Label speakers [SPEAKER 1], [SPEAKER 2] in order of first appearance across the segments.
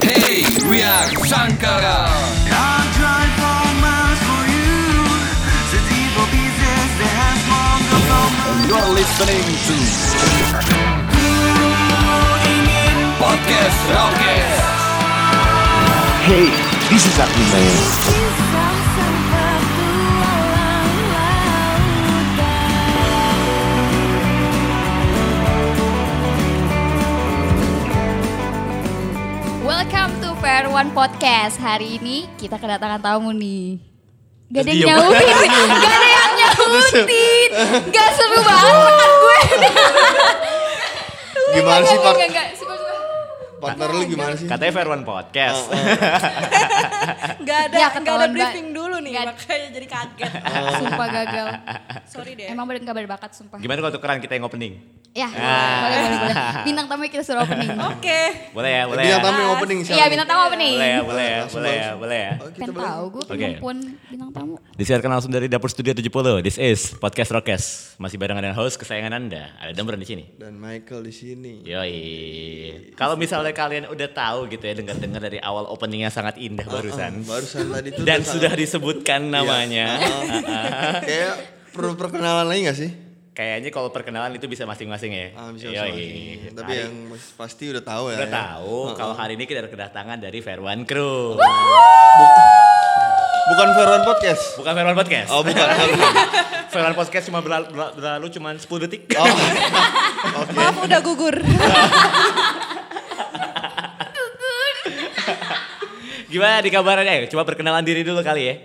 [SPEAKER 1] Hey, we are Shankara.
[SPEAKER 2] I'll drive four miles for you. The evil pieces that has long ago.
[SPEAKER 1] You're listening to Podcast Rockers.
[SPEAKER 3] Hey, this is Aquaman.
[SPEAKER 4] Kisah sempatu alam lautan
[SPEAKER 5] Welcome to Fair One Podcast. Hari ini kita kedatangan tamu nih. Gak ada
[SPEAKER 3] Diam.
[SPEAKER 5] yang nyautin, gak ada yang nyautin, gak seru banget makan gue.
[SPEAKER 6] Gimana sih, Pak?
[SPEAKER 5] Gak, gak, suka, suka.
[SPEAKER 6] Partner lu gimana sih?
[SPEAKER 3] Katanya Fair One Podcast.
[SPEAKER 6] Oh,
[SPEAKER 7] Gak ada,
[SPEAKER 5] Ya,
[SPEAKER 7] nggak ada
[SPEAKER 5] ketahuan, Mbak.
[SPEAKER 7] briefing dulu nih,
[SPEAKER 5] Nggak-
[SPEAKER 7] makanya jadi kaget.
[SPEAKER 5] Sumpah gagal.
[SPEAKER 7] Sorry deh.
[SPEAKER 5] Emang bener gak berbakat sumpah.
[SPEAKER 3] Gimana kalau tukeran kita yang opening?
[SPEAKER 5] Ya,
[SPEAKER 3] Ah.
[SPEAKER 5] boleh, boleh, boleh. Bintang tamu kita suruh opening.
[SPEAKER 7] Oke.
[SPEAKER 3] Boleh ya, boleh ya.
[SPEAKER 6] Bintang tamu yang opening siapa?
[SPEAKER 5] Iya, bintang tamu opening.
[SPEAKER 3] Boleh ya, boleh ya,
[SPEAKER 6] Langsung,
[SPEAKER 3] boleh ya,
[SPEAKER 6] langsung.
[SPEAKER 3] boleh
[SPEAKER 6] Oh,
[SPEAKER 3] ya.
[SPEAKER 6] kita
[SPEAKER 5] Pengen
[SPEAKER 6] boleh.
[SPEAKER 5] tahu gue
[SPEAKER 3] Oke.
[SPEAKER 5] perempuan bintang tamu.
[SPEAKER 3] Disiarkan langsung dari dapur studio 70. This is Podcast Rockes. Masih barengan dengan host kesayangan Anda. Ada Demren di sini.
[SPEAKER 6] Dan Michael di sini.
[SPEAKER 3] Yoi. Kalau misalnya kalian udah tahu gitu ya dengar-dengar dari awal openingnya sangat indah barusan.
[SPEAKER 6] Oh, Ah, Barusan tadi tuh
[SPEAKER 3] Dan
[SPEAKER 6] udah
[SPEAKER 3] sudah
[SPEAKER 6] sangat-
[SPEAKER 3] disebutkan
[SPEAKER 6] Iya.
[SPEAKER 3] namanya.
[SPEAKER 6] Oh. Kayak perlu perkenalan lagi gak sih?
[SPEAKER 3] Kayaknya kalau perkenalan itu bisa masing-masing ya.
[SPEAKER 6] Ah, bisa
[SPEAKER 3] Yoi.
[SPEAKER 6] masing-masing. Tapi
[SPEAKER 3] Hari-
[SPEAKER 6] yang pasti udah tahu ya.
[SPEAKER 3] Udah
[SPEAKER 6] ya.
[SPEAKER 3] tahu kalau hari ini kita ada kedatangan dari Fairwan Crew.
[SPEAKER 6] Bukan Ferwan Podcast.
[SPEAKER 3] Bukan Fairwan Podcast.
[SPEAKER 6] Oh, bukan.
[SPEAKER 3] Fairwan Podcast cuma berlalu, berlalu cuma 10 detik.
[SPEAKER 6] Oh. Oke.
[SPEAKER 7] Maaf udah gugur.
[SPEAKER 3] Gimana di kabarnya? Eh, coba perkenalan diri dulu kali ya.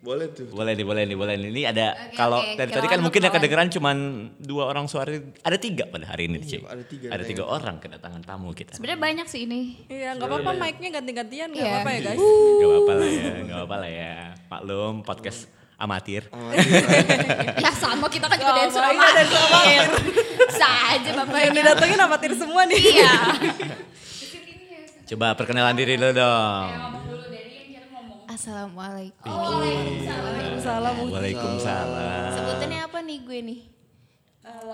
[SPEAKER 6] Boleh tuh.
[SPEAKER 3] Boleh nih, boleh nih, boleh nih. Ini ada
[SPEAKER 5] Oke,
[SPEAKER 3] kalau
[SPEAKER 5] oke.
[SPEAKER 3] dari
[SPEAKER 5] Kita
[SPEAKER 3] tadi kan
[SPEAKER 5] lawan
[SPEAKER 3] mungkin yang
[SPEAKER 5] lawan.
[SPEAKER 3] kedengeran cuma dua orang suara, ada tiga pada hari ini, Ci.
[SPEAKER 6] Iya, ada tiga,
[SPEAKER 3] Ada
[SPEAKER 6] ada
[SPEAKER 3] tiga
[SPEAKER 6] yang-
[SPEAKER 3] orang kedatangan tamu kita.
[SPEAKER 5] Sebenarnya banyak sih ini.
[SPEAKER 7] Iya, nggak apa-apa mic-nya ganti-gantian, nggak
[SPEAKER 5] Iya.
[SPEAKER 7] apa-apa ya guys.
[SPEAKER 3] Gak apa-apa lah ya, gak apa-apa lah ya. Maklum, podcast amatir.
[SPEAKER 6] Oh. Ah,
[SPEAKER 5] Ya sama kita kan juga
[SPEAKER 7] Sama,
[SPEAKER 5] dancer
[SPEAKER 6] iya.
[SPEAKER 7] kita dancer
[SPEAKER 5] amatir. Saja bapak
[SPEAKER 7] Oh, Yang
[SPEAKER 5] ini.
[SPEAKER 7] didatengin amatir semua nih.
[SPEAKER 5] Iya.
[SPEAKER 3] Coba perkenalan diri dulu dong.
[SPEAKER 5] Assalamualaikum.
[SPEAKER 7] Salah mungkin.
[SPEAKER 3] Waalaikumsalam.
[SPEAKER 4] Sebutannya
[SPEAKER 3] Eh.
[SPEAKER 4] apa nih gue nih? Oh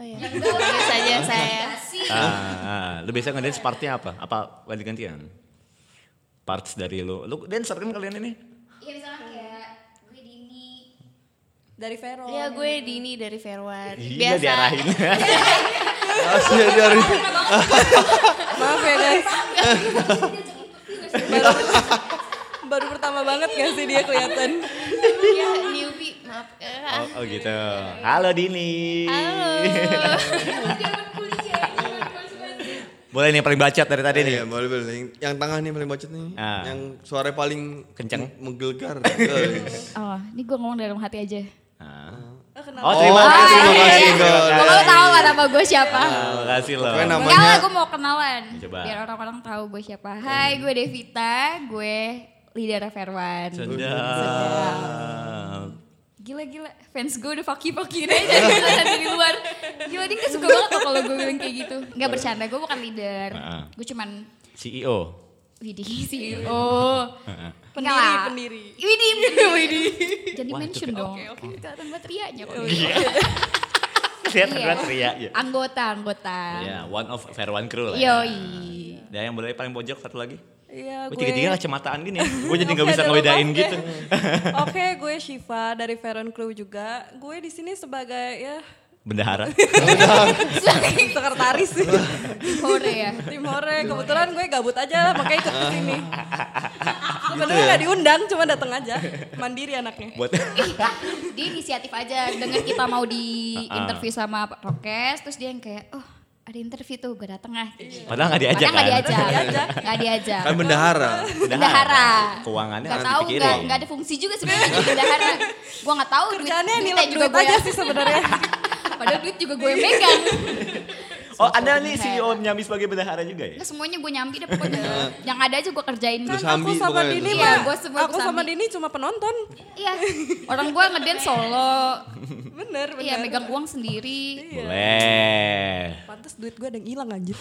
[SPEAKER 4] iya. Biasa saja saya.
[SPEAKER 3] Ah, ah. lu biasa ngedance partnya apa? Apa ganti gantian? Parts dari lu. Lu dancer kan kalian ini?
[SPEAKER 5] Iya misalnya kayak gue Dini.
[SPEAKER 7] Dari Vero.
[SPEAKER 4] Ya
[SPEAKER 5] Iya,
[SPEAKER 4] gue Dini dari Fairwan.
[SPEAKER 3] Iya
[SPEAKER 4] Biasa.
[SPEAKER 3] diarahin.
[SPEAKER 6] Asli dari
[SPEAKER 7] Maaf ya guys. baru, baru pertama banget gak sih dia kelihatan.
[SPEAKER 4] Ya newbie. Maaf. Eh,
[SPEAKER 3] oh, oh gitu. Halo Dini.
[SPEAKER 4] Halo.
[SPEAKER 3] Boleh nih yang paling bacot dari tadi nih.
[SPEAKER 6] Iya, boleh boleh. Yang, yang tangan nih paling bocet nih.
[SPEAKER 3] Ah.
[SPEAKER 6] Yang suara paling
[SPEAKER 3] Kenceng.
[SPEAKER 6] menggelegar. Guys.
[SPEAKER 5] Oh, ini gue ngomong dalam hati aja.
[SPEAKER 3] Ah.
[SPEAKER 7] kenapa?
[SPEAKER 3] Oh,
[SPEAKER 6] Oh,
[SPEAKER 3] terima kasih.
[SPEAKER 6] terima kasih,
[SPEAKER 3] Terima
[SPEAKER 6] Gol.
[SPEAKER 5] Kalau lo
[SPEAKER 3] ya,
[SPEAKER 5] tau lah nama gue siapa?
[SPEAKER 3] Terima kasih loh.
[SPEAKER 6] Pokoknya
[SPEAKER 5] Enggak lah,
[SPEAKER 6] namanya
[SPEAKER 5] gue mau kenalan.
[SPEAKER 3] Ya, Coba.
[SPEAKER 5] Biar orang-orang tahu gue siapa. Hai, gue Devita. Gue Lidara Verwan.
[SPEAKER 3] Sedap.
[SPEAKER 5] Gila-gila, fans gue udah fucky-fucky aja kelihatan dari luar. Gila, dia gak suka banget loh kalau gue bilang kayak gitu. Gak bercanda, gue bukan leader.
[SPEAKER 3] Heeh.
[SPEAKER 5] Gue cuman
[SPEAKER 3] CEO.
[SPEAKER 5] Widih CEO. Enggak Oh. lah.
[SPEAKER 7] pendiri.
[SPEAKER 5] Widih, pendiri. Jadi
[SPEAKER 3] Wah,
[SPEAKER 5] mention
[SPEAKER 3] itu-
[SPEAKER 5] dong. Kan kelihatan banget riaknya kok.
[SPEAKER 3] Lihat
[SPEAKER 5] Iya.
[SPEAKER 3] berat ria ya.
[SPEAKER 5] Anggota, anggota.
[SPEAKER 3] Ya, one of fair one crew lah. ya.
[SPEAKER 5] Yoi.
[SPEAKER 3] Dan yang boleh paling pojok satu lagi.
[SPEAKER 7] Iya,
[SPEAKER 3] Gue
[SPEAKER 7] gue.
[SPEAKER 3] tiga-tiga kacamataan gini. Gue jadi nggak
[SPEAKER 7] Oke,
[SPEAKER 3] bisa
[SPEAKER 7] ada
[SPEAKER 3] ngebedain
[SPEAKER 7] lepas
[SPEAKER 3] gitu.
[SPEAKER 7] deh. Oke, gue Shiva dari Veron Crew juga. Gue di sini sebagai ya
[SPEAKER 3] Bendahara.
[SPEAKER 7] sekretaris sih.
[SPEAKER 5] Hore ya.
[SPEAKER 7] Tim Hore, kebetulan gue gabut aja makanya ikut kesini. Sebenarnya nggak diundang, cuma datang aja. Mandiri anaknya.
[SPEAKER 3] Gitu ya? Buat
[SPEAKER 5] dia inisiatif aja dengan kita mau di
[SPEAKER 3] Ah,
[SPEAKER 5] interview sama Pak Rokes terus dia yang kayak oh ada interview tuh gue dateng ah
[SPEAKER 3] Iya. Padahal nggak diajak
[SPEAKER 5] Padahal nggak
[SPEAKER 3] kan?
[SPEAKER 5] diajak nggak diajak
[SPEAKER 6] kan bendahara.
[SPEAKER 5] bendahara
[SPEAKER 3] Keuangannya
[SPEAKER 5] nggak
[SPEAKER 3] harus
[SPEAKER 5] tahu
[SPEAKER 3] dipikirin.
[SPEAKER 5] nggak nggak ada fungsi juga sebenarnya jadi bendahara gue nggak tahu duit-
[SPEAKER 7] Kerjaannya
[SPEAKER 5] duitnya
[SPEAKER 7] nilai duit
[SPEAKER 3] ya?
[SPEAKER 7] aja sih sebenarnya.
[SPEAKER 5] padahal duit juga gue yang megang
[SPEAKER 3] Oh, Anda nih CEO Nyambi sebagai bendahara juga ya?
[SPEAKER 5] Nggak, semuanya gue nyambi deh pokoknya yang ada aja gue kerjain
[SPEAKER 6] Terus
[SPEAKER 7] Kan aku
[SPEAKER 6] Sambi
[SPEAKER 7] sama
[SPEAKER 6] pokoknya,
[SPEAKER 7] Dini
[SPEAKER 6] terus
[SPEAKER 5] Iya,
[SPEAKER 7] mah,
[SPEAKER 5] gua semua
[SPEAKER 7] aku
[SPEAKER 5] ikut
[SPEAKER 7] sama
[SPEAKER 5] Sambi.
[SPEAKER 7] Dini cuma penonton.
[SPEAKER 5] iya orang gue ngedance solo
[SPEAKER 7] Bener, bener.
[SPEAKER 5] iya megang uang sendiri
[SPEAKER 3] Iya. Boleh.
[SPEAKER 7] Pantes duit gue ada yang hilang anjir.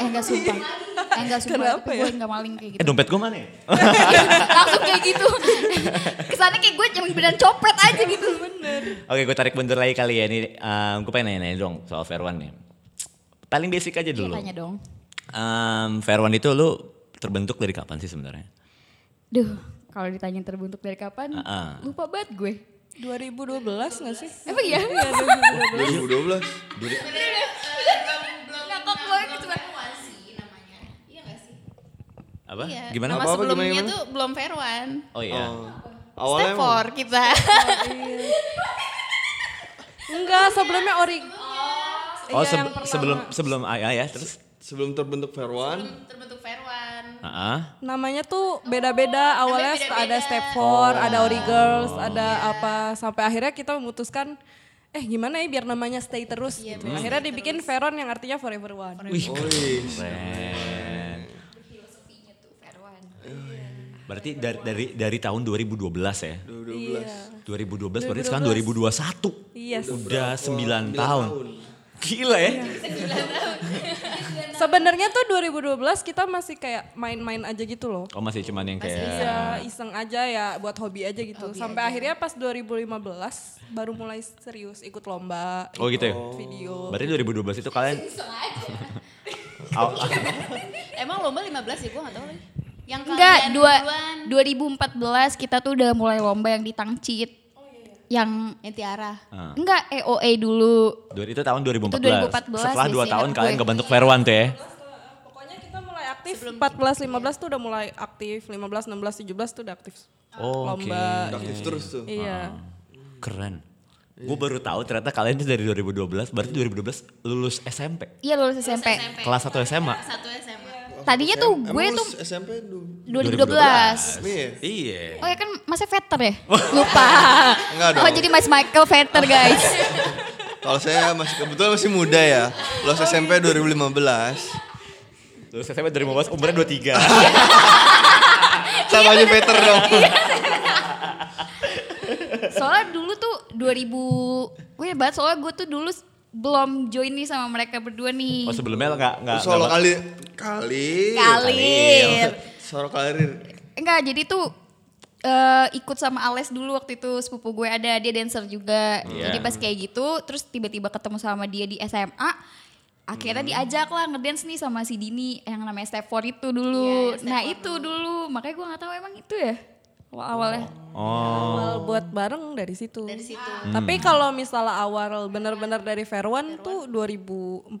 [SPEAKER 5] eh nggak sumpah eh nggak sumpah
[SPEAKER 7] Kenapa
[SPEAKER 5] tapi
[SPEAKER 7] ya?
[SPEAKER 5] gue nggak maling kayak gitu
[SPEAKER 3] Eh dompet gue mana ya?
[SPEAKER 5] langsung kayak gitu kesannya kayak gue cuma beneran copet aja gitu bener
[SPEAKER 3] Oke gue tarik mundur lagi
[SPEAKER 5] Iya,
[SPEAKER 3] kali ya. Ini eh, gue pengen nanya-nanya dong soal Fair One nih. Paling basic aja dulu.
[SPEAKER 5] tanya dong
[SPEAKER 3] Em, Fair One itu lu terbentuk dari kapan sih sebenarnya?
[SPEAKER 5] Duh, kalau ditanya terbentuk dari kapan,
[SPEAKER 3] Ah, ah.
[SPEAKER 5] lupa banget gue.
[SPEAKER 7] 2012 nggak sih?
[SPEAKER 5] Emang iya?
[SPEAKER 6] 2012.
[SPEAKER 5] Nggak kok gue cuma
[SPEAKER 3] Apa?
[SPEAKER 4] Iya,
[SPEAKER 3] Gimana?
[SPEAKER 4] nama
[SPEAKER 6] Apa-apa, gimana,
[SPEAKER 4] sebelumnya
[SPEAKER 6] gimana?
[SPEAKER 4] tuh belum fair one.
[SPEAKER 3] Oh iya.
[SPEAKER 6] Oh.
[SPEAKER 4] Awalnya
[SPEAKER 6] Awalnya emang-
[SPEAKER 4] Stepfor kita.
[SPEAKER 7] Enggak, sebelumnya ori. Iya,
[SPEAKER 3] Oh, seb-
[SPEAKER 7] yang pertama.
[SPEAKER 3] sebelum sebelum AA ya, terus
[SPEAKER 6] sebelum terbentuk Fair One,
[SPEAKER 4] Terbentuk fair one.
[SPEAKER 3] Ah,
[SPEAKER 7] namanya tuh Oh, beda-beda awalnya
[SPEAKER 4] Namanya
[SPEAKER 7] ada
[SPEAKER 4] beda-beda.
[SPEAKER 7] step
[SPEAKER 3] Oh.
[SPEAKER 7] four ada ori girls ada apa sampai akhirnya kita memutuskan eh gimana ya biar namanya stay terus gitu. akhirnya dibikin Veron yang artinya forever one
[SPEAKER 3] Wih,
[SPEAKER 6] Wih,
[SPEAKER 3] keren. Iya. Berarti dari dari dari tahun 2012 ya.
[SPEAKER 6] 2012.
[SPEAKER 3] 2012 berarti sekarang 2021.
[SPEAKER 7] iya sih.
[SPEAKER 3] Udah
[SPEAKER 6] 9
[SPEAKER 3] 9 tahun.
[SPEAKER 6] tahun.
[SPEAKER 3] Gila ya.
[SPEAKER 7] sebenarnya tuh 2012 kita masih kayak main-main aja gitu loh
[SPEAKER 3] Oh masih cuman yang kayak
[SPEAKER 7] Iya, iseng aja ya buat hobi aja gitu. Sampai akhirnya pas 2015 baru mulai serius ikut lomba,
[SPEAKER 3] Oh gitu ya.
[SPEAKER 7] ikut video.
[SPEAKER 3] Berarti 2012 itu kalian ah. Aw-
[SPEAKER 4] Emang lomba 15 ya gue gak tau lagi. Yang
[SPEAKER 5] Enggak,
[SPEAKER 4] kalian
[SPEAKER 5] dua,
[SPEAKER 4] duluan.
[SPEAKER 5] 2014 kita tuh udah mulai lomba yang di Tangcit. Yang
[SPEAKER 4] Yang Tiara.
[SPEAKER 3] Ah.
[SPEAKER 5] enggak EOA dulu.
[SPEAKER 3] Dua- itu tahun 2014.
[SPEAKER 5] Itu 2014
[SPEAKER 3] Setelah
[SPEAKER 5] sih,
[SPEAKER 3] 2 tahun
[SPEAKER 5] seingat
[SPEAKER 3] kalian
[SPEAKER 5] gue.
[SPEAKER 3] kebentuk Fair One tuh ya.
[SPEAKER 7] Pokoknya kita mulai aktif 14 15 tuh udah mulai aktif. 15 16 17 tuh udah aktif.
[SPEAKER 3] Oh, oke.
[SPEAKER 7] Lomba.
[SPEAKER 6] Aktif terus tuh.
[SPEAKER 7] Iya.
[SPEAKER 3] Keren. Gue baru tahu ternyata kalian itu dari 2012, berarti 2012 lulus SMP.
[SPEAKER 5] Iya lulus SMP.
[SPEAKER 3] Kelas 1 SMA.
[SPEAKER 4] Satu SMA.
[SPEAKER 5] Tadinya tuh
[SPEAKER 6] Emang
[SPEAKER 5] gue
[SPEAKER 6] lu
[SPEAKER 5] tuh
[SPEAKER 6] SMP dulu.
[SPEAKER 5] 2012.
[SPEAKER 6] Iya.
[SPEAKER 3] Iya.
[SPEAKER 5] Oh ya kan masih Vetter ya? Lupa.
[SPEAKER 6] Enggak
[SPEAKER 5] Oh
[SPEAKER 6] dong.
[SPEAKER 5] jadi Mas Michael Vetter guys.
[SPEAKER 6] Kalau saya masih kebetulan masih muda ya.
[SPEAKER 4] Oh,
[SPEAKER 6] Los SMP
[SPEAKER 4] gitu.
[SPEAKER 6] 2015.
[SPEAKER 3] Lulus SMP 2015 umurnya 23.
[SPEAKER 6] Sama aja Peter
[SPEAKER 4] Iya,
[SPEAKER 6] dong.
[SPEAKER 5] Soalnya dulu tuh 2000, gue banget ya, soalnya gue tuh dulu s- belum join nih sama mereka berdua nih.
[SPEAKER 3] oh sebelumnya nggak nggak
[SPEAKER 6] Nah, Solo
[SPEAKER 3] nggak-
[SPEAKER 6] kali kali.
[SPEAKER 5] Kalir.
[SPEAKER 6] Solo kalir.
[SPEAKER 5] Enggak, jadi tuh eh, ikut sama Ales dulu waktu itu sepupu gue ada, dia dancer juga.
[SPEAKER 3] Iya.
[SPEAKER 5] Jadi pas kayak gitu, terus tiba-tiba ketemu sama dia di SMA, akhirnya diajak lah ngedance nih sama si Dini yang namanya Step 4 itu dulu. nah itu dulu, makanya gue gak tahu emang itu ya awal-awalnya.
[SPEAKER 3] Oh. Hmm.
[SPEAKER 7] Awal buat bareng dari situ.
[SPEAKER 4] Dari situ.
[SPEAKER 7] Tapi kalau misalnya awal bener-bener dari Fair One tuh 2014 2013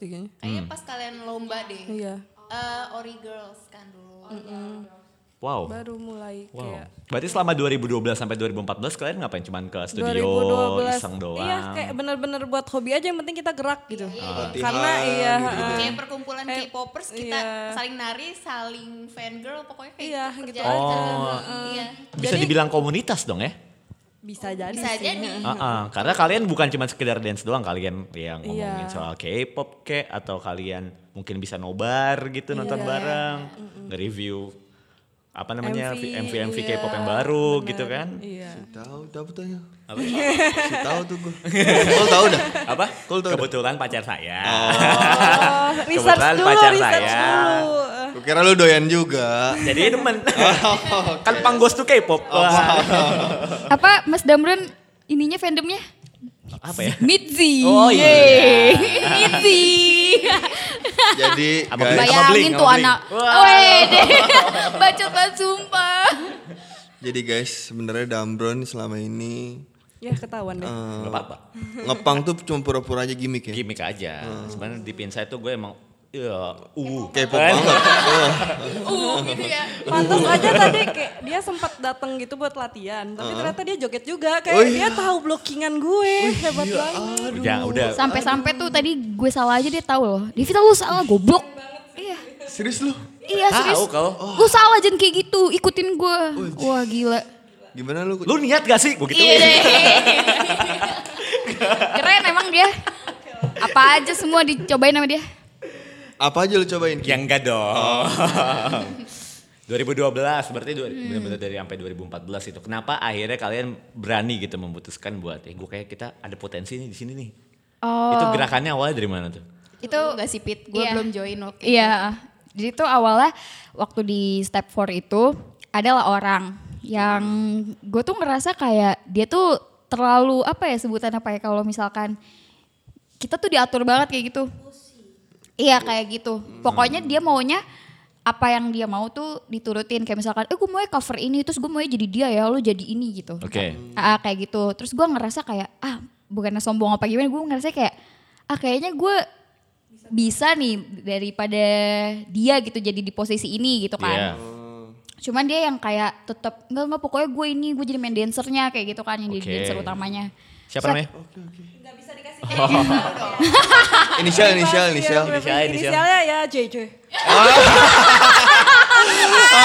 [SPEAKER 7] deh kayaknya.
[SPEAKER 3] Hmm.
[SPEAKER 4] Kayaknya pas kalian lomba deh.
[SPEAKER 7] Iya.
[SPEAKER 4] Eh, Ori Girls kan dulu.
[SPEAKER 3] Wow.
[SPEAKER 7] Baru mulai
[SPEAKER 3] Wow.
[SPEAKER 7] kayak
[SPEAKER 3] Berarti selama 2012 sampai 2014 kalian ngapain? Cuman ke studio,
[SPEAKER 7] 2012
[SPEAKER 3] iseng doang. Ah,
[SPEAKER 7] Iya, kayak bener-bener buat hobi aja yang penting kita gerak gitu.
[SPEAKER 6] Latihan,
[SPEAKER 7] Karena iya,
[SPEAKER 3] gitu,
[SPEAKER 7] heeh.
[SPEAKER 4] Kayak perkumpulan
[SPEAKER 7] Eh,
[SPEAKER 4] K-popers kita
[SPEAKER 7] iya.
[SPEAKER 4] saling nari, saling fangirl pokoknya kayak
[SPEAKER 7] Iya,
[SPEAKER 4] gitu,
[SPEAKER 7] gitu
[SPEAKER 4] kerjaan.
[SPEAKER 3] Oh.
[SPEAKER 4] Iya.
[SPEAKER 3] Bisa
[SPEAKER 7] Jadi-
[SPEAKER 3] dibilang komunitas dong ya?
[SPEAKER 7] bisa jadi
[SPEAKER 4] Bisa
[SPEAKER 7] Iya sih.
[SPEAKER 4] jadi.
[SPEAKER 3] Ah, ah. karena kalian bukan cuma sekedar dance doang kalian yang ngomongin
[SPEAKER 7] Iya.
[SPEAKER 3] soal K-pop kek atau kalian mungkin bisa
[SPEAKER 7] Iya.
[SPEAKER 3] nobar gitu nonton bareng, nge-review apa namanya
[SPEAKER 7] MV,
[SPEAKER 3] MV MV
[SPEAKER 7] iya,
[SPEAKER 3] K-pop yang baru
[SPEAKER 7] bener.
[SPEAKER 3] gitu kan?
[SPEAKER 7] Iya.
[SPEAKER 6] Tahu tahu tuh ya. Si tahu tuh gue. Lo tahu dah.
[SPEAKER 3] Apa?
[SPEAKER 6] Cool tuh udah.
[SPEAKER 3] Kebetulan pacar saya.
[SPEAKER 7] Oh, research
[SPEAKER 3] Kebetulan
[SPEAKER 7] dulu,
[SPEAKER 3] pacar
[SPEAKER 7] research
[SPEAKER 3] saya.
[SPEAKER 7] dulu.
[SPEAKER 6] Gue kira lu doyan juga.
[SPEAKER 3] Jadi demen. kan panggos tuh K-pop. Wah.
[SPEAKER 5] Apa Mas Damron ininya fandomnya?
[SPEAKER 3] Apa ya?
[SPEAKER 5] Mitzi.
[SPEAKER 3] Oh, iya.
[SPEAKER 5] Mitzi.
[SPEAKER 6] Jadi
[SPEAKER 3] Sama
[SPEAKER 6] guys,
[SPEAKER 3] Bling,
[SPEAKER 5] Bayangin
[SPEAKER 3] sama
[SPEAKER 5] tuh
[SPEAKER 3] Bling.
[SPEAKER 5] anak.
[SPEAKER 3] Wah.
[SPEAKER 5] Wede. Bacot banget sumpah.
[SPEAKER 6] jadi guys sebenarnya Damron selama ini
[SPEAKER 7] Ya ketahuan deh.
[SPEAKER 6] eh,
[SPEAKER 3] Gak apa-apa.
[SPEAKER 6] ngepang tuh cuma pura-pura aja gimmick ya.
[SPEAKER 3] Gimik aja. Sebenarnya di Pinside tuh gue emang ya, uh,
[SPEAKER 6] Kepo banget. Eh,
[SPEAKER 4] Uh, gitu ya.
[SPEAKER 7] Pantas aja tadi kayak dia sempat datang gitu buat latihan, tapi ternyata dia joget juga kayak
[SPEAKER 6] Eh. Oh, iya. Oh, Ah,
[SPEAKER 7] dia tahu blockingan gue, hebat banget.
[SPEAKER 3] Jangan udah.
[SPEAKER 5] Sampai-sampai tuh tadi gue salah aja dia tahu loh. Devita lu salah goblok. Iya.
[SPEAKER 6] Serius lu?
[SPEAKER 5] Iya serius.
[SPEAKER 3] Tahu kau.
[SPEAKER 5] Lu salah jangan kayak gitu, ikutin gue. Wah gila.
[SPEAKER 6] Gimana lu?
[SPEAKER 3] Lu niat gak sih? Gue gitu.
[SPEAKER 5] Iya deh. Keren emang dia. Apa aja semua dicobain sama dia.
[SPEAKER 6] Apa aja lu cobain?
[SPEAKER 3] Ya enggak dong. 2012 berarti
[SPEAKER 5] Hmm.
[SPEAKER 3] dua- benar-benar dari sampai 2014 itu. Kenapa akhirnya kalian berani gitu memutuskan buat eh gue kayak kita ada potensi nih di sini nih.
[SPEAKER 5] Oh.
[SPEAKER 3] Itu gerakannya awalnya dari mana tuh?
[SPEAKER 5] Itu
[SPEAKER 4] Gak sih Pit, gue
[SPEAKER 5] Iya.
[SPEAKER 4] belum join waktu itu.
[SPEAKER 8] gitu.
[SPEAKER 5] Iya. Jadi tuh awalnya waktu di step 4 itu adalah orang yang gue tuh ngerasa kayak dia tuh terlalu apa ya sebutan apa ya kalau misalkan kita tuh diatur banget kayak gitu. Iya kayak gitu. Pokoknya dia maunya apa yang dia mau tuh diturutin kayak misalkan eh gue mau cover ini terus gue mau jadi dia ya lo jadi ini gitu.
[SPEAKER 3] Oke.
[SPEAKER 5] Ah, ah, kayak gitu. Terus gue ngerasa kayak ah bukannya sombong apa gimana gue ngerasa kayak ah kayaknya gue bisa nih daripada dia gitu jadi di posisi ini gitu kan.
[SPEAKER 3] Iya.
[SPEAKER 5] Cuman dia yang kayak tetap enggak enggak pokoknya gue ini gue jadi main dancernya kayak gitu kan yang
[SPEAKER 3] Oke.
[SPEAKER 5] jadi dancer utamanya.
[SPEAKER 3] Siapa
[SPEAKER 5] Set.
[SPEAKER 3] namanya?
[SPEAKER 6] Inisial, inisial, inisial.
[SPEAKER 3] Inisial, inisial.
[SPEAKER 7] Iya, Inisialnya ya JJ.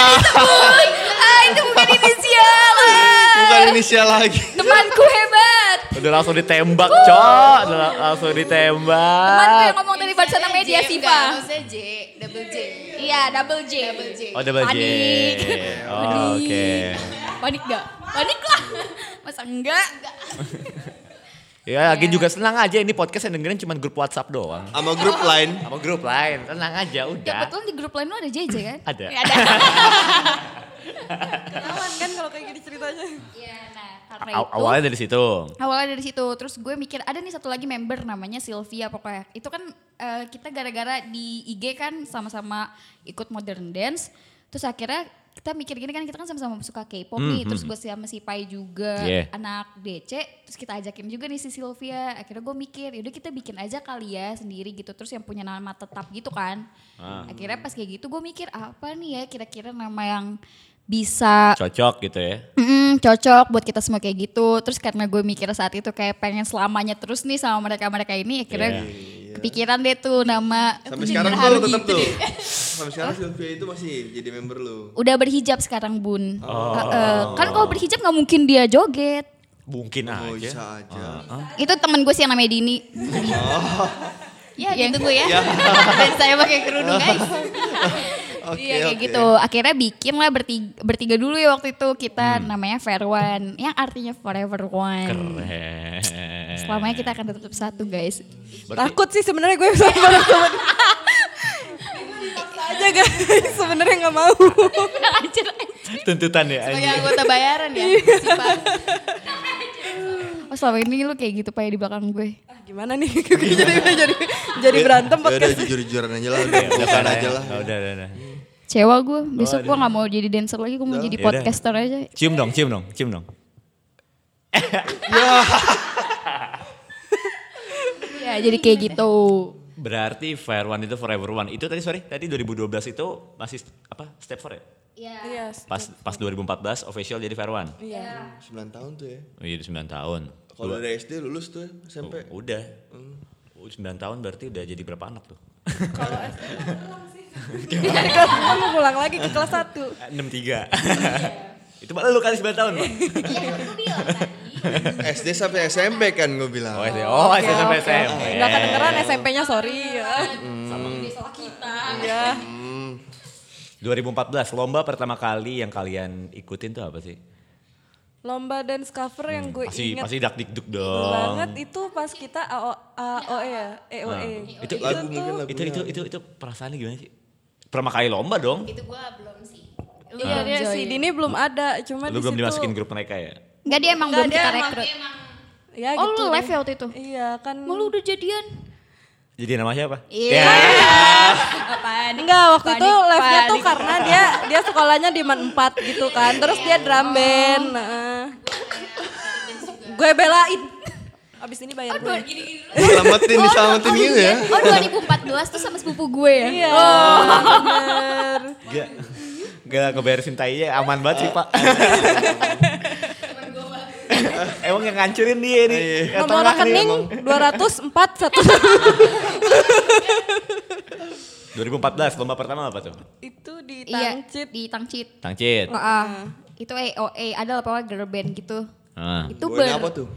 [SPEAKER 5] Ah itu bukan inisial. ah.
[SPEAKER 6] Bukan inisial lagi.
[SPEAKER 5] Temanku hebat.
[SPEAKER 3] Udah langsung ditembak, Cok. Udah la- langsung
[SPEAKER 5] Temanku yang
[SPEAKER 3] ditembak.
[SPEAKER 5] ngomong tadi barusan namanya dia Siva.
[SPEAKER 4] Maksudnya J, double J.
[SPEAKER 5] Iya, double J.
[SPEAKER 4] Double J.
[SPEAKER 3] Oh, double J.
[SPEAKER 5] Panik.
[SPEAKER 3] Oh, Oke.
[SPEAKER 5] Panik. Panik gak? Panik lah. Masa enggak?
[SPEAKER 3] Ya, lagi juga senang aja ini podcast yang dengerin cuma grup WhatsApp doang.
[SPEAKER 6] Sama grup lain.
[SPEAKER 3] Sama grup lain, tenang aja
[SPEAKER 5] Ya
[SPEAKER 3] udah.
[SPEAKER 5] kebetulan di grup lain lu ada JJ kan?
[SPEAKER 3] Ada.
[SPEAKER 5] Ya, ada.
[SPEAKER 7] Kenalan kan kalau kayak gini ceritanya.
[SPEAKER 5] Iya, nah karena
[SPEAKER 3] Aw-
[SPEAKER 5] itu.
[SPEAKER 3] awalnya dari situ.
[SPEAKER 5] Awalnya dari situ, terus gue mikir ada nih satu lagi member namanya Sylvia pokoknya. Itu kan eh, kita gara-gara di IG kan sama-sama ikut modern dance. Terus akhirnya kita mikir gini kan kita kan sama-sama suka K-pop nih. Terus gue sama si Pai juga,
[SPEAKER 3] Yeah.
[SPEAKER 5] anak DC. Terus kita ajakin juga nih si Sylvia. Akhirnya gue mikir yaudah kita bikin aja kali ya sendiri gitu. Terus yang punya nama tetap gitu kan. Akhirnya pas kayak gitu gue mikir apa nih ya kira-kira nama yang bisa
[SPEAKER 3] Cocok gitu ya.
[SPEAKER 5] Mm, cocok buat kita semua kayak gitu. Terus karena gue mikir saat itu kayak pengen selamanya terus nih sama mereka-mereka ini akhirnya kepikiran deh tuh nama
[SPEAKER 6] Sampai
[SPEAKER 5] Aku
[SPEAKER 6] sekarang
[SPEAKER 5] terharu
[SPEAKER 6] tuh tetap
[SPEAKER 5] gitu
[SPEAKER 6] tuh.
[SPEAKER 5] deh.
[SPEAKER 6] Sampai sekarang Sylvia itu masih jadi member lu. Oh,
[SPEAKER 5] Udah berhijab sekarang Bun. Eh, eh, kan kalau berhijab nggak mungkin dia joget.
[SPEAKER 3] Mungkin
[SPEAKER 6] Oh,
[SPEAKER 3] aja.
[SPEAKER 6] bisa aja.
[SPEAKER 3] Ah.
[SPEAKER 5] Itu temen gue sih yang namanya Dini.
[SPEAKER 6] Oh.
[SPEAKER 5] Iya,
[SPEAKER 4] Ya gitu gue ya. Dan saya pakai kerudung guys.
[SPEAKER 6] Oke,
[SPEAKER 5] Iya kayak
[SPEAKER 6] oke.
[SPEAKER 5] gitu. Akhirnya bikin lah bertiga, bertiga dulu ya waktu itu kita namanya Fair One. Yang artinya Forever One.
[SPEAKER 3] Keren.
[SPEAKER 5] Selamanya kita akan tetap satu guys.
[SPEAKER 7] Takut sih sebenarnya gue sama teman-teman. aja guys, sebenarnya nggak mau.
[SPEAKER 3] Tuntutan ya.
[SPEAKER 4] Sebagai
[SPEAKER 3] anjing.
[SPEAKER 4] anggota bayaran ya. Sipa.
[SPEAKER 5] Oh selama ini lu kayak gitu Pak ya di belakang gue.
[SPEAKER 7] Ah, gimana nih? jadi jadi jadi berantem
[SPEAKER 6] Ya udah
[SPEAKER 7] podcast.
[SPEAKER 6] jujur-jujuran aja
[SPEAKER 3] Iya,
[SPEAKER 6] lah, udah bukan
[SPEAKER 3] Udah,
[SPEAKER 6] aja lah.
[SPEAKER 3] ya. Oh, udah, Udah, udah, udah.
[SPEAKER 5] Cewa gue, besok gue gak mau jadi dancer lagi, gue mau jadi
[SPEAKER 3] Yaudah.
[SPEAKER 5] podcaster aja.
[SPEAKER 3] Cium dong, cium dong, cium dong.
[SPEAKER 5] Ya jadi kayak gitu.
[SPEAKER 3] Berarti Fair One itu Forever One. Itu tadi sorry, tadi 2012 itu masih apa? Step 4 ya?
[SPEAKER 7] Iya.
[SPEAKER 3] Pas pas 2014 official jadi Fair One.
[SPEAKER 7] Iya.
[SPEAKER 6] 9 tahun tuh ya.
[SPEAKER 3] Oh, Iya, 9 tahun.
[SPEAKER 6] Kalau dari SD lulus tuh ya,
[SPEAKER 3] Oh,
[SPEAKER 6] SMP.
[SPEAKER 3] udah. Oh, 9 tahun berarti udah jadi berapa anak tuh?
[SPEAKER 7] Jadi kelas kamu pulang lagi ke kelas 1.
[SPEAKER 3] 63. itu malah lu kali 9 tahun, Pak.
[SPEAKER 6] SD sampai SMP kan gue bilang.
[SPEAKER 3] Oh, SD. Oh, SD sampai SMP.
[SPEAKER 7] Enggak kedengeran SMP-nya, sorry ya.
[SPEAKER 3] Hmm.
[SPEAKER 7] Iya.
[SPEAKER 3] 2014 lomba pertama kali yang kalian ikutin tuh apa sih?
[SPEAKER 7] Lomba dance cover yang gue
[SPEAKER 3] Hmm, Pasti
[SPEAKER 7] inget
[SPEAKER 3] pasti dak dik dong.
[SPEAKER 7] banget itu pas kita AO, AOE ya, EOE.
[SPEAKER 3] Nah, Itu
[SPEAKER 6] Lagu mungkin lagu.
[SPEAKER 3] itu itu itu itu perasaannya gimana sih? Pertama kali lomba dong.
[SPEAKER 4] Itu gue belum sih.
[SPEAKER 7] Iya, dia si Dini belum ada, cuma
[SPEAKER 3] Nah. Lu
[SPEAKER 7] di
[SPEAKER 3] belum
[SPEAKER 7] situ-
[SPEAKER 3] dimasukin grup mereka ya?
[SPEAKER 5] Enggak dia emang
[SPEAKER 7] Nggak,
[SPEAKER 5] belum
[SPEAKER 7] dia
[SPEAKER 5] kita
[SPEAKER 7] emang-
[SPEAKER 5] rekrut.
[SPEAKER 7] Ya, gitu
[SPEAKER 5] Oh lu
[SPEAKER 7] deh.
[SPEAKER 5] live ya waktu itu?
[SPEAKER 7] Iya kan.
[SPEAKER 5] Mau lu udah jadian?
[SPEAKER 3] Jadi Ya, nama siapa?
[SPEAKER 5] Iya.
[SPEAKER 7] Enggak, waktu itu live-nya tuh karena dia dia sekolahnya di MAN 4 gitu kan. Terus dia
[SPEAKER 5] Oh.
[SPEAKER 7] drum band.
[SPEAKER 5] Iya,
[SPEAKER 7] Nah. Gue belain. Abis ini bayar gue.
[SPEAKER 6] Selamatin, diselamatin
[SPEAKER 5] oh,
[SPEAKER 6] gitu ya.
[SPEAKER 5] iya. Oh 2014 tuh sama sepupu gue ya?
[SPEAKER 7] Iya.
[SPEAKER 3] Oh.
[SPEAKER 7] bener.
[SPEAKER 3] Gak, gak ngeberesin tainya ya, aman banget sih pak. Emang yang ngancurin dia nih. yang
[SPEAKER 7] Nomor
[SPEAKER 3] tengah nih.
[SPEAKER 7] rekening 204
[SPEAKER 3] 2014 lomba pertama apa tuh?
[SPEAKER 7] Itu di
[SPEAKER 5] Iya,
[SPEAKER 7] Tangcit.
[SPEAKER 5] di Tangcit.
[SPEAKER 3] Tangcit.
[SPEAKER 5] Oh, ah. Itu AOA, ada lah pokoknya girl band gitu.
[SPEAKER 3] Ah.
[SPEAKER 5] Itu
[SPEAKER 6] Bawain apa
[SPEAKER 5] ber...
[SPEAKER 6] tuh?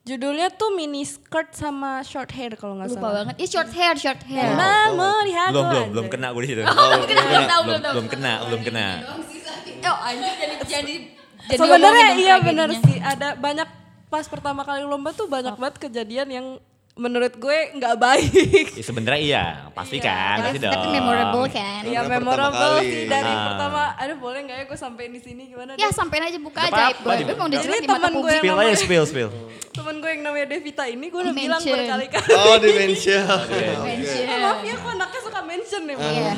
[SPEAKER 7] Judulnya tuh mini skirt sama short hair kalau nggak
[SPEAKER 5] Lupa
[SPEAKER 7] salah. Nah,
[SPEAKER 5] banget. Iya short hair, short hair.
[SPEAKER 7] Iya. Memori hati.
[SPEAKER 3] Belum belum belum kena gue di situ.
[SPEAKER 6] belum kena, belum
[SPEAKER 5] tahu,
[SPEAKER 3] belum,
[SPEAKER 5] belum tahu.
[SPEAKER 3] belum kena belum kena.
[SPEAKER 5] Oh anjir jadi... jadi jadi
[SPEAKER 7] Sebenarnya
[SPEAKER 5] omongin
[SPEAKER 7] iya
[SPEAKER 5] tragedinya.
[SPEAKER 7] Oh. benar sih ada banyak pas pertama kali lomba tuh banyak banget kejadian yang menurut gue nggak baik.
[SPEAKER 3] Ya sebenarnya iya, pasti kan, pasti dong.
[SPEAKER 4] Tapi memorable
[SPEAKER 3] Iya,
[SPEAKER 4] kan.
[SPEAKER 7] Ya
[SPEAKER 6] Karena pertama
[SPEAKER 7] memorable
[SPEAKER 6] kali.
[SPEAKER 7] sih dari
[SPEAKER 3] Ah.
[SPEAKER 7] pertama. Aduh boleh nggak ya gue sampein di sini gimana?
[SPEAKER 5] Ya
[SPEAKER 7] deh?
[SPEAKER 5] sampein aja buka
[SPEAKER 3] Gak
[SPEAKER 5] aja aib
[SPEAKER 3] apa-apa,
[SPEAKER 5] gue.
[SPEAKER 3] Dim.
[SPEAKER 5] Gue mau
[SPEAKER 3] Gak
[SPEAKER 5] diceritain di
[SPEAKER 7] apa-apa.
[SPEAKER 5] mata
[SPEAKER 7] Jadi temen
[SPEAKER 5] publik.
[SPEAKER 7] gue-
[SPEAKER 3] Spill aja, spill, spill.
[SPEAKER 7] Temen gue yang namanya Devita ini gue udah
[SPEAKER 4] Mention.
[SPEAKER 7] bilang berkali-kali.
[SPEAKER 6] Oh di mention.
[SPEAKER 7] I love you, aku anaknya suka mention nih. Bang.
[SPEAKER 5] Iya.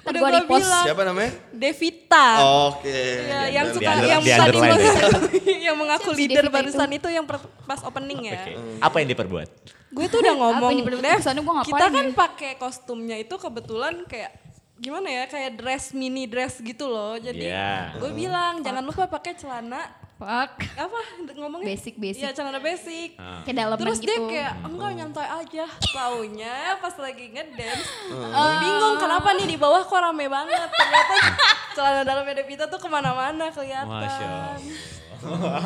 [SPEAKER 7] Udah
[SPEAKER 5] Ntar gue
[SPEAKER 7] gua
[SPEAKER 5] repost.
[SPEAKER 7] bilang.
[SPEAKER 6] Siapa namanya?
[SPEAKER 7] Devita.
[SPEAKER 3] Oh,
[SPEAKER 5] Ah.
[SPEAKER 6] Oke.
[SPEAKER 7] Ya,
[SPEAKER 5] Iya,
[SPEAKER 7] yang
[SPEAKER 3] Iya, Di
[SPEAKER 7] suka
[SPEAKER 3] under-
[SPEAKER 7] yang
[SPEAKER 3] di
[SPEAKER 7] tadi
[SPEAKER 3] underline
[SPEAKER 7] gua- yang mengaku
[SPEAKER 4] Siapa sih
[SPEAKER 7] leader
[SPEAKER 4] Devita
[SPEAKER 7] barusan itu yang per- pas opening ya.
[SPEAKER 3] Oke. Apa yang diperbuat?
[SPEAKER 7] Gue tuh udah ngomong,
[SPEAKER 5] Apa ini,
[SPEAKER 7] "Dev,
[SPEAKER 5] pesannya gua ngapain
[SPEAKER 7] kita kan
[SPEAKER 5] ya?"
[SPEAKER 7] pakai kostumnya itu kebetulan kayak gimana ya kayak dress mini dress gitu loh. Jadi
[SPEAKER 3] Iya.
[SPEAKER 7] gue bilang jangan lupa pakai celana
[SPEAKER 5] Fuck.
[SPEAKER 7] apa ngomongnya
[SPEAKER 5] Basic, basic.
[SPEAKER 7] Iya, celana basic.
[SPEAKER 3] Ah.
[SPEAKER 5] Kayak dalaman
[SPEAKER 7] Terus
[SPEAKER 5] gitu.
[SPEAKER 7] dia kayak enggak nyantai aja taunya pas lagi ngedance
[SPEAKER 3] Hmm.
[SPEAKER 7] gue bingung kenapa nih di bawah kok rame banget ternyata celana dalamnya Devita tuh kemana-mana
[SPEAKER 3] Masya
[SPEAKER 7] kelihatan
[SPEAKER 3] Allah.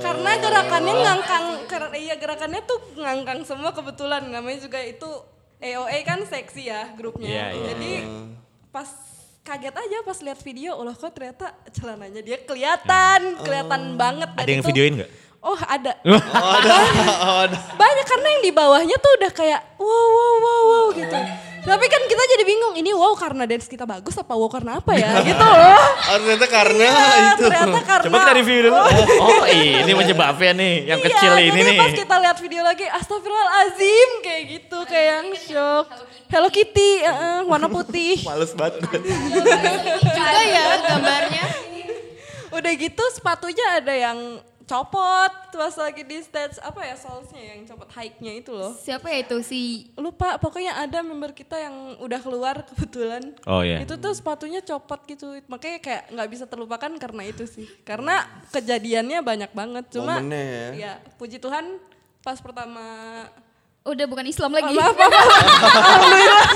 [SPEAKER 7] karena gerakannya ngangkang karena iya gerakannya tuh ngangkang semua kebetulan namanya juga itu AOA kan seksi ya grupnya
[SPEAKER 3] Iya, iya.
[SPEAKER 7] jadi pas kaget aja pas lihat video Allah kok ternyata celananya dia kelihatan kelihatan banget Dan
[SPEAKER 3] Hmm. Ada yang
[SPEAKER 7] itu-
[SPEAKER 3] videoin nggak?
[SPEAKER 7] Oh ada.
[SPEAKER 6] Oh,
[SPEAKER 7] Banyak karena yang di bawahnya tuh udah kayak wow wow wow wow gitu. Tapi kan kita jadi bingung ini wow karena dance kita bagus apa wow karena apa ya gitu loh.
[SPEAKER 6] Oh ternyata karena
[SPEAKER 7] Iya,
[SPEAKER 6] itu.
[SPEAKER 7] Ternyata karena.
[SPEAKER 3] Ya, Coba kita review dulu. Oh, oh, ini penyebabnya nih, yang
[SPEAKER 7] Iya,
[SPEAKER 3] kecil
[SPEAKER 7] jadi
[SPEAKER 3] ini nih.
[SPEAKER 7] pas kita lihat video lagi astagfirullahalazim kayak gitu kayak yang shock. Hello Kitty, eh, eh, warna putih.
[SPEAKER 6] Males banget.
[SPEAKER 4] Juga ya gambarnya.
[SPEAKER 7] Udah gitu sepatunya ada yang copot pas lagi di stage apa ya soalsnya yang copot hike-nya itu loh.
[SPEAKER 5] Siapa ya itu si
[SPEAKER 7] lupa pokoknya ada member kita yang udah keluar kebetulan
[SPEAKER 3] Oh, iya.
[SPEAKER 7] itu tuh sepatunya copot gitu makanya kayak nggak bisa terlupakan karena itu sih karena kejadiannya banyak banget cuma
[SPEAKER 6] Momennya ya.
[SPEAKER 7] ya puji Tuhan pas pertama
[SPEAKER 5] udah bukan
[SPEAKER 7] Oh,
[SPEAKER 5] Islam lagi.
[SPEAKER 7] maaf, maaf, maaf. alhamdulillah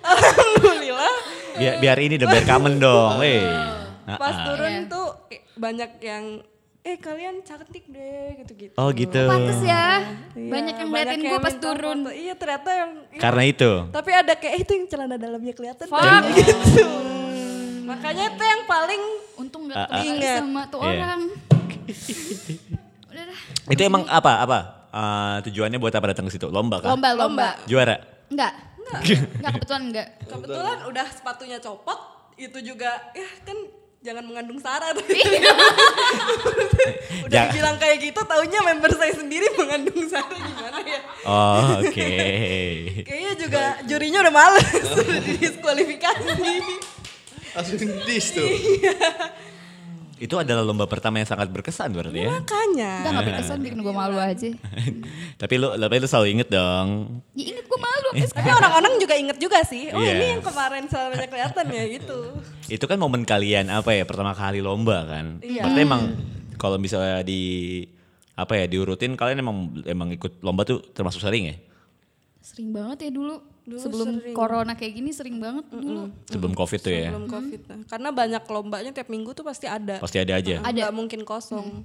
[SPEAKER 7] alhamdulillah
[SPEAKER 3] Biar, biar ini dong, biar kamen dong. Weh.
[SPEAKER 7] pas
[SPEAKER 3] Ah, ah.
[SPEAKER 7] turun
[SPEAKER 5] Iya.
[SPEAKER 7] tuh kayak banyak yang eh kalian cantik deh gitu-gitu
[SPEAKER 3] Oh gitu.
[SPEAKER 5] Pantes ya.
[SPEAKER 7] Iya,
[SPEAKER 5] Banyak yang ngeliatin
[SPEAKER 7] banyak
[SPEAKER 5] gue
[SPEAKER 7] yang
[SPEAKER 5] pas
[SPEAKER 7] minta
[SPEAKER 5] turun.
[SPEAKER 7] foto. iya ternyata yang
[SPEAKER 3] Karena itu.
[SPEAKER 7] tapi ada kayak "Eh, itu yang celana dalamnya kelihatan
[SPEAKER 5] Fuck.
[SPEAKER 7] Bang," gitu makanya itu yang paling
[SPEAKER 5] Untung
[SPEAKER 3] Ah,
[SPEAKER 5] gak
[SPEAKER 3] ah.
[SPEAKER 5] ketemu
[SPEAKER 7] Ingat.
[SPEAKER 5] sama tuh
[SPEAKER 3] Iya.
[SPEAKER 5] orang.
[SPEAKER 3] Itu emang apa? Apa? Eh, tujuannya buat apa datang ke situ? Lomba kan?
[SPEAKER 5] Lomba, lomba.
[SPEAKER 3] Juara.
[SPEAKER 5] Enggak. Enggak kebetulan enggak.
[SPEAKER 7] kebetulan udah sepatunya copot itu juga ya kan jangan mengandung sara tuh.
[SPEAKER 5] Iya.
[SPEAKER 7] udah
[SPEAKER 3] Ja-
[SPEAKER 7] bilang kayak gitu taunya member saya sendiri mengandung sara gimana ya
[SPEAKER 3] Oh, oke.
[SPEAKER 7] kayaknya juga jurinya udah males udah didiskualifikasi
[SPEAKER 6] Langsung dis tuh.
[SPEAKER 3] itu adalah lomba pertama yang sangat berkesan berarti
[SPEAKER 7] Iya.
[SPEAKER 3] ya.
[SPEAKER 5] Enggak
[SPEAKER 7] makanya
[SPEAKER 5] enggak berkesan bikin gue malu
[SPEAKER 7] Iya.
[SPEAKER 5] aja.
[SPEAKER 3] tapi lu tapi lu selalu inget dong.
[SPEAKER 5] Ya inget gue malu sampai sekarang.
[SPEAKER 7] tapi orang-orang juga inget juga sih oh ini
[SPEAKER 3] Iya.
[SPEAKER 7] yang kemarin selamanya kelihatan ya gitu
[SPEAKER 3] Itu kan momen kalian apa ya pertama kali lomba kan? Berarti emang kalau misalnya di apa ya diurutin kalian emang emang ikut lomba tuh termasuk sering ya?
[SPEAKER 5] Sering banget ya dulu.
[SPEAKER 7] Dulu
[SPEAKER 5] Sebelum
[SPEAKER 7] sering.
[SPEAKER 5] corona kayak gini sering banget dulu.
[SPEAKER 3] Sebelum Covid tuh ya.
[SPEAKER 7] sebelum
[SPEAKER 5] Hmm.
[SPEAKER 7] covid nah, karena banyak lombanya tiap minggu tuh pasti ada
[SPEAKER 3] Pasti ada aja.
[SPEAKER 5] Ada. Hmm.
[SPEAKER 7] nggak mungkin kosong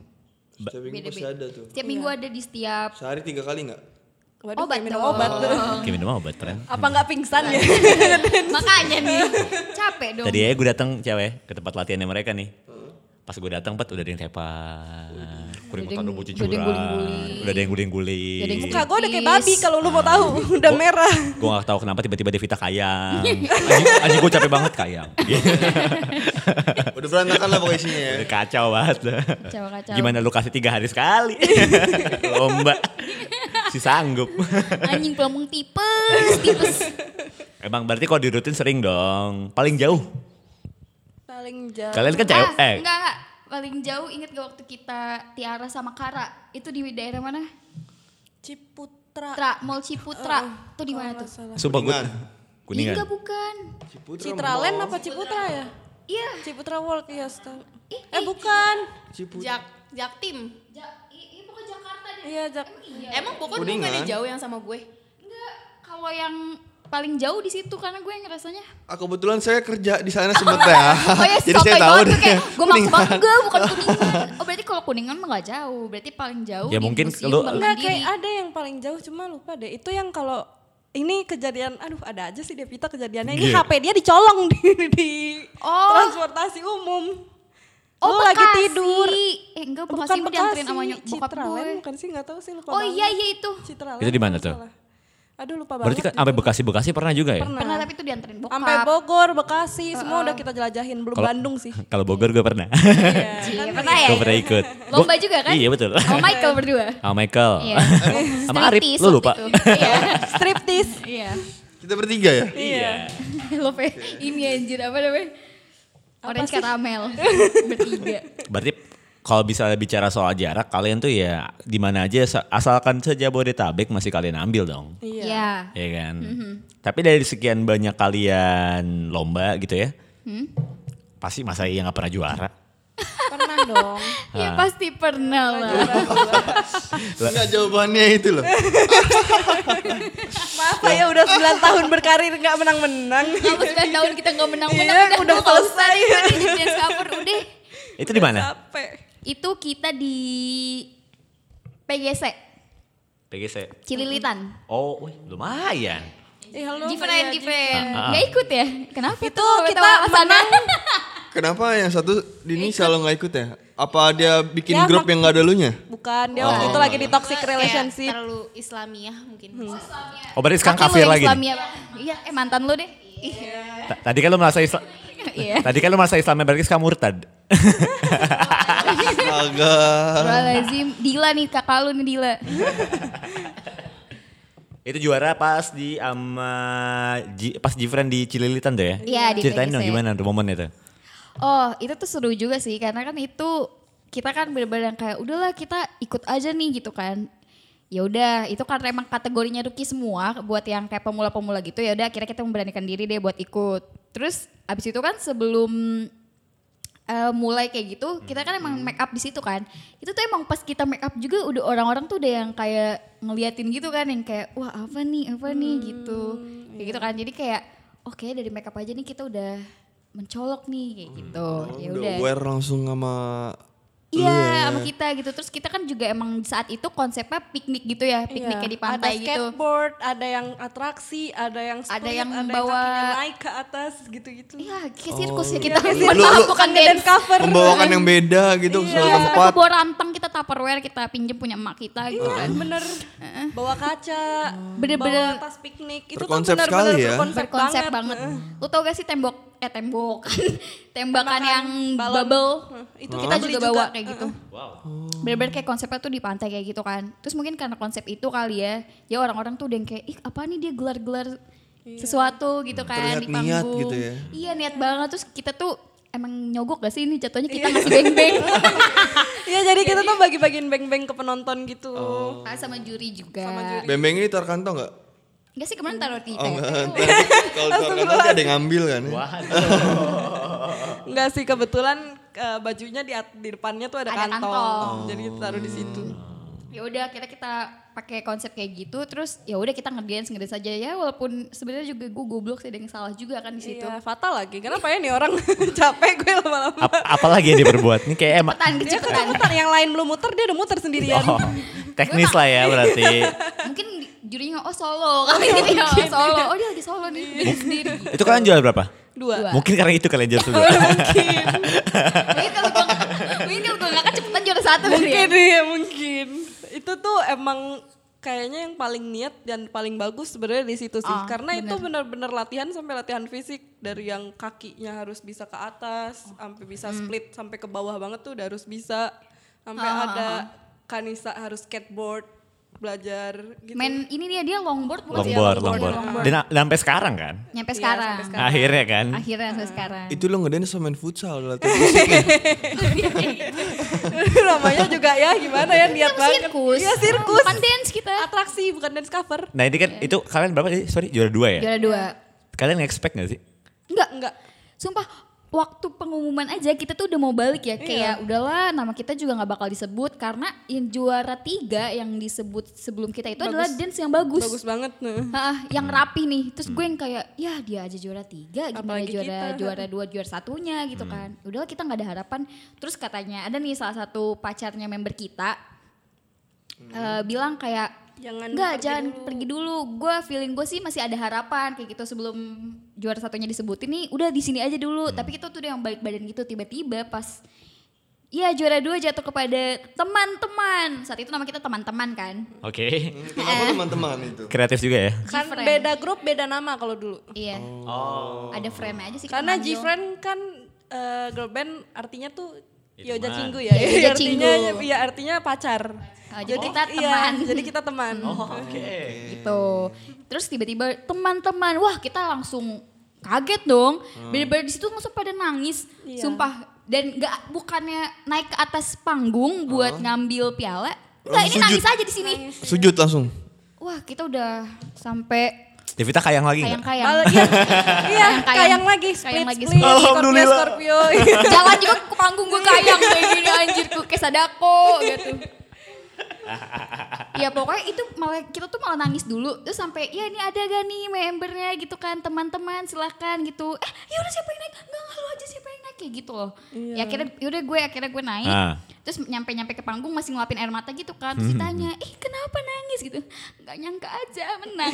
[SPEAKER 6] Setiap minggu pasti ada tuh.
[SPEAKER 5] Setiap minggu
[SPEAKER 7] Iya.
[SPEAKER 5] ada di setiap
[SPEAKER 6] Sehari tiga kali nggak?
[SPEAKER 7] Waduh,
[SPEAKER 5] Obat
[SPEAKER 7] kayak minum
[SPEAKER 5] dong. Nah.
[SPEAKER 7] obat
[SPEAKER 3] Kayak minum obat tren.
[SPEAKER 7] apa nggak pingsan ya
[SPEAKER 5] Makanya nih, capek dong.
[SPEAKER 3] Tadi aja gue datang cewek ke tempat latihannya mereka nih. Pas gue datang pet udah ada yang tepat. Kuring
[SPEAKER 5] Udah ada
[SPEAKER 3] makan
[SPEAKER 5] yang-
[SPEAKER 3] rumput
[SPEAKER 5] udah ada yang
[SPEAKER 3] cucuran.
[SPEAKER 5] guling-guling.
[SPEAKER 3] Udah ada yang guling-guling.
[SPEAKER 5] Udah ada yang
[SPEAKER 7] muka gue udah kayak babi kalau lu mau tahu udah
[SPEAKER 3] Oh.
[SPEAKER 7] merah
[SPEAKER 3] gue gak tahu kenapa tiba-tiba Devita kayang. Anjing, anjing gue capek banget kayang.
[SPEAKER 5] Iya.
[SPEAKER 6] Udah berantakan lah pokoknya isinya ya.
[SPEAKER 3] Udah kacau banget.
[SPEAKER 5] Kacau, kacau.
[SPEAKER 3] Gimana lu kasih tiga hari sekali? Lomba. Si sanggup.
[SPEAKER 5] Anjing pelomong tipes, tipes.
[SPEAKER 3] Emang berarti kalau di rutin sering dong. Paling jauh.
[SPEAKER 7] paling jauh
[SPEAKER 3] Kalian kan cewek.
[SPEAKER 5] Ah,
[SPEAKER 3] Eh,
[SPEAKER 5] Enggak, enggak. Paling jauh inget gak waktu kita Tiara sama Kara? Itu di daerah mana?
[SPEAKER 7] Ciputra
[SPEAKER 5] Tra,
[SPEAKER 7] Oh,
[SPEAKER 5] Mall Ciputra. Itu di mana tuh?
[SPEAKER 3] sumpah gue.
[SPEAKER 6] Kuningan.
[SPEAKER 3] Kuningan.
[SPEAKER 5] Enggak bukan.
[SPEAKER 6] Ciputra
[SPEAKER 7] Citraland apa Ciputra ya
[SPEAKER 5] Iya.
[SPEAKER 7] Ciputra World ya setahu. eh bukan
[SPEAKER 6] Ciputra.
[SPEAKER 8] Jak Jaktim.
[SPEAKER 5] Ja, i- i- pokoknya Jakarta deh.
[SPEAKER 7] iya Jak
[SPEAKER 8] Emang Bogor juga
[SPEAKER 6] Kuningan.
[SPEAKER 8] ada jauh yang sama gue.
[SPEAKER 5] Enggak, kalau yang paling jauh di situ karena gue ngerasanya
[SPEAKER 6] Ah, kebetulan saya kerja di sana sebentar.
[SPEAKER 5] Oh ya,
[SPEAKER 6] Iya. Jadi saya
[SPEAKER 5] sotoy
[SPEAKER 6] tahu
[SPEAKER 5] banget tuh,
[SPEAKER 6] deh.
[SPEAKER 5] kayak gue maksud banget
[SPEAKER 6] Kuningan.
[SPEAKER 5] gue bukan kuningan. Oh berarti kalau kuningan mah gak jauh, berarti paling jauh
[SPEAKER 3] Ya,
[SPEAKER 5] di
[SPEAKER 3] mungkin
[SPEAKER 5] museum
[SPEAKER 3] lu-
[SPEAKER 5] Bank
[SPEAKER 7] nggak
[SPEAKER 5] Mandiri.
[SPEAKER 7] kayak ada yang paling jauh cuma lupa deh itu yang kalau ini kejadian aduh ada aja sih Devita kejadiannya ini
[SPEAKER 3] Iya.
[SPEAKER 7] HP dia dicolong di, di
[SPEAKER 5] Oh.
[SPEAKER 7] transportasi umum Lu lagi tidur.
[SPEAKER 5] Eh enggak, Bekasi gue dianterin sama nyok- bokap
[SPEAKER 7] Citraland
[SPEAKER 5] gue.
[SPEAKER 7] bukan sih nggak tahu sih lupa
[SPEAKER 5] Oh
[SPEAKER 7] banget.
[SPEAKER 5] iya iya itu.
[SPEAKER 7] Citraland.
[SPEAKER 3] Itu di mana
[SPEAKER 7] kalau
[SPEAKER 3] tuh?
[SPEAKER 7] salah. Aduh lupa banget.
[SPEAKER 3] Berarti kan sampai Bekasi-Bekasi pernah juga ya?
[SPEAKER 5] Pernah tapi itu dianterin bokap.
[SPEAKER 7] Sampai Bogor, Bekasi, semua udah kita jelajahin, belum
[SPEAKER 3] Kalau-
[SPEAKER 7] Bandung sih.
[SPEAKER 3] Kalau Bogor gue pernah.
[SPEAKER 5] Iya, pernah ya?
[SPEAKER 3] gue pernah ikut.
[SPEAKER 5] Lomba
[SPEAKER 3] Gua-
[SPEAKER 5] juga kan?
[SPEAKER 3] Iya betul.
[SPEAKER 5] Sama Michael berdua.
[SPEAKER 3] Sama Michael.
[SPEAKER 5] Iya.
[SPEAKER 3] Sama Arif,
[SPEAKER 5] Striptease
[SPEAKER 3] lu
[SPEAKER 5] waktu
[SPEAKER 3] lupa.
[SPEAKER 5] itu. Iya.
[SPEAKER 7] Striptis.
[SPEAKER 5] Iya.
[SPEAKER 6] Kita bertiga ya?
[SPEAKER 3] Iya.
[SPEAKER 5] Lo pe, ini anjir apa namanya? Orange karamel
[SPEAKER 3] Iya.
[SPEAKER 5] bertiga.
[SPEAKER 3] Berarti kalau bisa bicara soal jarak, kalian tuh ya di mana aja sa- asalkan saja Bodetabek masih kalian ambil dong.
[SPEAKER 7] Iya.
[SPEAKER 5] Iya.
[SPEAKER 3] Iya kan? Tapi dari sekian banyak kalian lomba gitu ya.
[SPEAKER 5] Hmm?
[SPEAKER 3] Pasti masa yang gak pernah juara.
[SPEAKER 7] Pernah dong.
[SPEAKER 5] Iya pasti pernah lah.
[SPEAKER 6] Enggak jawabannya itu loh.
[SPEAKER 7] Maaf ya udah 9 tahun berkarir nggak menang-menang.
[SPEAKER 5] Kamu 9 tahun kita gak menang-menang
[SPEAKER 7] Iya, udah
[SPEAKER 5] nggak usah
[SPEAKER 7] selesai.
[SPEAKER 5] deh, udah di Prince Campur, udah.
[SPEAKER 3] Itu di
[SPEAKER 6] Nah.
[SPEAKER 3] mana?
[SPEAKER 7] Capek.
[SPEAKER 5] Itu kita di PGC,
[SPEAKER 3] PGC.
[SPEAKER 5] Cililitan.
[SPEAKER 3] Oh, wih,
[SPEAKER 5] Iya.
[SPEAKER 3] lumayan.
[SPEAKER 7] Eh, halo,
[SPEAKER 5] Different,
[SPEAKER 7] Maria.
[SPEAKER 5] different.
[SPEAKER 3] Ah, ah.
[SPEAKER 5] Gak ikut ya? Kenapa
[SPEAKER 7] Itu
[SPEAKER 5] tuh?
[SPEAKER 7] kita
[SPEAKER 5] Tawa-tawa sana.
[SPEAKER 7] menang.
[SPEAKER 6] Kenapa yang satu Dini selalu nggak ikut ya? Apa dia bikin
[SPEAKER 7] Ya,
[SPEAKER 6] grup
[SPEAKER 7] mak-
[SPEAKER 6] yang nggak ada lunya?
[SPEAKER 7] Bukan,
[SPEAKER 6] Oh.
[SPEAKER 7] dia waktu itu lagi di toxic
[SPEAKER 8] Kayak
[SPEAKER 7] relationship.
[SPEAKER 8] Terlalu islamiah mungkin.
[SPEAKER 3] Oh, berarti sekarang
[SPEAKER 5] Kaki lo
[SPEAKER 3] kafir
[SPEAKER 5] yang
[SPEAKER 3] lagi. nih?
[SPEAKER 5] Islamia, Bang. Iya, eh mantan lo deh.
[SPEAKER 3] Ta- Tadi kan lu merasa Islam.
[SPEAKER 5] Iya.
[SPEAKER 3] Tadi kan lu merasa Islamnya berarti sekarang murtad.
[SPEAKER 6] Agak.
[SPEAKER 5] Astagfirullahaladzim. Dila nih kakak lu nih Dila.
[SPEAKER 3] Itu juara pas di ama Ji- pas Jifren di Cililitan tuh ya.
[SPEAKER 5] Iya, di
[SPEAKER 3] Ceritain
[SPEAKER 5] PGC.
[SPEAKER 3] dong gimana tuh momen itu.
[SPEAKER 5] Oh, itu tuh seru juga sih karena kan itu kita kan bener-bener yang kayak udahlah kita ikut aja nih gitu kan. Ya udah, itu karena emang kategorinya rookie semua buat yang kayak pemula-pemula gitu ya udah akhirnya kita memberanikan diri deh buat ikut. Terus abis itu kan sebelum eh, mulai kayak gitu, kita kan emang make up di situ kan. Itu tuh emang pas kita make up juga udah orang-orang tuh udah yang kayak ngeliatin gitu kan yang kayak wah apa nih, apa nih gitu. Kayak gitu kan. Jadi kayak oke dari make up aja nih kita udah mencolok nih kayak gitu. Ya
[SPEAKER 6] Udah
[SPEAKER 5] udah.
[SPEAKER 6] aware langsung sama
[SPEAKER 5] Iya, sama kita gitu. Terus kita kan juga emang di saat itu konsepnya piknik gitu ya, piknik kayak di
[SPEAKER 7] Iya.
[SPEAKER 5] pantai
[SPEAKER 7] ada
[SPEAKER 5] gitu.
[SPEAKER 7] skateboard, ada yang atraksi, ada yang split,
[SPEAKER 5] Ada yang bawa-
[SPEAKER 7] kakinya naik ke atas gitu-gitu.
[SPEAKER 5] Iya, kayak sirkus ya kita.
[SPEAKER 7] Kayak
[SPEAKER 6] Lu-
[SPEAKER 7] sirkus,
[SPEAKER 6] lu-
[SPEAKER 7] bukan dance cover.
[SPEAKER 6] membawakan yang beda gitu ke suatu
[SPEAKER 5] Iya, sampai
[SPEAKER 6] tempat.
[SPEAKER 5] ke bawa rantang kita tupperware kita pinjem punya emak kita gitu
[SPEAKER 7] Iya,
[SPEAKER 5] kan.
[SPEAKER 7] bener. Bawa kaca,
[SPEAKER 5] Bener-bener
[SPEAKER 7] bawa tas piknik. Itu
[SPEAKER 6] Berkonsep
[SPEAKER 7] tuh bener-bener
[SPEAKER 6] sekali ya.
[SPEAKER 7] Berkonsep,
[SPEAKER 5] Berkonsep
[SPEAKER 7] banget.
[SPEAKER 5] banget. Lu tau gak sih tembok eh tembok tembakan
[SPEAKER 7] Tembakan,
[SPEAKER 5] yang
[SPEAKER 7] balon.
[SPEAKER 5] bubble
[SPEAKER 7] Heeh, itu
[SPEAKER 5] itu
[SPEAKER 7] kita
[SPEAKER 5] kita
[SPEAKER 7] beli
[SPEAKER 5] juga
[SPEAKER 7] juga.
[SPEAKER 5] bawa kayak gitu.
[SPEAKER 3] Wow.
[SPEAKER 5] Bener-bener kayak konsepnya tuh di pantai kayak gitu kan. Terus mungkin karena konsep itu kali ya, ya orang-orang tuh udah yang kayak, ih apa nih dia gelar-gelar
[SPEAKER 7] Iya.
[SPEAKER 5] sesuatu gitu kan
[SPEAKER 6] Hmm. Terlihat
[SPEAKER 5] di
[SPEAKER 6] niat
[SPEAKER 5] panggung.
[SPEAKER 6] gitu ya.
[SPEAKER 5] Iya niat banget, terus kita tuh emang nyogok gak sih ini jatuhnya kita ngasih beng-beng.
[SPEAKER 7] Iya, jadi kita tuh bagi-bagiin beng-beng ke penonton gitu.
[SPEAKER 6] Oh.
[SPEAKER 5] Ah, sama juri juga.
[SPEAKER 6] Bembeng ini taruh kantong nggak?
[SPEAKER 5] Enggak sih kemarin taruh di
[SPEAKER 6] Oh
[SPEAKER 5] pet.
[SPEAKER 6] enggak. Kalau taruh kantong tuh ada yang ngambil kan? ya?
[SPEAKER 7] Enggak sih, kebetulan eh, bajunya di, at- di depannya tuh ada,
[SPEAKER 5] Ada
[SPEAKER 7] kantong.
[SPEAKER 5] kantong.
[SPEAKER 7] Jadi kita taruh di situ.
[SPEAKER 5] ya udah akhirnya kita pakai konsep kayak gitu terus ya udah kita ngedance ngedance aja ya walaupun sebenarnya juga gue goblok sih ada yang salah juga kan di situ
[SPEAKER 7] Iya, fatal lagi. Kenapa ya nih orang capek gue lama-lama.
[SPEAKER 3] Ap- apalagi yang diperbuat nih kayak emang
[SPEAKER 5] Cepetan,
[SPEAKER 7] Dia
[SPEAKER 5] kecepetan
[SPEAKER 7] muter yang lain belum muter, dia udah muter sendirian.
[SPEAKER 3] oh, teknis lah ya berarti.
[SPEAKER 5] mungkin di- jurinya oh solo kali
[SPEAKER 7] iya,
[SPEAKER 5] gitu ya oh, solo oh dia lagi solo nih dia sendiri
[SPEAKER 3] Itu kalian jual berapa?
[SPEAKER 7] Dua.
[SPEAKER 5] Dua.
[SPEAKER 3] Mungkin karena itu kalian jual dulu.
[SPEAKER 7] mungkin.
[SPEAKER 5] mungkin kalau gue mungkin kalau gue nggak kan cepetan juara satu kali ya.
[SPEAKER 7] mungkin iya, mungkin. Itu tuh emang kayaknya yang paling niat dan paling bagus sebenarnya di situ sih.
[SPEAKER 5] Ah,
[SPEAKER 7] Karena itu benar-benar latihan sampai latihan fisik dari yang kakinya harus bisa ke atas,
[SPEAKER 5] Oh,
[SPEAKER 7] sampai bisa
[SPEAKER 5] Hmm.
[SPEAKER 7] split sampai ke bawah banget tuh udah harus bisa. Sampai
[SPEAKER 5] Ah,
[SPEAKER 7] ada kanisa harus skateboard, belajar gitu.
[SPEAKER 5] main ini dia dia longboard bukan sih?
[SPEAKER 3] longboard, longboard. Dan, dan sampai sekarang kan?
[SPEAKER 5] nyampe
[SPEAKER 7] Iya,
[SPEAKER 5] sekarang
[SPEAKER 3] Akhirnya kan.
[SPEAKER 5] akhirnya sampai sekarang
[SPEAKER 6] Itu lo ngedance sama main futsal latihan fisiknya.
[SPEAKER 7] Namanya juga ya gimana ya niat
[SPEAKER 5] Sama
[SPEAKER 7] banget.
[SPEAKER 5] kan sirkus
[SPEAKER 7] Iya, sirkus.
[SPEAKER 5] bukan dance kita
[SPEAKER 7] Atraksi bukan dance cover.
[SPEAKER 3] Nah ini kan itu kalian berapa sih? Sorry juara dua
[SPEAKER 7] Iya,
[SPEAKER 3] ya?
[SPEAKER 5] juara dua
[SPEAKER 3] Kalian expect gak sih?
[SPEAKER 5] enggak
[SPEAKER 7] Enggak.
[SPEAKER 5] Sumpah waktu pengumuman aja kita tuh udah mau balik ya kayak udahlah nama kita juga nggak bakal disebut karena yang juara tiga yang disebut sebelum kita itu adalah dance yang bagus,
[SPEAKER 7] Bagus banget. Nah.
[SPEAKER 5] Ah, yang rapi nih terus gue yang kayak ya dia aja juara tiga gimana
[SPEAKER 7] Hmm. Apalagi
[SPEAKER 5] juara
[SPEAKER 7] kita. Hmm.
[SPEAKER 5] juara dua juara satunya gitu kan udahlah kita nggak ada harapan terus katanya ada nih salah satu pacarnya member kita
[SPEAKER 7] Hmm.
[SPEAKER 5] eh, bilang kayak
[SPEAKER 7] Jangan
[SPEAKER 5] Nggak,
[SPEAKER 7] pergi
[SPEAKER 5] jangan
[SPEAKER 7] dulu."
[SPEAKER 5] pergi dulu. Gue feeling gue sih masih ada harapan kayak gitu sebelum
[SPEAKER 7] Hmm.
[SPEAKER 5] juara satunya disebutin nih. Udah di sini aja dulu. Tapi kita tuh udah yang balik badan gitu tiba-tiba pas Iya juara dua jatuh kepada teman-teman. Saat itu nama kita teman-teman kan.
[SPEAKER 3] Oke.
[SPEAKER 6] Kenapa teman-teman itu?
[SPEAKER 3] Kreatif juga ya.
[SPEAKER 7] Kan
[SPEAKER 5] Gfriend.
[SPEAKER 7] beda grup, beda nama kalau dulu.
[SPEAKER 5] Iya. Oh. Ada frame aja sih. kita
[SPEAKER 7] Karena
[SPEAKER 5] manggil.
[SPEAKER 7] Gfriend kan eh, girl band artinya tuh
[SPEAKER 3] Ya,
[SPEAKER 7] Yoja
[SPEAKER 3] teman.
[SPEAKER 7] Cinggu ya.
[SPEAKER 5] Ya,
[SPEAKER 7] Iya,
[SPEAKER 5] Yoja
[SPEAKER 7] artinya
[SPEAKER 5] Cinggu.
[SPEAKER 7] iya artinya pacar.
[SPEAKER 5] Oh, jadi kita
[SPEAKER 7] iya,
[SPEAKER 5] teman.
[SPEAKER 7] jadi kita teman.
[SPEAKER 3] Oh.
[SPEAKER 5] gitu. Terus tiba-tiba teman-teman, wah kita langsung kaget dong. Bener-bener di situ langsung pada nangis,
[SPEAKER 7] Iya.
[SPEAKER 5] sumpah. Dan gak bukannya naik ke atas panggung buat ngambil piala, enggak ini
[SPEAKER 6] Langsung
[SPEAKER 5] nangis
[SPEAKER 6] sujud.
[SPEAKER 5] aja di sini.
[SPEAKER 6] Sujud langsung.
[SPEAKER 5] Wah kita udah sampai
[SPEAKER 3] Devita kayang lagi nggak?
[SPEAKER 7] Bal-
[SPEAKER 5] kayang-kayang.
[SPEAKER 7] iya, iya,
[SPEAKER 5] Kayang-
[SPEAKER 7] kayang,
[SPEAKER 5] kayang
[SPEAKER 7] lagi,
[SPEAKER 5] Kayang
[SPEAKER 7] split,
[SPEAKER 5] Nah, lagi,
[SPEAKER 7] split,
[SPEAKER 5] split.
[SPEAKER 7] Scorpio, Scorpio. Iya,
[SPEAKER 5] Jalan juga ke panggung gue kayang kayak gini anjir gue kayak sadako gitu. ya pokoknya itu malah kita tuh malah nangis dulu terus sampai ya ini ada gak nih membernya gitu kan teman-teman silahkan gitu eh yaudah siapa yang naik nggak nggak, lu aja siapa yang naik kayak gitu loh ya akhirnya yaudah gue akhirnya gue naik
[SPEAKER 3] Ah. Hmm.
[SPEAKER 5] terus nyampe nyampe ke panggung masih ngelapin air mata gitu kan terus ditanya ih kenapa nangis gitu nggak nyangka aja menang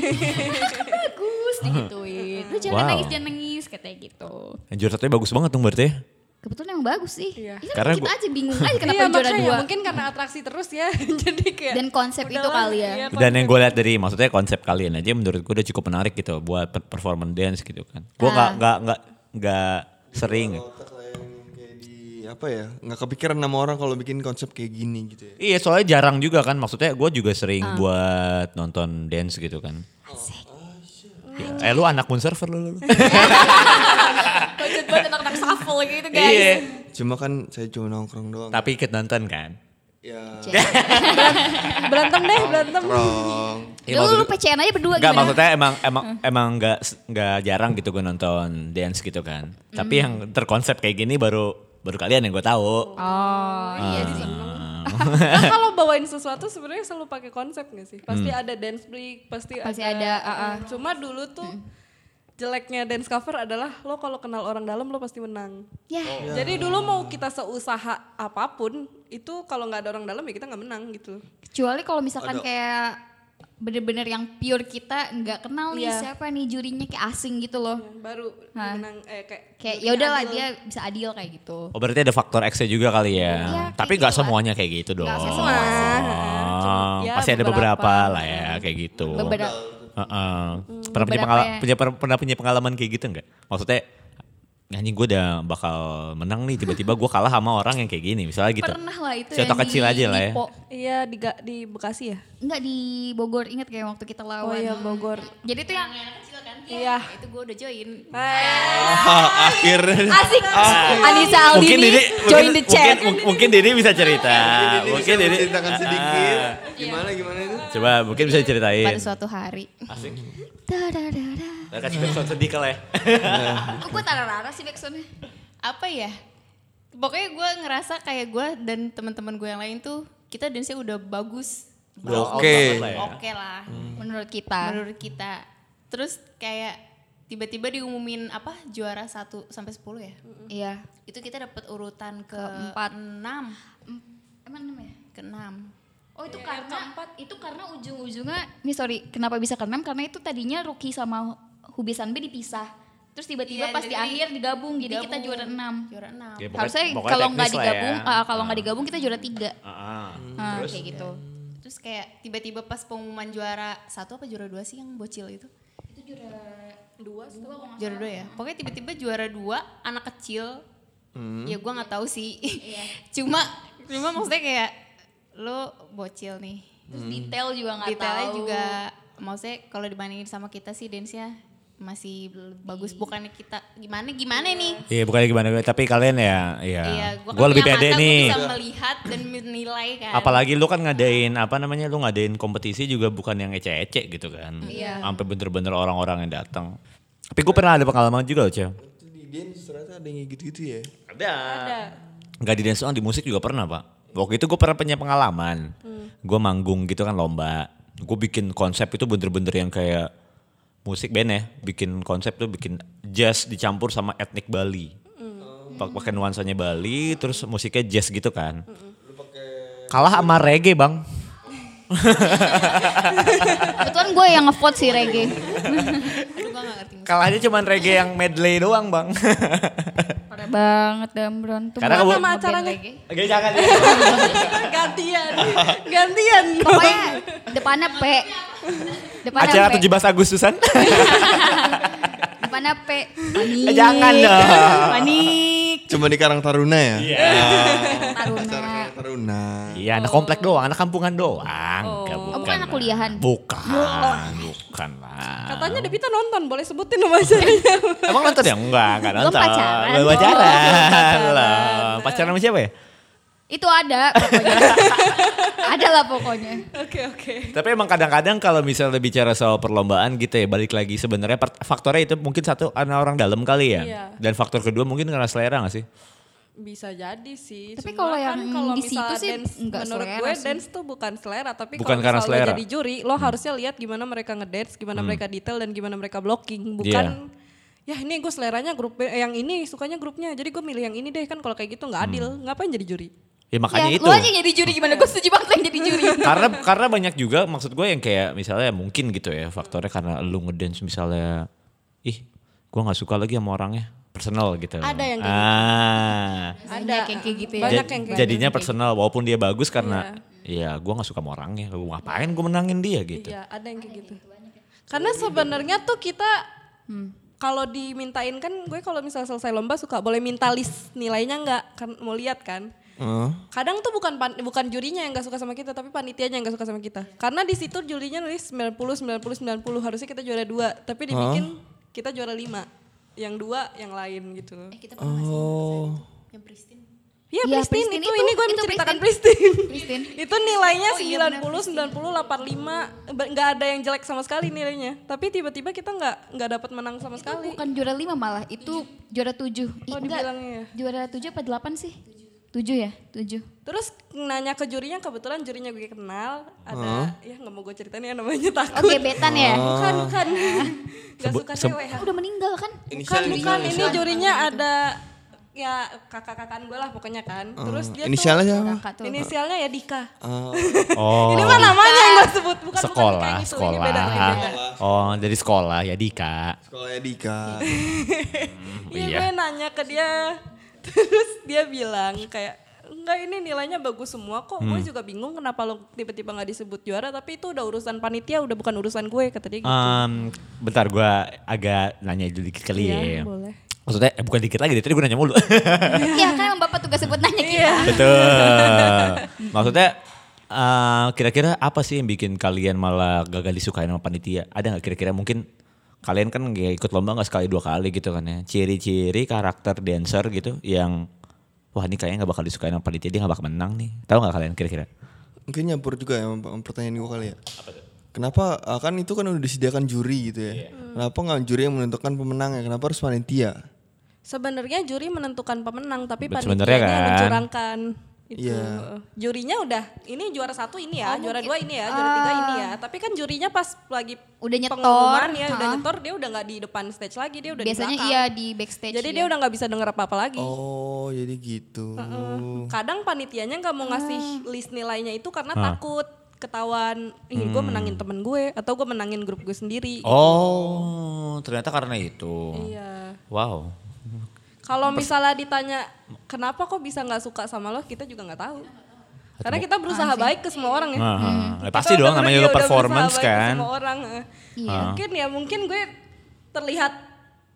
[SPEAKER 5] bagus digituin lu jangan
[SPEAKER 3] Wow.
[SPEAKER 5] nangis jangan nangis katanya gitu
[SPEAKER 3] Juara satunya bagus banget dong berarti ya.
[SPEAKER 5] Kebetulan emang bagus sih.
[SPEAKER 7] Iya.
[SPEAKER 5] Ini
[SPEAKER 3] Karena
[SPEAKER 5] kita
[SPEAKER 3] gua-
[SPEAKER 5] aja bingung aja kenapa
[SPEAKER 7] iya,
[SPEAKER 5] juara
[SPEAKER 7] makanya
[SPEAKER 5] dua.
[SPEAKER 7] mungkin karena atraksi terus ya. jadi kayak
[SPEAKER 5] Dan konsep itu
[SPEAKER 7] udahlah,
[SPEAKER 5] kali ya.
[SPEAKER 7] iya,
[SPEAKER 3] Dan yang
[SPEAKER 7] konsep.
[SPEAKER 3] gue lihat dari maksudnya konsep kalian aja menurut gue udah cukup menarik gitu buat per- performance dance gitu kan. Gue
[SPEAKER 5] Ah.
[SPEAKER 3] nggak nggak nggak nggak sering.
[SPEAKER 6] Otak lah yang kayak di apa ya? Nggak kepikiran nama orang kalau bikin konsep kayak gini gitu ya.
[SPEAKER 3] Iya soalnya jarang juga kan maksudnya gue juga sering
[SPEAKER 5] Ah.
[SPEAKER 3] buat nonton dance gitu kan. Ya, eh lu anak konserver lu. lu, lu.
[SPEAKER 5] Budget buat anak-anak shuffle gitu
[SPEAKER 3] Iya.
[SPEAKER 6] Cuma kan saya cuma nongkrong doang.
[SPEAKER 3] Tapi ikut nonton kan.
[SPEAKER 6] Ya.
[SPEAKER 7] berantem deh, berantem.
[SPEAKER 6] Nongkrong.
[SPEAKER 3] Iya,
[SPEAKER 5] Dulu lu
[SPEAKER 3] maksud-
[SPEAKER 5] PCN aja berdua
[SPEAKER 3] Enggak
[SPEAKER 5] gimana? Hmm.
[SPEAKER 3] maksudnya emang emang emang enggak enggak jarang gitu gue nonton dance gitu kan. Tapi
[SPEAKER 5] Hmm.
[SPEAKER 3] yang terkonsep kayak gini baru baru kalian yang gue tahu.
[SPEAKER 5] Oh iya sih.
[SPEAKER 7] Nah, kalau bawain sesuatu sebenarnya selalu pakai konsep gak sih? Pasti
[SPEAKER 3] Hmm.
[SPEAKER 7] ada dance break, pasti,
[SPEAKER 5] Pasti ada, ah, ah.
[SPEAKER 7] Cuma dulu tuh jeleknya dance cover adalah lo kalau kenal orang dalam lo pasti menang.
[SPEAKER 5] Ya.
[SPEAKER 7] Jadi dulu mau kita seusaha apapun itu kalau nggak ada orang dalam ya kita nggak menang gitu.
[SPEAKER 5] Kecuali kalau misalkan kayak bener-bener yang pure kita nggak kenal nih
[SPEAKER 7] Iya.
[SPEAKER 5] siapa nih jurinya kayak asing gitu loh.
[SPEAKER 7] Baru
[SPEAKER 5] Hah.
[SPEAKER 7] menang eh kayak
[SPEAKER 5] Kayak
[SPEAKER 7] juri
[SPEAKER 5] ya udahlah
[SPEAKER 7] adil.
[SPEAKER 5] dia bisa adil kayak gitu.
[SPEAKER 3] Oh berarti ada faktor X-nya juga kali ya.
[SPEAKER 5] Iya, kayak
[SPEAKER 3] Tapi nggak
[SPEAKER 5] gitu lah.
[SPEAKER 3] semuanya kayak gitu dong.
[SPEAKER 5] Nggak
[SPEAKER 7] semua.
[SPEAKER 3] Oh,
[SPEAKER 7] Ya,
[SPEAKER 3] pasti ada
[SPEAKER 7] beberapa.
[SPEAKER 3] beberapa lah ya kayak gitu.
[SPEAKER 5] Beberapa
[SPEAKER 3] Heeh. Pernah
[SPEAKER 5] Hmm.
[SPEAKER 3] punya,
[SPEAKER 5] beberapa
[SPEAKER 3] pengala-
[SPEAKER 5] ya.
[SPEAKER 3] punya- per- pernah punya pengalaman kayak gitu nggak? Maksudnya anjing gue udah bakal menang nih tiba-tiba gue kalah sama orang yang kayak gini misalnya gitu.
[SPEAKER 5] pernah lah itu
[SPEAKER 3] Contoh
[SPEAKER 5] yang
[SPEAKER 3] kecil
[SPEAKER 5] di
[SPEAKER 3] aja lah ya.
[SPEAKER 5] Lipo.
[SPEAKER 7] Iya di Ga- di Bekasi ya.
[SPEAKER 5] Enggak di Bogor inget kayak waktu kita lawan.
[SPEAKER 7] Oh iya Bogor.
[SPEAKER 5] Jadi itu yang Nah,
[SPEAKER 8] kecil kan?
[SPEAKER 7] Iya.
[SPEAKER 8] Itu gue udah join.
[SPEAKER 6] Ah, akhirnya.
[SPEAKER 5] asik. Anissa
[SPEAKER 3] Ah. mungkin
[SPEAKER 5] Aldini
[SPEAKER 3] Didi
[SPEAKER 5] join
[SPEAKER 3] mungkin,
[SPEAKER 5] the chat.
[SPEAKER 3] Mungkin, mungkin Didi bisa cerita.
[SPEAKER 6] Jadi
[SPEAKER 3] mungkin
[SPEAKER 6] bisa
[SPEAKER 3] Didi
[SPEAKER 6] menceritakan sedikit. Gimana gimana itu?
[SPEAKER 3] Coba mungkin bisa
[SPEAKER 5] Pada
[SPEAKER 3] diceritain.
[SPEAKER 5] suatu hari.
[SPEAKER 3] Asik.
[SPEAKER 5] Da, da, da, da.
[SPEAKER 3] Nah, kasih backsound sedih kali ya.
[SPEAKER 5] Kok gue Oh, tararara sih backsoundnya?
[SPEAKER 8] Apa ya? Pokoknya gue ngerasa kayak gue dan teman-teman gue yang lain tuh kita dance-nya udah bagus.
[SPEAKER 6] Oke.
[SPEAKER 3] Lah ya.
[SPEAKER 8] Oke lah.
[SPEAKER 5] Menurut kita.
[SPEAKER 8] Menurut kita. Terus kayak tiba-tiba diumumin apa juara 1 sampai 10 ya?
[SPEAKER 5] Iya.
[SPEAKER 8] Itu kita dapat urutan ke
[SPEAKER 5] Keempat.
[SPEAKER 8] 6,
[SPEAKER 5] Emang namanya?
[SPEAKER 8] ke 6.
[SPEAKER 5] Oh
[SPEAKER 8] Iya,
[SPEAKER 5] itu karena itu karena ujung-ujungnya nih sorry kenapa bisa keenam karena itu tadinya Ruki sama Hubisan B dipisah terus tiba-tiba
[SPEAKER 8] Iya,
[SPEAKER 5] pas di
[SPEAKER 8] jadi-
[SPEAKER 5] akhir digabung jadi kita
[SPEAKER 8] digabung.
[SPEAKER 5] juara enam
[SPEAKER 8] Juara 6.
[SPEAKER 3] Ya, pokoknya-
[SPEAKER 5] harusnya
[SPEAKER 3] pokoknya
[SPEAKER 5] kalau nggak
[SPEAKER 3] teknis lah ya.
[SPEAKER 5] digabung eh, kalau nggak digabung kita juara tiga
[SPEAKER 3] Ah,
[SPEAKER 5] Ah, kayak gitu
[SPEAKER 8] Terus kayak tiba-tiba pas pengumuman juara satu apa juara dua sih yang bocil itu? Itu juara dua, juara dua ya. Pokoknya tiba-tiba juara dua anak kecil.
[SPEAKER 3] Hmm.
[SPEAKER 8] Ya gua nggak tahu sih. cuma cuma maksudnya kayak lo bocil nih.
[SPEAKER 5] terus
[SPEAKER 3] Hmm.
[SPEAKER 5] detail juga nggak
[SPEAKER 8] Detailnya
[SPEAKER 5] tahu
[SPEAKER 8] juga maksudnya kalau dibandingin sama kita sih dance-nya masih bagus bukannya kita gimana gimana nih.
[SPEAKER 3] Iya bukannya gimana tapi kalian ya, ya.
[SPEAKER 8] Iya,
[SPEAKER 3] gue
[SPEAKER 8] gua kan
[SPEAKER 3] lebih
[SPEAKER 8] punya
[SPEAKER 3] pede
[SPEAKER 8] mata, gua
[SPEAKER 3] nih.
[SPEAKER 8] bisa melihat dan menilai kan.
[SPEAKER 3] Apalagi lu kan ngadain apa namanya lu ngadain kompetisi juga bukan yang ece-ece gitu kan. Iya. Sampai bener-bener orang-orang yang datang. Tapi gue pernah ada pengalaman juga loh, Cel.
[SPEAKER 6] Itu di dance ternyata ada yang kayak gitu-gitu ya.
[SPEAKER 3] Ada. Gak di dance doang, di musik juga pernah pak. Waktu itu gue pernah punya pengalaman. Gue manggung gitu kan lomba. Gue bikin konsep itu bener-bener yang kayak musik band ya. Bikin konsep tuh bikin jazz dicampur sama etnik Bali. Pak Pakai nuansanya Bali, terus musiknya jazz gitu kan. Kalah sama reggae bang.
[SPEAKER 5] kebetulan gue yang ngevote sih Regi
[SPEAKER 8] Aduh gua nggak ngerti.
[SPEAKER 3] Kalahnya cuman reggae yang medley doang bang.
[SPEAKER 5] pada banget dan berantem.
[SPEAKER 3] Karena kamu
[SPEAKER 7] Apa nama acaranya?
[SPEAKER 3] Oke, jangan.
[SPEAKER 7] Gantian. Gantian.
[SPEAKER 5] Pokoknya depannya P. Depannya
[SPEAKER 3] Acara
[SPEAKER 5] P.
[SPEAKER 3] 17 Agustusan.
[SPEAKER 5] Depannya P. Panik.
[SPEAKER 3] Eh, jangan dong.
[SPEAKER 5] Panik.
[SPEAKER 6] Cuma di Karang Taruna ya? Iya.
[SPEAKER 5] Taruna.
[SPEAKER 6] Karang Taruna.
[SPEAKER 3] Iya, anak komplek doang, anak kampungan doang. Enggak,
[SPEAKER 5] Oh, bukan anak kuliahan. Ya
[SPEAKER 3] Bukan, bukan lah.
[SPEAKER 7] Katanya Devita nonton, boleh sebutin nama acaranya.
[SPEAKER 3] Emang nonton ya? Enggak, enggak
[SPEAKER 5] Belum
[SPEAKER 3] nonton.
[SPEAKER 5] pacaran. Oh,
[SPEAKER 3] Belum
[SPEAKER 5] Belum
[SPEAKER 3] pacaran. Belum. Pacaran sama siapa ya?
[SPEAKER 5] Itu ada pokoknya. ada lah pokoknya.
[SPEAKER 7] Oke, oke.
[SPEAKER 3] Tapi emang kadang-kadang kalau misalnya bicara soal perlombaan gitu ya, balik lagi sebenarnya per- faktornya itu mungkin satu karena orang dalam kali ya.
[SPEAKER 7] Iya.
[SPEAKER 3] Dan faktor kedua mungkin karena selera gak sih?
[SPEAKER 7] Bisa jadi sih. Cuma
[SPEAKER 5] Tapi kalau
[SPEAKER 7] kan
[SPEAKER 5] yang
[SPEAKER 7] kalau
[SPEAKER 5] di situ
[SPEAKER 7] misalnya
[SPEAKER 5] sih
[SPEAKER 7] dance,
[SPEAKER 5] nggak
[SPEAKER 7] menurut
[SPEAKER 5] selera
[SPEAKER 7] gue
[SPEAKER 5] sih.
[SPEAKER 7] dance tuh bukan selera, tapi
[SPEAKER 3] Bukan
[SPEAKER 7] kalau
[SPEAKER 3] karena
[SPEAKER 7] misalnya
[SPEAKER 3] selera.
[SPEAKER 7] lo
[SPEAKER 3] Hmm.
[SPEAKER 7] jadi juri, lo harusnya lihat gimana mereka ngedance, gimana mereka detail dan gimana mereka blocking,
[SPEAKER 3] Iya.
[SPEAKER 7] bukan ya ini gue seleranya grup B- eh, yang ini sukanya grupnya, jadi gue milih yang ini deh kan kalau kayak gitu
[SPEAKER 3] Hmm.
[SPEAKER 7] nggak adil, ngapain jadi juri?
[SPEAKER 3] Ya makanya
[SPEAKER 5] ya,
[SPEAKER 3] itu.
[SPEAKER 5] lu aja jadi juri gimana? Gue setuju banget yang jadi juri.
[SPEAKER 3] karena karena banyak juga maksud gue yang kayak misalnya mungkin gitu ya faktornya karena lu ngedance misalnya ih gue nggak suka lagi sama orangnya personal gitu
[SPEAKER 7] Ada yang kayak
[SPEAKER 3] ah
[SPEAKER 5] Ada yang kayak gitu ya.
[SPEAKER 7] Banyak
[SPEAKER 3] Ja-
[SPEAKER 7] yang kayak
[SPEAKER 3] jadinya personal walaupun dia bagus karena ya gue nggak suka sama orangnya gue ngapain gue menangin dia gitu
[SPEAKER 7] Iya, ada yang kayak gitu. Karena sebenarnya tuh kita hmm, kalau dimintain kan gue kalau misalnya selesai lomba suka boleh minta list nilainya nggak kan mau lihat kan. Kadang tuh bukan pan- bukan jurinya yang gak suka sama kita, tapi panitianya yang gak suka sama kita. Karena di situ jurinya nulis 90 90 90 harusnya kita juara dua, tapi dibikin kita juara lima. Yang dua yang lain gitu.
[SPEAKER 6] Oh.
[SPEAKER 7] Iya,
[SPEAKER 5] Iya,
[SPEAKER 7] Pristin,
[SPEAKER 5] Pristin
[SPEAKER 7] itu,
[SPEAKER 5] itu,
[SPEAKER 7] ini gue
[SPEAKER 5] itu
[SPEAKER 7] menceritakan
[SPEAKER 5] Pristin.
[SPEAKER 7] Pristin.
[SPEAKER 5] Pristin.
[SPEAKER 7] itu nilainya
[SPEAKER 5] Oh, iya,
[SPEAKER 7] 90, 90, 85, ba- nggak ada yang jelek sama sekali nilainya. Tapi tiba-tiba kita nggak nggak dapat menang sama
[SPEAKER 5] Itu
[SPEAKER 7] sekali.
[SPEAKER 5] bukan juara lima malah, itu juara tujuh. Ih,
[SPEAKER 7] Oh,
[SPEAKER 5] enggak.
[SPEAKER 7] dibilangnya ya.
[SPEAKER 5] Juara tujuh apa delapan sih? Tujuh ya? Tujuh.
[SPEAKER 7] Terus nanya ke jurinya, kebetulan jurinya gue kenal, ada ya nggak mau gue ceritain ya namanya takut.
[SPEAKER 5] Oke, betan ya.
[SPEAKER 7] Bukan, bukan. Gak
[SPEAKER 3] Sebut-
[SPEAKER 7] suka
[SPEAKER 3] seb-
[SPEAKER 7] cewek.
[SPEAKER 5] Udah meninggal kan?
[SPEAKER 7] Bukan, bukan. Ini jurinya ada ya kakak-kakan gue lah pokoknya kan. Terus dia
[SPEAKER 6] Inisialnya
[SPEAKER 7] tuh,
[SPEAKER 6] siapa?
[SPEAKER 5] Kakak tuh.
[SPEAKER 7] Inisialnya ya Dika.
[SPEAKER 3] oh
[SPEAKER 7] Ini mah namanya yang gue sebut, kan bukan bukan Dika
[SPEAKER 3] sekolah
[SPEAKER 7] gitu.
[SPEAKER 3] sekolah
[SPEAKER 7] Ini beda, ini beda.
[SPEAKER 3] oh dari sekolah ya Dika
[SPEAKER 6] Sekolahnya Dika.
[SPEAKER 7] Iya
[SPEAKER 3] Iya.
[SPEAKER 7] gue nanya ke dia Terus dia bilang kayak Enggak ini nilainya bagus semua kok
[SPEAKER 3] Hmm.
[SPEAKER 7] Gue juga bingung kenapa lo tiba-tiba gak disebut juara Tapi itu udah urusan panitia udah bukan urusan gue Kata dia gitu
[SPEAKER 3] Em, bentar gue agak nanya dulu dikit
[SPEAKER 7] Iya,
[SPEAKER 3] kali ya
[SPEAKER 7] boleh.
[SPEAKER 3] maksudnya eh, bukan dikit lagi deh, tadi gue nanya mulu
[SPEAKER 5] Iya kan emang bapak tugas buat nanya
[SPEAKER 7] Iya.
[SPEAKER 5] kita.
[SPEAKER 3] Betul. Maksudnya eh, kira-kira apa sih yang bikin kalian malah gagal disukain sama panitia? Ada nggak kira-kira mungkin kalian kan nggak ikut lomba nggak sekali dua kali gitu kan ya? Ciri-ciri karakter dancer gitu yang wah ini kayaknya nggak bakal disukain sama panitia dia nggak bakal menang nih. Tahu nggak kalian kira-kira?
[SPEAKER 6] Mungkin nyampur juga ya sama pertanyaan gue kali ya. Kenapa ah, kan itu kan udah disediakan juri gitu ya? Kenapa nggak juri yang menentukan pemenangnya? Kenapa harus panitia?
[SPEAKER 7] Sebenarnya juri menentukan pemenang Tapi
[SPEAKER 3] Bet-
[SPEAKER 7] panitia
[SPEAKER 3] sebenarnya
[SPEAKER 7] yang
[SPEAKER 3] kan.
[SPEAKER 7] mencurangkan itu
[SPEAKER 6] Iya.
[SPEAKER 7] jurinya udah ini juara satu ini ya
[SPEAKER 5] Oh,
[SPEAKER 7] juara dua ini ya juara tiga ini ya tapi kan jurinya pas lagi
[SPEAKER 5] Ah. Udah nyetor,
[SPEAKER 7] pengumuman ya udah
[SPEAKER 5] ha.
[SPEAKER 7] nyetor dia udah nggak di depan stage lagi dia udah
[SPEAKER 5] Biasanya
[SPEAKER 7] di belakang.
[SPEAKER 5] iya di backstage.
[SPEAKER 7] jadi
[SPEAKER 5] ya.
[SPEAKER 7] dia udah nggak bisa denger apa apa lagi
[SPEAKER 6] Oh, jadi gitu.
[SPEAKER 7] kadang panitianya nggak mau ngasih list nilainya itu karena takut ketahuan ih gue
[SPEAKER 3] Hmm.
[SPEAKER 7] menangin temen gue atau gue menangin grup gue sendiri
[SPEAKER 3] Oh, ternyata karena itu.
[SPEAKER 7] iya
[SPEAKER 3] Wow.
[SPEAKER 7] kalau misalnya ditanya kenapa kok bisa nggak suka sama lo kita juga nggak tahu karena kita berusaha baik ke semua orang ya
[SPEAKER 3] Nah, eh,
[SPEAKER 7] Kita
[SPEAKER 3] pasti dong
[SPEAKER 7] bener-bener ya
[SPEAKER 3] namanya lo
[SPEAKER 7] udah berusaha
[SPEAKER 3] performance
[SPEAKER 7] baik ke
[SPEAKER 3] kan.
[SPEAKER 7] semua orang eh. mungkin ya mungkin gue terlihat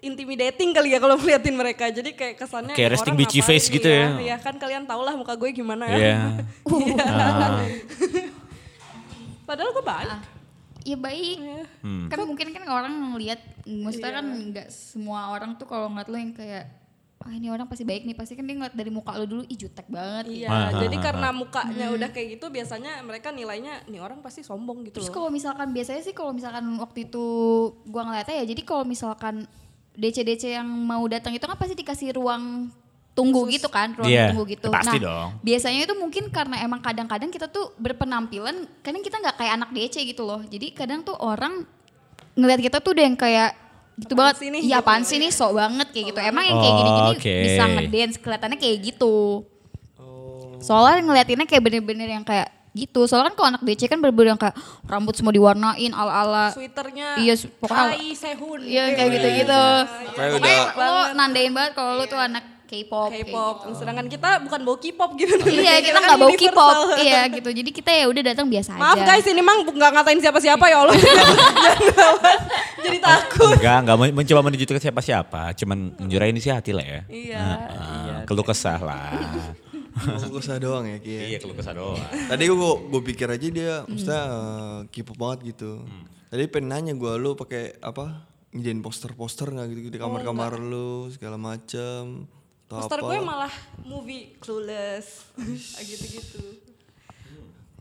[SPEAKER 7] intimidating kali ya kalau melihatin mereka jadi kayak kesannya
[SPEAKER 3] Kayak
[SPEAKER 7] "Ini
[SPEAKER 3] resting
[SPEAKER 7] orang
[SPEAKER 3] bitchy
[SPEAKER 7] ngapain?"
[SPEAKER 3] face gitu
[SPEAKER 7] Iya,
[SPEAKER 3] ya.
[SPEAKER 7] iya kan kalian tau lah muka gue gimana ya
[SPEAKER 3] Iya. Ah.
[SPEAKER 7] padahal gue baik
[SPEAKER 5] Iya baik. Kan mungkin kan orang ngelihat
[SPEAKER 7] Iya.
[SPEAKER 5] maksudnya kan nggak semua orang tuh kalau ngeliat lu yang kayak ah ini orang pasti baik nih pasti kan dia ngeliat dari muka lu dulu ih jutek
[SPEAKER 6] Nah,
[SPEAKER 5] banget. Hmm.
[SPEAKER 7] Iya, jadi karena mukanya udah kayak gitu biasanya mereka nilainya nih orang pasti sombong gitu
[SPEAKER 5] Terus
[SPEAKER 7] loh.
[SPEAKER 5] kalau misalkan biasanya sih kalau misalkan waktu itu gua ngeliatnya ya jadi kalau misalkan DC-DC yang mau datang itu kan pasti dikasih ruang tunggu gitu kan, ruang
[SPEAKER 3] Iya,
[SPEAKER 5] tunggu gitu.
[SPEAKER 3] ya pasti
[SPEAKER 5] nah,
[SPEAKER 3] dong.
[SPEAKER 5] biasanya itu mungkin karena emang kadang-kadang kita tuh berpenampilan, kadang kita nggak kayak anak DC gitu loh. Jadi kadang tuh orang ngeliat kita tuh udah yang kayak gitu banget
[SPEAKER 7] sih nih?
[SPEAKER 5] Iya apaan sih nih sok banget kayak gitu. Emang yang kayak gini-gini
[SPEAKER 3] Oh, Oke.
[SPEAKER 5] bisa ngedance kelihatannya kayak gitu. Soalnya ngeliatinnya kayak bener-bener yang kaner kayak gitu. Soalnya kan kalau anak DC kan bener-bener yang kayak rambut semua diwarnain ala-ala.
[SPEAKER 7] Switernya
[SPEAKER 5] Iya, su- pokoknya-
[SPEAKER 7] Hai Sehun. gitu
[SPEAKER 5] Iya kayak gitu-gitu.
[SPEAKER 6] Kayak
[SPEAKER 5] Pokoknya
[SPEAKER 6] udah
[SPEAKER 5] lo nandain banget kalau lo tuh anak K-pop.
[SPEAKER 7] Iya. K-pop. Sedangkan kita bukan bau K-pop gitu.
[SPEAKER 5] Iya, kita
[SPEAKER 7] kan
[SPEAKER 5] nggak bau
[SPEAKER 7] universal.
[SPEAKER 5] K-pop. Iya gitu. Jadi kita ya udah datang biasa
[SPEAKER 7] Maaf
[SPEAKER 5] aja.
[SPEAKER 7] guys, ini mang nggak ngatain siapa-siapa ya Allah. Jangan lawan. Jadi takut.
[SPEAKER 3] Enggak, enggak men- mencoba menuju ke siapa-siapa, cuman menyurai ini sih hati lah ya.
[SPEAKER 7] Iya.
[SPEAKER 3] Heeh, keluh kesah lah.
[SPEAKER 6] Aku kesah doang ya Ki ya.
[SPEAKER 3] iya, keluh kesah doang.
[SPEAKER 6] Tadi gue gue pikir aja dia
[SPEAKER 7] Mm.
[SPEAKER 6] maksudnya eh, K-pop banget gitu. Tadi pengen nanya gue lu pakai apa? Ngejain poster-poster nggak gitu, di kamar-kamar lu segala macem. atau
[SPEAKER 7] Oh, Poster
[SPEAKER 6] apa,
[SPEAKER 7] gue malah movie clueless. Gitu-gitu.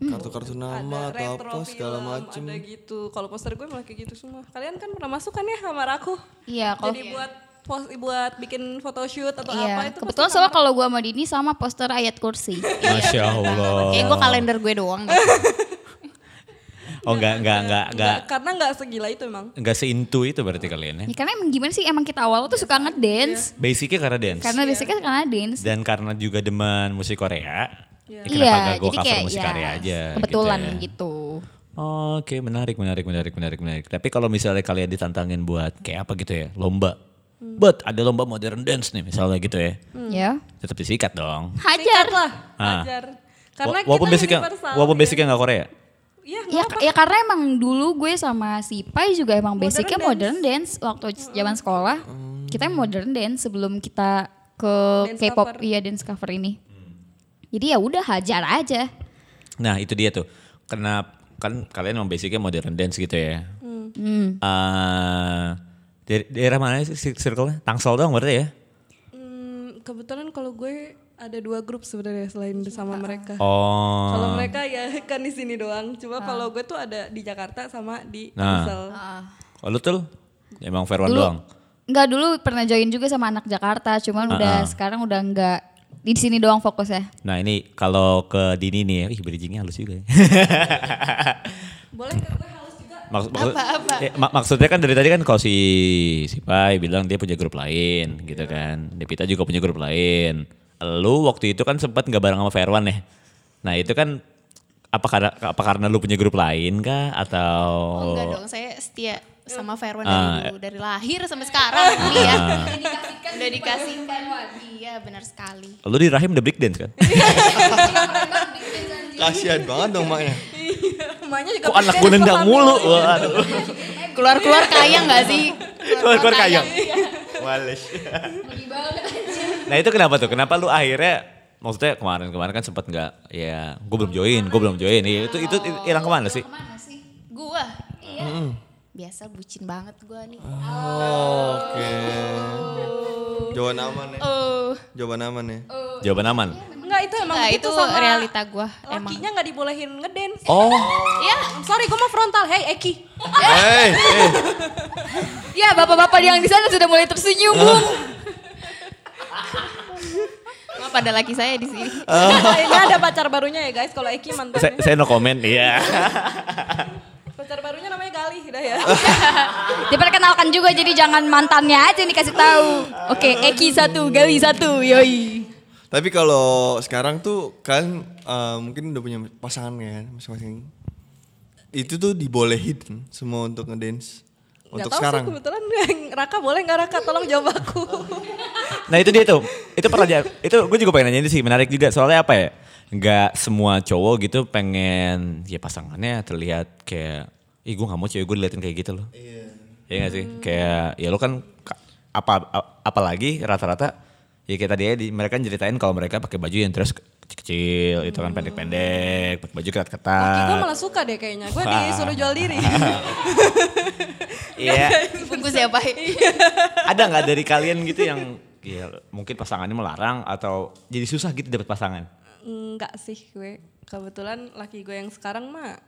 [SPEAKER 6] kartu-kartu nama
[SPEAKER 7] ada
[SPEAKER 6] atau
[SPEAKER 7] retro
[SPEAKER 6] apa segala
[SPEAKER 7] film,
[SPEAKER 6] macem.
[SPEAKER 7] Ada gitu. Kalau poster gue malah kayak gitu semua. Kalian kan pernah masuk kan ya kamar aku?
[SPEAKER 5] Iya, kalau
[SPEAKER 7] Jadi buat pos, buat bikin photoshoot atau apa
[SPEAKER 5] Iya,
[SPEAKER 7] itu pasti Iya.
[SPEAKER 5] kebetulan sama kalau gue sama Dini sama poster ayat kursi.
[SPEAKER 3] Masya Allah.
[SPEAKER 8] Kayak gue kalender gue doang deh.
[SPEAKER 3] Oh enggak, enggak, enggak, enggak.
[SPEAKER 7] nggak- karena nggak segila itu emang.
[SPEAKER 3] Enggak seintu itu berarti kalian ya.
[SPEAKER 5] Ya, karena emang gimana sih emang kita awal tuh suka
[SPEAKER 7] Iya.
[SPEAKER 5] ngedance.
[SPEAKER 3] Basicnya karena dance.
[SPEAKER 5] Karena basicnya karena dance.
[SPEAKER 3] Dan karena juga demen musik Korea. Ya, kenapa
[SPEAKER 5] Iya,
[SPEAKER 3] enggak gue
[SPEAKER 5] jadi
[SPEAKER 3] cover
[SPEAKER 5] kayak
[SPEAKER 3] musik
[SPEAKER 5] ya,
[SPEAKER 3] Korea aja.
[SPEAKER 5] kebetulan
[SPEAKER 3] ya.
[SPEAKER 5] gitu.
[SPEAKER 3] Oke, menarik, menarik, menarik, menarik, menarik. Tapi kalau misalnya kalian ditantangin buat kayak apa gitu ya, lomba.
[SPEAKER 7] Hmm.
[SPEAKER 3] But ada lomba modern dance nih misalnya gitu ya.
[SPEAKER 5] Ya.
[SPEAKER 3] Tetap disikat dong.
[SPEAKER 5] Hajar.
[SPEAKER 7] lah,
[SPEAKER 3] Ah.
[SPEAKER 7] ajar. Karena
[SPEAKER 3] Wa- walaupun
[SPEAKER 7] kita
[SPEAKER 3] basicnya,
[SPEAKER 7] universal,
[SPEAKER 3] walaupun
[SPEAKER 7] ya.
[SPEAKER 3] basicnya nggak Korea.
[SPEAKER 7] Iya, nggak
[SPEAKER 5] Ya,
[SPEAKER 7] apa-apa.
[SPEAKER 5] ya karena emang dulu gue sama si Pai juga emang basicnya
[SPEAKER 7] dance.
[SPEAKER 5] modern dance Oh. waktu zaman sekolah. Kita modern dance sebelum kita ke
[SPEAKER 7] Dance
[SPEAKER 5] K-pop
[SPEAKER 7] cover.
[SPEAKER 5] iya dance cover ini. Jadi ya udah hajar aja.
[SPEAKER 3] Nah itu dia tuh. Karena kan kalian emang basicnya modern dance gitu ya.
[SPEAKER 5] Hmm.
[SPEAKER 3] Ah, daer- daerah mana sih cir- circle-nya? Tangsel doang berarti ya?
[SPEAKER 7] Hmm, kebetulan kalau gue ada dua grup sebenarnya selain
[SPEAKER 5] Iya.
[SPEAKER 7] sama mereka.
[SPEAKER 3] Oh.
[SPEAKER 7] Kalau mereka ya kan di sini doang.
[SPEAKER 5] Ah.
[SPEAKER 7] Cuma kalau gue tuh ada di Jakarta sama di
[SPEAKER 3] Nah.
[SPEAKER 7] Tangsel.
[SPEAKER 3] Oh, lu tuh emang Verwan
[SPEAKER 5] Dulu
[SPEAKER 3] doang.
[SPEAKER 5] Enggak dulu pernah join juga sama anak Jakarta, cuman udah sekarang udah enggak di sini doang fokusnya.
[SPEAKER 3] Nah ini kalau ke Dini nih ya, ih bridgingnya halus juga ya.
[SPEAKER 7] Boleh ke gue halus juga?
[SPEAKER 3] Maksud, maksud- eh, mak- maksudnya kan dari tadi kan kalau si, si Pai bilang dia punya grup lain
[SPEAKER 7] Iya.
[SPEAKER 3] gitu kan. Devita juga punya grup lain. Lu waktu itu kan sempat nggak bareng sama Verwan ya. Nah itu kan apa karena apa karena lu punya grup lain kah atau
[SPEAKER 8] Oh enggak dong, saya setia sama Verwan
[SPEAKER 3] Ah,
[SPEAKER 8] dari dulu, dari lahir sampai sekarang kali ya. Udah dikasihkan. Iya, benar sekali.
[SPEAKER 3] lu di rahim The Big Dance kan?
[SPEAKER 6] Kasian banget dong ya. maknya.
[SPEAKER 7] Emaknya juga
[SPEAKER 3] Kok anak
[SPEAKER 7] pikir
[SPEAKER 3] gue
[SPEAKER 7] itu
[SPEAKER 3] nendang
[SPEAKER 7] family.
[SPEAKER 3] mulu? Waduh.
[SPEAKER 8] Keluar-keluar kaya nggak sih?
[SPEAKER 3] Keluar-keluar kayang. Nah itu kenapa tuh? Kenapa lu akhirnya maksudnya kemarin-kemarin kan sempat nggak ya gue belum join, gue belum join. Iya, itu itu itu hilang kemana sih?
[SPEAKER 8] Mana sih? Gua. Iya. Biasa bucin banget gua nih.
[SPEAKER 6] Oke. Jawaban aman ya.
[SPEAKER 8] Oh.
[SPEAKER 6] Jawaban aman ya.
[SPEAKER 3] Jawaban aman.
[SPEAKER 7] Enggak itu emang
[SPEAKER 8] Nah,
[SPEAKER 7] gitu
[SPEAKER 8] itu
[SPEAKER 7] sama
[SPEAKER 8] realita gua emang.
[SPEAKER 7] Lakinya nggak dibolehin ngedance.
[SPEAKER 3] Oh,
[SPEAKER 7] Ya, sorry gue mah frontal. Hey Eki.
[SPEAKER 6] Hey, hey.
[SPEAKER 5] Ya, bapak-bapak yang di sana sudah mulai tersenyum, Bung.
[SPEAKER 8] Cuma pada laki saya di sini.
[SPEAKER 7] Ini ada pacar barunya ya guys. Kalau Eki
[SPEAKER 3] saya,
[SPEAKER 7] mantannya.
[SPEAKER 3] saya no comment. Iya.
[SPEAKER 7] Pacar barunya namanya Galih dah ya.
[SPEAKER 5] Diperkenalkan juga jadi jangan mantannya aja nih kasih tahu. Oke, Eki satu, Gali satu, yoi.
[SPEAKER 6] Tapi kalau sekarang tuh kan eh, mungkin udah punya pasangan ya masing-masing. Itu tuh dibolehin semua untuk ngedance. Untuk
[SPEAKER 7] Nggak tahu
[SPEAKER 6] sekarang.
[SPEAKER 7] sih kebetulan Raka boleh nggak Raka? Tolong jawab aku.
[SPEAKER 3] Nah itu dia tuh. Itu pertanyaan. Itu gue juga pengen nanya itu sih. Menarik juga. Soalnya apa ya? Nggak semua cowok gitu pengen ya pasangannya terlihat kayak. Ih gue gak mau cewek gue diliatin kayak gitu loh. Iya. Iya gak sih? Kayak ya lo kan ka- apa a- apalagi rata-rata ya kayak tadi ya di, mereka ceritain kalau mereka pakai baju yang terus kecil-kecil itu kan pendek-pendek pakai baju
[SPEAKER 6] Ah.
[SPEAKER 7] Eki gue
[SPEAKER 3] ketat-ketat
[SPEAKER 7] malah suka deh kayaknya. Gue disuruh jual diri.
[SPEAKER 3] iya
[SPEAKER 8] Bungkus ya, Pak.
[SPEAKER 3] ada nggak dari kalian gitu yang ya, mungkin pasangannya melarang atau jadi susah gitu dapat pasangan
[SPEAKER 7] Enggak sih gue. Kebetulan laki gue yang sekarang mah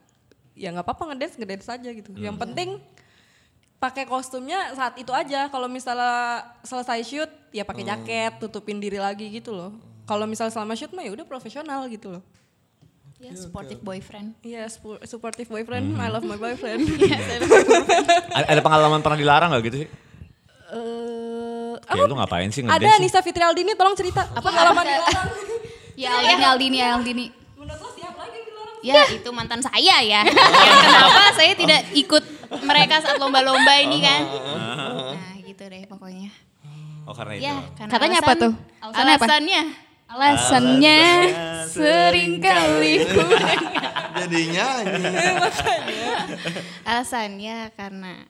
[SPEAKER 7] ya nggak apa-apa ngedance ngedance aja gitu.
[SPEAKER 6] Hmm.
[SPEAKER 7] Yang penting pakai kostumnya saat itu aja. Kalau misalnya selesai shoot ya
[SPEAKER 6] Hmm.
[SPEAKER 7] pakai jaket, tutupin diri lagi gitu loh. Kalau misalnya selama shoot mah ya udah profesional gitu loh.
[SPEAKER 8] Ya, supportive boyfriend.
[SPEAKER 7] Iya, spu- supportive boyfriend, I love my boyfriend.
[SPEAKER 3] A- ada pengalaman pernah dilarang gak gitu sih?
[SPEAKER 7] Eh,
[SPEAKER 3] Kayak lu ngapain sih
[SPEAKER 7] ada
[SPEAKER 3] ngedance? sih?
[SPEAKER 7] Nisa Fitri Aldini tolong cerita apa pengalaman dilarang.
[SPEAKER 5] Ya Aldini, Aldini, Aldini.
[SPEAKER 7] Menurut lo siapa lagi yang dilarang?
[SPEAKER 8] Ya, itu mantan saya ya. Yang kenapa saya tidak ikut mereka saat lomba-lomba ini kan. Nah, gitu deh pokoknya.
[SPEAKER 3] Oh karena itu.
[SPEAKER 8] Ya, karena
[SPEAKER 5] Katanya apa
[SPEAKER 8] alasan-
[SPEAKER 5] tuh? Alasannya apa?
[SPEAKER 8] Alasannya
[SPEAKER 5] Alasannya seringkali ku
[SPEAKER 6] Jadi nyanyi.
[SPEAKER 8] alasannya karena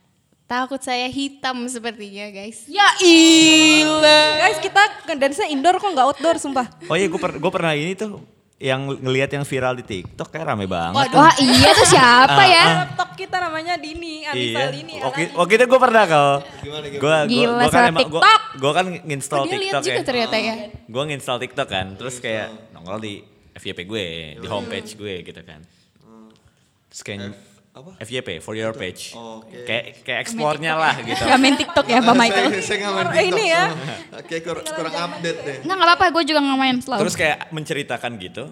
[SPEAKER 8] takut saya hitam sepertinya, guys. Eh,
[SPEAKER 5] Ya ilah.
[SPEAKER 7] Guys kita ngedance-nya indoor kok nggak outdoor sumpah.
[SPEAKER 3] Oh iya gue pernah ini tuh yang ngelihat yang viral di TikTok kayak rame banget.
[SPEAKER 5] Wah iya tuh siapa
[SPEAKER 3] Ah,
[SPEAKER 5] ya?
[SPEAKER 7] Laptop kita namanya Dini, Anissa
[SPEAKER 8] ya,
[SPEAKER 7] Dini.
[SPEAKER 3] Oke, oke Iya. itu gue pernah kalau. Gua,
[SPEAKER 5] Gila,
[SPEAKER 3] gua, gua kan
[SPEAKER 5] salah
[SPEAKER 3] emang, gua,
[SPEAKER 5] TikTok.
[SPEAKER 3] gua kan nginstall
[SPEAKER 8] Oh, Dia lihat
[SPEAKER 3] TikTok
[SPEAKER 8] juga
[SPEAKER 3] ya.
[SPEAKER 8] ternyata ya.
[SPEAKER 3] Gue nginstall TikTok kan, terus kayak nongol di FYP gue, di homepage gue gitu kan. Terus kayak
[SPEAKER 6] apa?
[SPEAKER 3] FYP, for your page.
[SPEAKER 6] Oh, Oke.
[SPEAKER 3] Kayak kayak explore-nya lah gitu.
[SPEAKER 5] Gak main TikTok ya Pak Michael?
[SPEAKER 6] Saya, saya nggak main
[SPEAKER 7] Ini
[SPEAKER 6] TikTok
[SPEAKER 7] ya.
[SPEAKER 6] soalnya. Kayak kur- kurang update deh.
[SPEAKER 5] Enggak nggak apa-apa, gue juga nggak main selalu.
[SPEAKER 3] Terus kayak menceritakan gitu,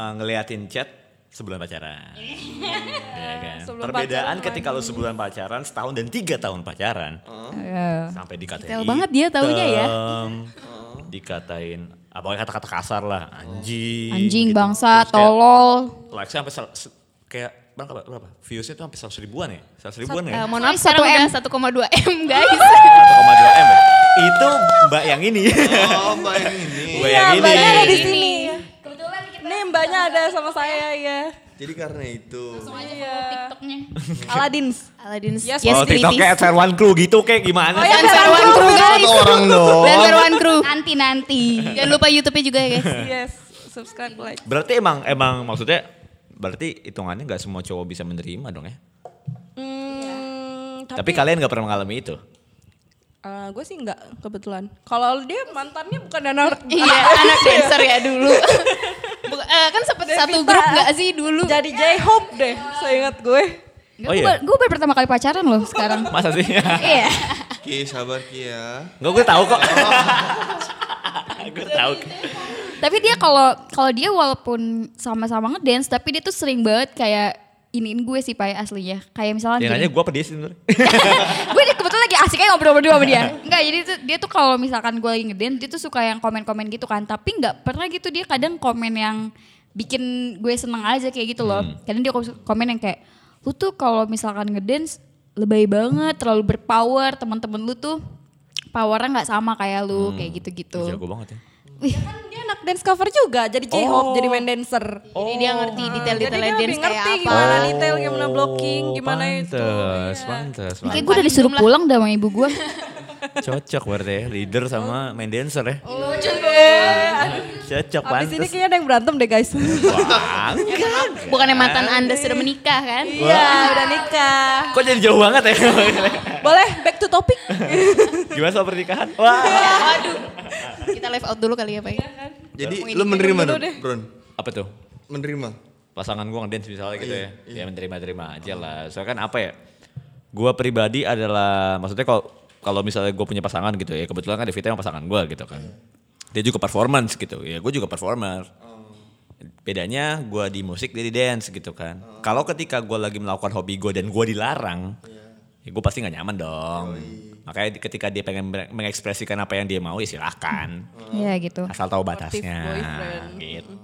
[SPEAKER 3] eh, ngeliatin chat sebelum pacaran. Iya kan?
[SPEAKER 7] Sebelum
[SPEAKER 3] Perbedaan
[SPEAKER 7] pacaran
[SPEAKER 3] ketika lu sebulan pacaran, setahun dan tiga tahun pacaran.
[SPEAKER 6] Oh.
[SPEAKER 3] Sampai dikatain
[SPEAKER 5] Detail banget dia taunya ya.
[SPEAKER 3] hitam,
[SPEAKER 6] Oh.
[SPEAKER 3] Dikatain, apa kata-kata kasar lah, anjing.
[SPEAKER 5] Anjing
[SPEAKER 3] gitu.
[SPEAKER 5] bangsa,
[SPEAKER 3] Terus kayak
[SPEAKER 5] tolol.
[SPEAKER 3] Likes-nya sampai sel- se- kayak berapa, berapa? Views-nya tuh sampai 100 ribuan ya? 100 ribuan ya?
[SPEAKER 8] Eh, mohon maaf
[SPEAKER 5] Sorry,
[SPEAKER 8] sekarang
[SPEAKER 5] 1M.
[SPEAKER 8] udah 1,2 M, guys.
[SPEAKER 3] 1,2 M ya? Itu mbak yang ini.
[SPEAKER 6] Oh, mbak yang ini.
[SPEAKER 3] mbak yang
[SPEAKER 7] Iya,
[SPEAKER 3] ini.
[SPEAKER 7] Mbaknya ada di sini. Nih mbaknya ada sama saya ya.
[SPEAKER 6] Jadi karena itu.
[SPEAKER 8] Iya.
[SPEAKER 5] TikToknya.
[SPEAKER 7] Aladins.
[SPEAKER 8] Aladdin
[SPEAKER 7] Yes,
[SPEAKER 3] Kalau TikToknya at Fairwan Crew gitu kayak gimana
[SPEAKER 7] Oh
[SPEAKER 3] sih?
[SPEAKER 7] ya,
[SPEAKER 8] Lancer One Crew, guys.
[SPEAKER 6] Satu orang dong.
[SPEAKER 8] Lancer One Crew.
[SPEAKER 5] Nanti nanti.
[SPEAKER 8] Jangan lupa YouTube-nya juga ya, guys.
[SPEAKER 7] Yes, subscribe like.
[SPEAKER 3] Berarti emang emang maksudnya berarti hitungannya nggak semua cowok bisa menerima dong ya.
[SPEAKER 7] Hmm,
[SPEAKER 3] Tapi, kalian nggak pernah mengalami itu.
[SPEAKER 7] gue sih nggak kebetulan. Kalau dia mantannya bukan anak
[SPEAKER 8] Iya, anak dancer ya dulu. Buka- eh, kan sempet satu
[SPEAKER 7] Devita.
[SPEAKER 8] grup gak sih dulu?
[SPEAKER 7] jadi J-Hope deh, seingat gue.
[SPEAKER 3] Oh iya?
[SPEAKER 5] Gue baru pertama kali pacaran loh sekarang.
[SPEAKER 3] Masa sih?
[SPEAKER 5] Iya.
[SPEAKER 6] Ki, sabar Ki ya.
[SPEAKER 3] Enggak gue tahu kok. gue tahu.
[SPEAKER 5] Tapi dia kalau kalau dia walaupun sama-sama ngedance tapi dia tuh sering banget kayak iniin gue sih Pak ya, aslinya. Kayak misalnya
[SPEAKER 3] Yang
[SPEAKER 5] gini.
[SPEAKER 3] nanya gue apa dia sih sebenarnya?
[SPEAKER 5] gue ini kebetulan lagi asik aja ngobrol berdua sama dia. Enggak, jadi tuh, dia tuh kalau misalkan gue lagi ngedance, dia tuh suka yang komen-komen gitu kan. Tapi nggak pernah gitu dia kadang komen yang bikin gue seneng aja kayak gitu loh. Kadang dia komen yang kayak, lu tuh kalau misalkan ngedance lebay banget, terlalu berpower, teman-teman lu tuh powernya nggak sama kayak lu kayak gitu-gitu.
[SPEAKER 3] Jago banget ya.
[SPEAKER 5] Wih,
[SPEAKER 7] Kan dia anak dance cover juga, jadi J-Hope,
[SPEAKER 3] Oh.
[SPEAKER 7] jadi main dancer.
[SPEAKER 8] Jadi dia ngerti detail-detail
[SPEAKER 7] Oh. Jadi dia lebih
[SPEAKER 8] dance kayak
[SPEAKER 7] ngerti
[SPEAKER 8] apa.
[SPEAKER 7] gimana detail, gimana blocking, gimana itu.
[SPEAKER 3] Oh,
[SPEAKER 7] Iya.
[SPEAKER 3] Pantes, pantes,
[SPEAKER 5] ini kayak
[SPEAKER 3] pantes.
[SPEAKER 5] gue udah disuruh pulang dah sama ibu gue.
[SPEAKER 3] Cocok berarti ya, leader sama main dancer ya. Cocok
[SPEAKER 7] Oh, Abis ini Ya,
[SPEAKER 3] pantes.
[SPEAKER 7] kayaknya ada yang berantem deh guys.
[SPEAKER 3] Wah, kan? enggak.
[SPEAKER 8] Bukannya mantan anda sudah menikah kan?
[SPEAKER 7] Iya, udah nikah.
[SPEAKER 3] Kok jadi jauh banget ya?
[SPEAKER 7] Boleh back to topic?
[SPEAKER 3] Hmm, Gimana soal pernikahan? Wah.
[SPEAKER 8] Waduh. Kita live out dulu kali ya Pak.
[SPEAKER 6] Jadi lu menerima dong, Bron?
[SPEAKER 3] Apa tuh?
[SPEAKER 6] Menerima.
[SPEAKER 3] pasangan gue ngedance misalnya gitu ya. Ya menerima-terima aja lah. Soalnya kan apa ya? Gue pribadi adalah maksudnya kalau kalau misalnya gue punya pasangan gitu ya, kebetulan kan Devita emang pasangan gue gitu kan. Dia juga performance gitu. Ya gue juga performer. Bedanya gue di musik dia di dance gitu kan. Kalau ketika gue lagi melakukan hobi gue dan gue dilarang, ya gue pasti nggak nyaman dong. Makanya di- ketika dia pengen mere- mengekspresikan apa yang dia mau ya silakan.
[SPEAKER 5] Iya gitu.
[SPEAKER 3] Asal tahu batasnya gitu.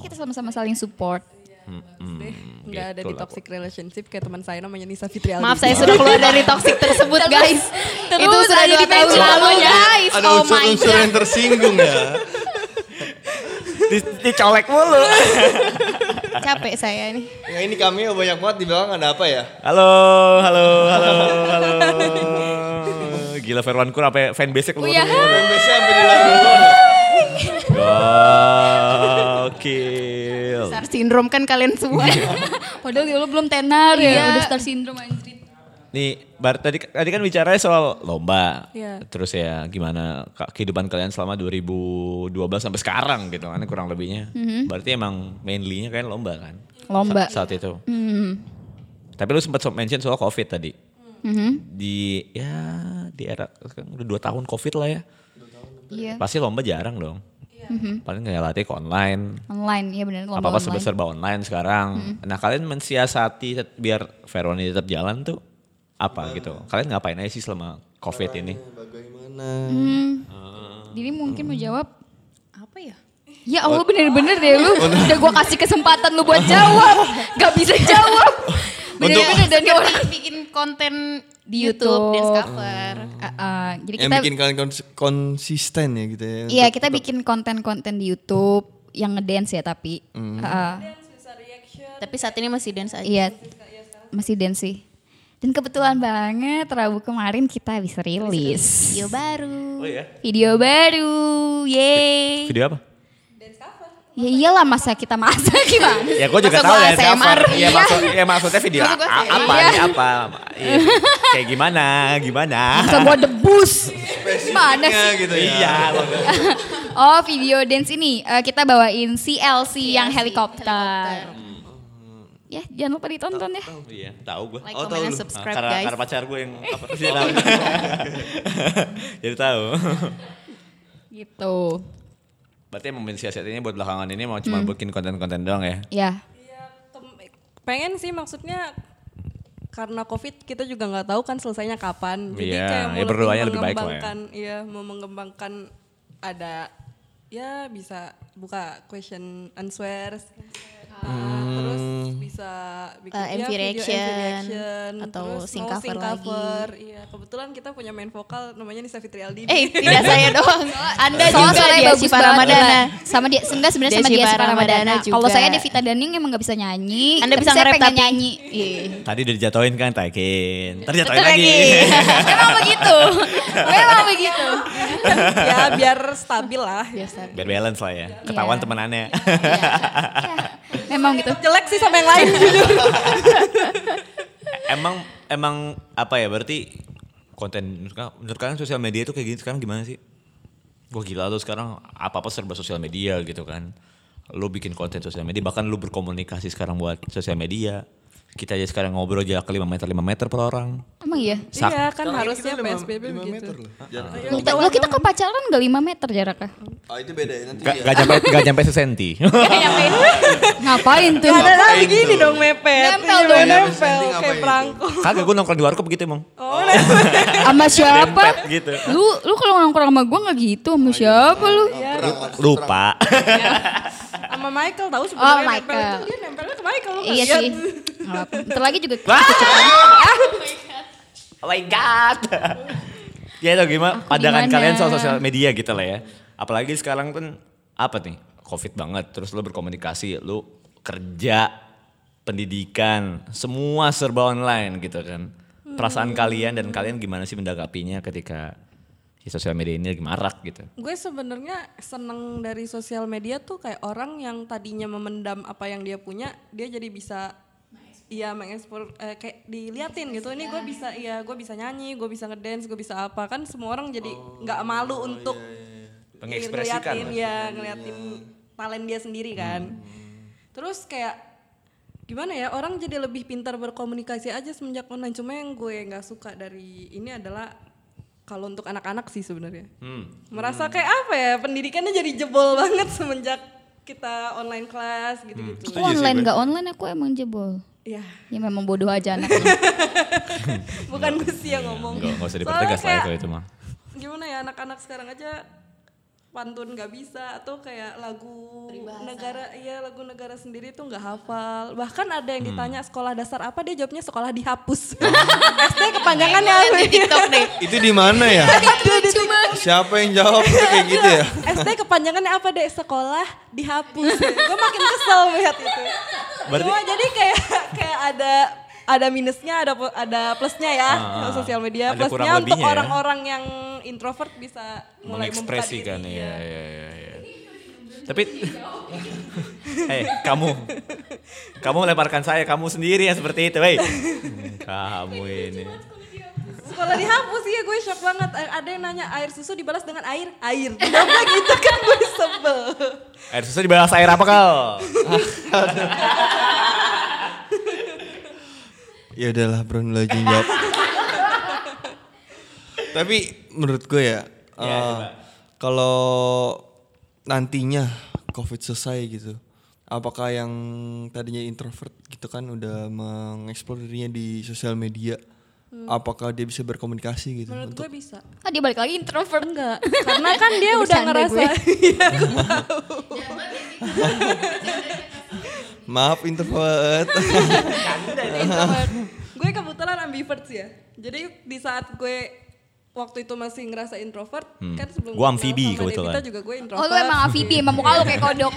[SPEAKER 5] Kita sama-sama saling support.
[SPEAKER 7] Enggak ada di
[SPEAKER 3] Gitu lah,
[SPEAKER 7] toxic relationship kayak teman saya namanya Nisa Iya. Fitri Aldi.
[SPEAKER 8] Maaf saya sudah keluar dari toxic tersebut guys. Itu
[SPEAKER 5] terus
[SPEAKER 8] sudah
[SPEAKER 5] aja
[SPEAKER 8] dua tahun
[SPEAKER 5] di-mention
[SPEAKER 8] lalu
[SPEAKER 5] namanya.
[SPEAKER 8] guys.
[SPEAKER 6] Ada
[SPEAKER 8] Oh my
[SPEAKER 6] unsur-unsur
[SPEAKER 8] god.
[SPEAKER 6] yang tersinggung ya.
[SPEAKER 3] Di- dicolek mulu.
[SPEAKER 8] Capek saya nih.
[SPEAKER 6] Yang ini kami banyak banget di belakang ada apa ya?
[SPEAKER 3] Halo, halo, halo, halo. Gila Verwan Kur apa fanbase keluar.
[SPEAKER 5] Iya.
[SPEAKER 6] Pembesnya sampai di belakang.
[SPEAKER 3] Gokil.
[SPEAKER 8] Star syndrome kan kalian semua.
[SPEAKER 6] Iya.
[SPEAKER 5] Padahal dia lu belum tenar
[SPEAKER 8] Iya.
[SPEAKER 5] ya. Udah star syndrome anjir.
[SPEAKER 3] Nih, bar, tadi tadi kan bicaranya soal lomba.
[SPEAKER 7] Iya.
[SPEAKER 3] Terus ya gimana ka- kehidupan kalian selama 2012 sampai sekarang gitu kan kurang lebihnya. Berarti emang mainly-nya kan lomba kan?
[SPEAKER 5] Lomba.
[SPEAKER 3] Sa- saat itu.
[SPEAKER 5] Hmm.
[SPEAKER 3] Tapi lu sempat so- mention soal Covid tadi.
[SPEAKER 5] Mhm.
[SPEAKER 3] Di ya di era kan udah 2 tahun Covid lah ya.
[SPEAKER 5] Iya.
[SPEAKER 3] Pasti lomba jarang dong.
[SPEAKER 8] Iya. Mm-hmm.
[SPEAKER 3] Paling kayak latih ke online.
[SPEAKER 5] Online, iya benar lomba
[SPEAKER 3] apa-apa
[SPEAKER 5] online.
[SPEAKER 3] sebesar bawa online sekarang.
[SPEAKER 8] Mm-hmm.
[SPEAKER 3] Nah kalian mensiasati tet- biar Veroni tetap jalan tuh apa gitu? Kalian ngapain aja sih selama COVID ini?
[SPEAKER 6] Bagaimana?
[SPEAKER 5] Dini mungkin mau jawab.
[SPEAKER 8] Apa ya?
[SPEAKER 5] Ya Allah bener-bener deh lu. Udah gua kasih kesempatan lu buat jawab. Gak bisa jawab.
[SPEAKER 3] Untuk-
[SPEAKER 5] Beda-beda dari
[SPEAKER 8] Sekedar
[SPEAKER 5] orang.
[SPEAKER 8] bikin konten di
[SPEAKER 5] YouTube.
[SPEAKER 8] YouTube, dan cover.
[SPEAKER 5] Ah, ah, jadi
[SPEAKER 6] Yang
[SPEAKER 5] kita
[SPEAKER 6] bikin kalian kons- konsisten ya gitu ya.
[SPEAKER 5] Iya
[SPEAKER 6] untuk
[SPEAKER 5] kita
[SPEAKER 6] tetap-
[SPEAKER 5] bikin konten-konten di YouTube yang ngedance ya tapi
[SPEAKER 6] Hmm.
[SPEAKER 5] Heeh.
[SPEAKER 8] Tapi saat ini masih dance aja.
[SPEAKER 5] iya masih dance sih. Dan kebetulan banget Rabu kemarin kita bisa rilis
[SPEAKER 8] Video baru.
[SPEAKER 3] Oh iya.
[SPEAKER 5] video baru, yeay.
[SPEAKER 3] Video apa?
[SPEAKER 5] Ya iyalah masa kita masa gimana?
[SPEAKER 3] Ya gue juga
[SPEAKER 5] Masa
[SPEAKER 3] tahu
[SPEAKER 5] gua
[SPEAKER 3] ya
[SPEAKER 5] ASMR?
[SPEAKER 3] cover. Ya,
[SPEAKER 5] Iya.
[SPEAKER 3] maksud, ya maksudnya video
[SPEAKER 8] Maksud
[SPEAKER 3] a-
[SPEAKER 8] gua kayak-
[SPEAKER 3] apa
[SPEAKER 5] iya.
[SPEAKER 3] ini apa? Iya. Kayak gimana? Gimana?
[SPEAKER 5] Masa gua debus. Gimana
[SPEAKER 6] Ya,
[SPEAKER 5] sih?
[SPEAKER 6] gitu ya.
[SPEAKER 3] Iya.
[SPEAKER 5] Oh video dance ini eh, kita bawain CLC yang helikopter. Ya jangan lupa ditonton ya.
[SPEAKER 3] Iya, tahu gue.
[SPEAKER 8] Like,
[SPEAKER 6] Oh, tahu lu.
[SPEAKER 8] comment, and subscribe
[SPEAKER 3] karena,
[SPEAKER 8] guys.
[SPEAKER 3] karena pacar gue yang apa sih tahu. Jadi tahu.
[SPEAKER 5] Gitu.
[SPEAKER 3] Berarti emang mensiasatinya buat belakangan ini mau cuma bikin konten-konten doang ya?
[SPEAKER 5] Ya.
[SPEAKER 7] Iya, pengen sih maksudnya karena covid kita juga nggak tahu kan selesainya kapan jadi
[SPEAKER 3] Iya,
[SPEAKER 7] kayak mau
[SPEAKER 3] ya
[SPEAKER 7] lebih
[SPEAKER 3] berdoanya lebih baik lah ya.
[SPEAKER 7] mengembangkan iya mau mengembangkan ada ya bisa buka question answers Ah,
[SPEAKER 3] Hmm.
[SPEAKER 7] terus bisa bikin
[SPEAKER 8] Eh,
[SPEAKER 7] ya,
[SPEAKER 8] MV
[SPEAKER 7] video
[SPEAKER 8] reaction,
[SPEAKER 7] MV reaction,
[SPEAKER 8] atau
[SPEAKER 7] terus
[SPEAKER 8] sing
[SPEAKER 7] mau
[SPEAKER 8] cover
[SPEAKER 7] sing
[SPEAKER 8] lagi.
[SPEAKER 7] cover. iya kebetulan kita punya main vokal namanya Nisa Fitri Aldi
[SPEAKER 8] Eh, tidak saya doang. Anda
[SPEAKER 5] Soalnya
[SPEAKER 8] juga ya,
[SPEAKER 5] suaranya
[SPEAKER 8] dia
[SPEAKER 5] bagus
[SPEAKER 8] Cipa
[SPEAKER 5] banget.
[SPEAKER 8] Ramadana.
[SPEAKER 5] Sama dia sebenarnya sebenarnya sama
[SPEAKER 8] Desi
[SPEAKER 5] dia Sipa Ramadana.
[SPEAKER 8] Paramadana
[SPEAKER 5] Kalau
[SPEAKER 8] juga.
[SPEAKER 5] saya Devita Daning emang nggak bisa nyanyi.
[SPEAKER 8] Anda
[SPEAKER 5] tapi
[SPEAKER 8] bisa
[SPEAKER 5] saya
[SPEAKER 8] nge-rap
[SPEAKER 5] pengen
[SPEAKER 8] tapi- Iya.
[SPEAKER 5] nyanyi.
[SPEAKER 3] Tadi udah dijatoin kan, Taikin. Ntar jatoin
[SPEAKER 8] Ntar
[SPEAKER 3] lagi.
[SPEAKER 5] Memang
[SPEAKER 8] gitu?
[SPEAKER 5] begitu. Memang begitu.
[SPEAKER 7] ya biar stabil lah
[SPEAKER 3] Biar balance lah ya. Ketahuan
[SPEAKER 5] Iya.
[SPEAKER 3] temenannya.
[SPEAKER 5] Iya. Iya. Memang gitu.
[SPEAKER 7] jelek sih sama yang lain
[SPEAKER 3] emang emang apa ya berarti konten menurut ka- menurut kalian sosial media itu kayak gini sekarang gimana sih? Wah gila lo sekarang apa-apa serba sosial media gitu kan. Lo bikin konten sosial media bahkan lo berkomunikasi sekarang buat sosial media. Kita aja sekarang ngobrol jarak 5 meter 5 meter per orang.
[SPEAKER 5] Emang iya.
[SPEAKER 3] Sak-
[SPEAKER 7] iya kan harusnya
[SPEAKER 6] Kita lima-
[SPEAKER 7] PSBB
[SPEAKER 6] lima
[SPEAKER 7] begitu
[SPEAKER 6] meter loh. Jarak.
[SPEAKER 5] Lo kita, lo kita kok pacaran gak 5 meter jaraknya?
[SPEAKER 6] Oh, itu beda ya nanti.
[SPEAKER 3] Gak,
[SPEAKER 6] ya.
[SPEAKER 3] gak sampai gak sampai sesenti.
[SPEAKER 5] Ngapain tuh?
[SPEAKER 7] Gak Ya, ada lah
[SPEAKER 6] Ngapain
[SPEAKER 7] begini
[SPEAKER 6] tuh?
[SPEAKER 7] dong mepet.
[SPEAKER 5] gitu. Nempel
[SPEAKER 7] Iya,
[SPEAKER 5] dong.
[SPEAKER 7] Nempel
[SPEAKER 6] Ngapain
[SPEAKER 7] kayak
[SPEAKER 6] itu?
[SPEAKER 7] perangko.
[SPEAKER 3] Kagak gue nongkrong di warkop gitu emang.
[SPEAKER 7] Oh, nempel.
[SPEAKER 5] Sama siapa?
[SPEAKER 3] Dempet gitu.
[SPEAKER 5] Lu lu kalau nongkrong sama gue gak gitu sama siapa lu?
[SPEAKER 8] Iya.
[SPEAKER 3] Lupa.
[SPEAKER 7] Sama Michael tahu sebenarnya
[SPEAKER 5] Oh,
[SPEAKER 7] nempel
[SPEAKER 5] Michael.
[SPEAKER 7] itu dia nempelnya ke Michael. Ya. lu
[SPEAKER 5] Iya
[SPEAKER 7] nggak
[SPEAKER 5] sih.
[SPEAKER 7] lihat?
[SPEAKER 5] Nggak apa-apa. Bentar lagi juga kita cucukan.
[SPEAKER 3] Oh my god. ya itu gimana pandangan
[SPEAKER 5] gimana?
[SPEAKER 3] kalian soal sosial media gitu lah ya. Apalagi sekarang kan apa nih? Covid banget. Terus lo berkomunikasi, lo kerja, pendidikan, semua serba online gitu kan. Perasaan kalian dan kalian gimana sih mendakapinya ketika si sosial media ini lagi marak gitu.
[SPEAKER 7] Gue sebenarnya seneng dari sosial media tuh kayak orang yang tadinya memendam apa yang dia punya, dia jadi bisa Iya mengekspor eh, kayak diliatin gitu. Ini gue bisa, iya gue bisa nyanyi, gue bisa ngedance, gue bisa apa kan semua orang jadi nggak malu untuk ngeliatin,
[SPEAKER 3] Mengekspresikan
[SPEAKER 7] ya ngeliatin talent dia sendiri kan. Terus kayak gimana ya orang jadi lebih pintar berkomunikasi aja semenjak online. Cuma yang gue nggak suka dari ini adalah kalau untuk anak-anak sih sebenarnya
[SPEAKER 3] Hmm.
[SPEAKER 7] merasa kayak apa ya pendidikannya jadi jebol banget semenjak kita online class gitu-gitu.
[SPEAKER 5] Aku
[SPEAKER 3] Hmm.
[SPEAKER 5] online gak online aku emang jebol.
[SPEAKER 7] Ya
[SPEAKER 5] Ya memang bodoh aja anaknya.
[SPEAKER 7] bukan gue sih yang ngomong.
[SPEAKER 3] Iya, Enggak, enggak usah
[SPEAKER 7] Soalnya
[SPEAKER 3] dipertegas lah
[SPEAKER 7] kayak-
[SPEAKER 3] kalau itu ya. mah.
[SPEAKER 7] gimana ya anak-anak sekarang aja pantun nggak bisa atau kayak lagu negara iya lagu negara sendiri tuh nggak hafal bahkan ada yang
[SPEAKER 3] Hmm.
[SPEAKER 7] ditanya sekolah dasar apa dia jawabnya sekolah dihapus
[SPEAKER 3] Oh.
[SPEAKER 7] SD kepanjangannya apa
[SPEAKER 8] Di TikTok deh.
[SPEAKER 6] Itu di mana ya? Siapa yang jawab kayak gitu ya?
[SPEAKER 7] SD kepanjangannya apa deh sekolah dihapus gue makin kesel melihat itu
[SPEAKER 3] Berarti-
[SPEAKER 7] cuma jadi kayak kayak ada ada minusnya ada po- ada plusnya ya
[SPEAKER 3] Ah,
[SPEAKER 7] sosial media
[SPEAKER 3] ada
[SPEAKER 7] plusnya
[SPEAKER 3] kurang
[SPEAKER 7] untuk
[SPEAKER 3] lebihnya ya.
[SPEAKER 7] orang-orang yang introvert bisa mulai membuka
[SPEAKER 3] mengekspresikan
[SPEAKER 7] diri. iya.
[SPEAKER 3] ya, ya, ya, ya. Tapi, eh kamu, kamu melemparkan saya, kamu sendiri yang seperti itu, hei. Kamu ini.
[SPEAKER 7] Sekolah dihapus iya gue shock banget. A- Ada yang nanya air susu dibalas dengan air, air. Kenapa gitu kan gue sebel.
[SPEAKER 3] Air susu dibalas air apa kal?
[SPEAKER 6] Ya udahlah bro lu aja yang jawab. Tapi menurut gue ya, eh, kalau nantinya COVID selesai gitu, apakah yang tadinya introvert gitu kan udah mengeksplor dirinya di sosial media, apakah dia bisa berkomunikasi gitu?
[SPEAKER 7] Menurut gue bisa.
[SPEAKER 5] Ah dia balik lagi introvert.
[SPEAKER 7] Enggak, karena kan dia udah
[SPEAKER 5] Bercanda
[SPEAKER 7] ngerasa
[SPEAKER 5] gue.
[SPEAKER 7] Iya, gue tahu.
[SPEAKER 6] Maaf introvert.
[SPEAKER 7] gue kebetulan ambivert sih ya. Jadi di saat gue waktu itu masih ngerasa introvert,
[SPEAKER 3] Hmm.
[SPEAKER 7] kan sebelum
[SPEAKER 3] Gua
[SPEAKER 7] gue kenal
[SPEAKER 3] amfibi
[SPEAKER 7] sama
[SPEAKER 3] kebetulan.
[SPEAKER 7] Devita juga gue introvert.
[SPEAKER 5] Oh lu emang amfibi, emang muka lu kayak kodok.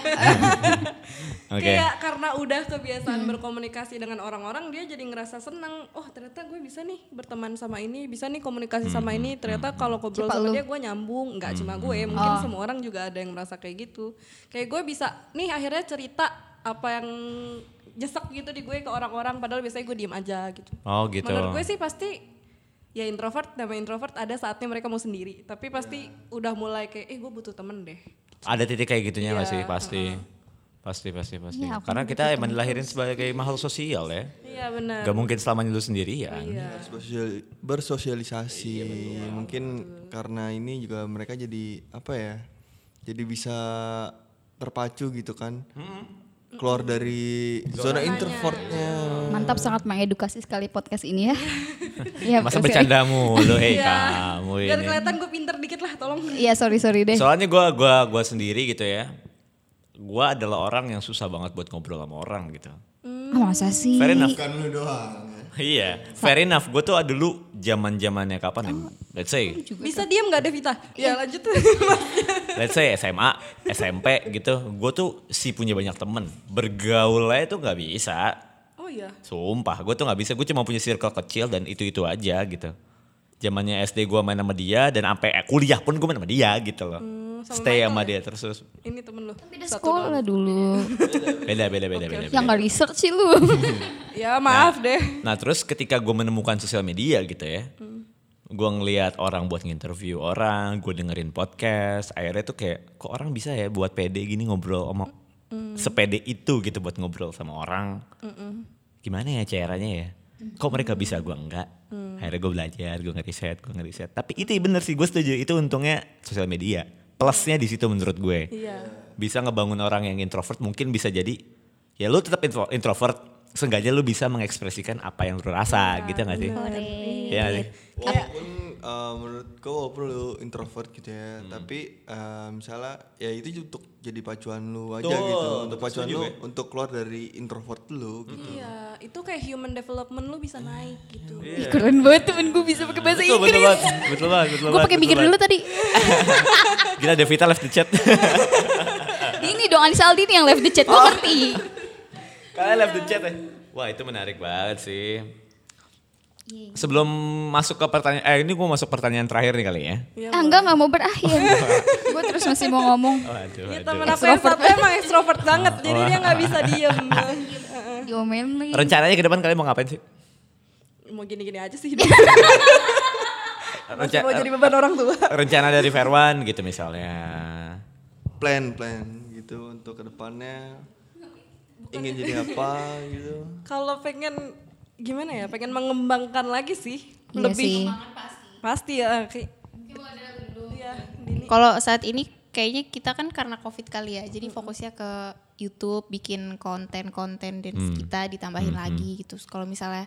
[SPEAKER 3] Oke.
[SPEAKER 7] Kayak karena udah kebiasaan berkomunikasi dengan orang-orang, dia jadi ngerasa senang. Oh ternyata gue bisa nih berteman sama ini, bisa nih komunikasi
[SPEAKER 3] Hmm,
[SPEAKER 7] sama ini. Ternyata kalau ngobrol
[SPEAKER 5] Cepat
[SPEAKER 7] sama
[SPEAKER 5] lu.
[SPEAKER 7] dia gue nyambung. Nggak cuma
[SPEAKER 3] hmm,
[SPEAKER 7] gue, mungkin semua orang juga ada yang merasa kayak gitu. Kayak gue bisa, nih akhirnya cerita apa yang jesek gitu di gue ke orang-orang. Padahal biasanya gue diem aja gitu.
[SPEAKER 3] Oh, gitu.
[SPEAKER 7] Menurut gue sih pasti ya introvert, nama introvert ada saatnya mereka mau sendiri. Tapi pasti
[SPEAKER 3] Ya.
[SPEAKER 7] udah mulai kayak, eh gue butuh temen deh.
[SPEAKER 3] Ada titik kayak gitunya nggak
[SPEAKER 7] Iya,
[SPEAKER 3] sih? Pasti. Pasti, pasti, pasti.
[SPEAKER 5] Iya, aku
[SPEAKER 3] Karena
[SPEAKER 5] juga
[SPEAKER 3] kita emang dilahirin sebagai makhluk sosial ya.
[SPEAKER 7] gitu, Iya benar.
[SPEAKER 3] Gak mungkin selamanya lu sendirian.
[SPEAKER 7] Iya.
[SPEAKER 6] Bersosial- bersosialisasi
[SPEAKER 3] Iya,
[SPEAKER 6] mungkin karena ini juga mereka jadi apa ya jadi bisa terpacu gitu kan keluar dari zona introvertnya
[SPEAKER 5] Mantap sangat mengedukasi sekali podcast ini ya. Iya,
[SPEAKER 3] Masa
[SPEAKER 5] betul sekali.
[SPEAKER 3] bercanda mulu, eh
[SPEAKER 7] Iya.
[SPEAKER 3] kamu
[SPEAKER 7] Biar
[SPEAKER 3] ini.
[SPEAKER 7] kelihatan gue pinter dikit lah, tolong.
[SPEAKER 5] Iya sorry sorry deh.
[SPEAKER 3] Soalnya gua gua gua sendiri gitu ya. Gua adalah orang yang susah banget buat ngobrol sama orang gitu.
[SPEAKER 5] Ah, masa sih?
[SPEAKER 3] Fair enough.
[SPEAKER 6] bukan lu doang ya.
[SPEAKER 3] Iya, fair enough. Gue tuh dulu zaman zamannya kapan ya? Let's say,
[SPEAKER 7] Bisa diam gak Devita? Ya lanjut.
[SPEAKER 3] let's say SMA, SMP gitu. Gue tuh si punya banyak temen. Bergaulnya tuh nggak bisa.
[SPEAKER 7] oh iya.
[SPEAKER 3] Sumpah, gue tuh nggak bisa. Gue cuma punya circle kecil dan itu itu aja gitu. Zamannya SD gue main sama dia dan sampai kuliah pun gue main sama dia gitu loh.
[SPEAKER 7] sama
[SPEAKER 3] Stay
[SPEAKER 7] Michael
[SPEAKER 3] sama
[SPEAKER 7] ya?
[SPEAKER 3] dia terus terus
[SPEAKER 7] Ini temen lu.
[SPEAKER 5] Beda
[SPEAKER 7] Satu
[SPEAKER 5] sekolah
[SPEAKER 7] doang.
[SPEAKER 5] dulu.
[SPEAKER 3] beda beda beda beda.
[SPEAKER 5] Yang
[SPEAKER 3] beda.
[SPEAKER 5] gak research sih lu.
[SPEAKER 7] Ya maaf deh.
[SPEAKER 3] Nah terus ketika gue menemukan sosial media gitu ya, gue ngelihat orang buat nginterview orang, gue dengerin podcast, akhirnya tuh kayak kok orang bisa ya buat pede gini ngobrol sama sepede itu gitu buat ngobrol sama orang. Gimana ya caranya ya? Kok mereka bisa gue enggak? Akhirnya gue belajar, gue ngeriset, gue ngeriset. Tapi itu bener sih gue setuju itu untungnya sosial media. Plusnya di situ menurut gue
[SPEAKER 7] Iya.
[SPEAKER 3] bisa ngebangun orang yang introvert mungkin bisa jadi ya lu tetap intro- introvert seenggaknya lu bisa mengekspresikan apa yang lu rasa gitu gak sih? Iya nggak sih?
[SPEAKER 6] walaupun eh, menurut gue walaupun lu introvert gitu ya
[SPEAKER 3] Mm.
[SPEAKER 6] tapi eh, misalnya ya itu ju- untuk jadi pacuan lu aja
[SPEAKER 3] Betul,
[SPEAKER 6] gitu untuk pacuan
[SPEAKER 3] setuju ya.
[SPEAKER 6] lu
[SPEAKER 3] gue.
[SPEAKER 6] untuk keluar dari introvert lu gitu
[SPEAKER 7] Iya, itu kayak human development lu bisa naik gitu.
[SPEAKER 3] Iya.
[SPEAKER 5] Ih, Keren banget temen gue bisa pakai bahasa
[SPEAKER 3] Betul, betul
[SPEAKER 5] Inggris.
[SPEAKER 3] banget, betul banget, betul
[SPEAKER 5] Gue
[SPEAKER 3] banget,
[SPEAKER 5] pakai
[SPEAKER 3] betul
[SPEAKER 5] mikir dulu
[SPEAKER 3] banget.
[SPEAKER 5] tadi.
[SPEAKER 3] Gila Devita left the chat.
[SPEAKER 5] Ini dong Anissa Aldi nih yang live the chat. Gue ngerti.
[SPEAKER 3] Kalian left the chat ya? Wah itu menarik banget sih.
[SPEAKER 7] Iya,
[SPEAKER 3] Sebelum masuk ke pertanyaan, eh ini gue masuk pertanyaan terakhir nih kali ya.
[SPEAKER 5] Ah enggak gak mau berakhir. gue terus masih mau ngomong.
[SPEAKER 3] Waduh,
[SPEAKER 7] Iya
[SPEAKER 3] waduh. Oh.
[SPEAKER 7] temen aku yang satu emang extrovert banget, jadi dia nggak bisa diem.
[SPEAKER 5] Diomelin.
[SPEAKER 3] Rencananya ke depan kalian mau ngapain sih?
[SPEAKER 7] Mau gini-gini aja sih hidup.
[SPEAKER 3] Renca-
[SPEAKER 7] Mau jadi beban orang tua.
[SPEAKER 3] rencana dari Verwan gitu misalnya.
[SPEAKER 6] plan plan gitu untuk kedepannya ingin jadi apa gitu
[SPEAKER 7] Kalau pengen gimana ya? Pengen mengembangkan lagi sih.
[SPEAKER 5] Iya sih.
[SPEAKER 7] lebih pasti ya kayak Iya, Dini.
[SPEAKER 8] Kalau saat ini kayaknya kita kan karena covid kali ya, jadi fokusnya ke YouTube, bikin konten-konten dance
[SPEAKER 6] Mm.
[SPEAKER 8] kita ditambahin lagi gitu. Terus Kalau misalnya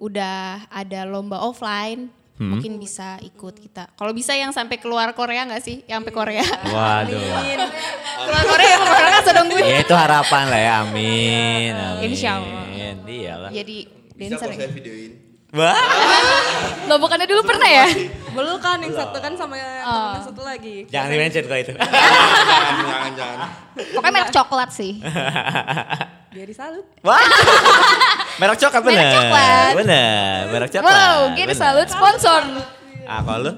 [SPEAKER 8] udah ada lomba offline, mungkin bisa ikut kita. Kalau bisa yang sampai keluar Korea nggak sih? Yang
[SPEAKER 6] Iya.
[SPEAKER 8] sampai Korea.
[SPEAKER 7] Iya,
[SPEAKER 3] Waduh.
[SPEAKER 8] keluar
[SPEAKER 7] Eh,
[SPEAKER 8] Korea yang orang kan sedang gue.
[SPEAKER 3] Ya itu harapan lah ya, amin. amin.
[SPEAKER 8] Insya Allah.
[SPEAKER 3] Iyalah.
[SPEAKER 5] Iya.
[SPEAKER 8] Jadi
[SPEAKER 6] bisa
[SPEAKER 8] dancer.
[SPEAKER 6] kok
[SPEAKER 8] ya.
[SPEAKER 6] saya videoin
[SPEAKER 3] Wah.
[SPEAKER 5] Lo bukannya dulu pernah ya?
[SPEAKER 7] Belum kan yang satu kan sama yang satu lagi.
[SPEAKER 3] Jangan di-mention kalau itu.
[SPEAKER 6] jangan jangan jangan
[SPEAKER 5] Pokoknya merek coklat sih.
[SPEAKER 7] Biar disalut.
[SPEAKER 3] Wah. Merek coklat bener.
[SPEAKER 5] Merek coklat.
[SPEAKER 3] Bener, merek coklat.
[SPEAKER 5] Wow, gini
[SPEAKER 3] bener.
[SPEAKER 5] salut sponsor.
[SPEAKER 3] Ah, kalau lu?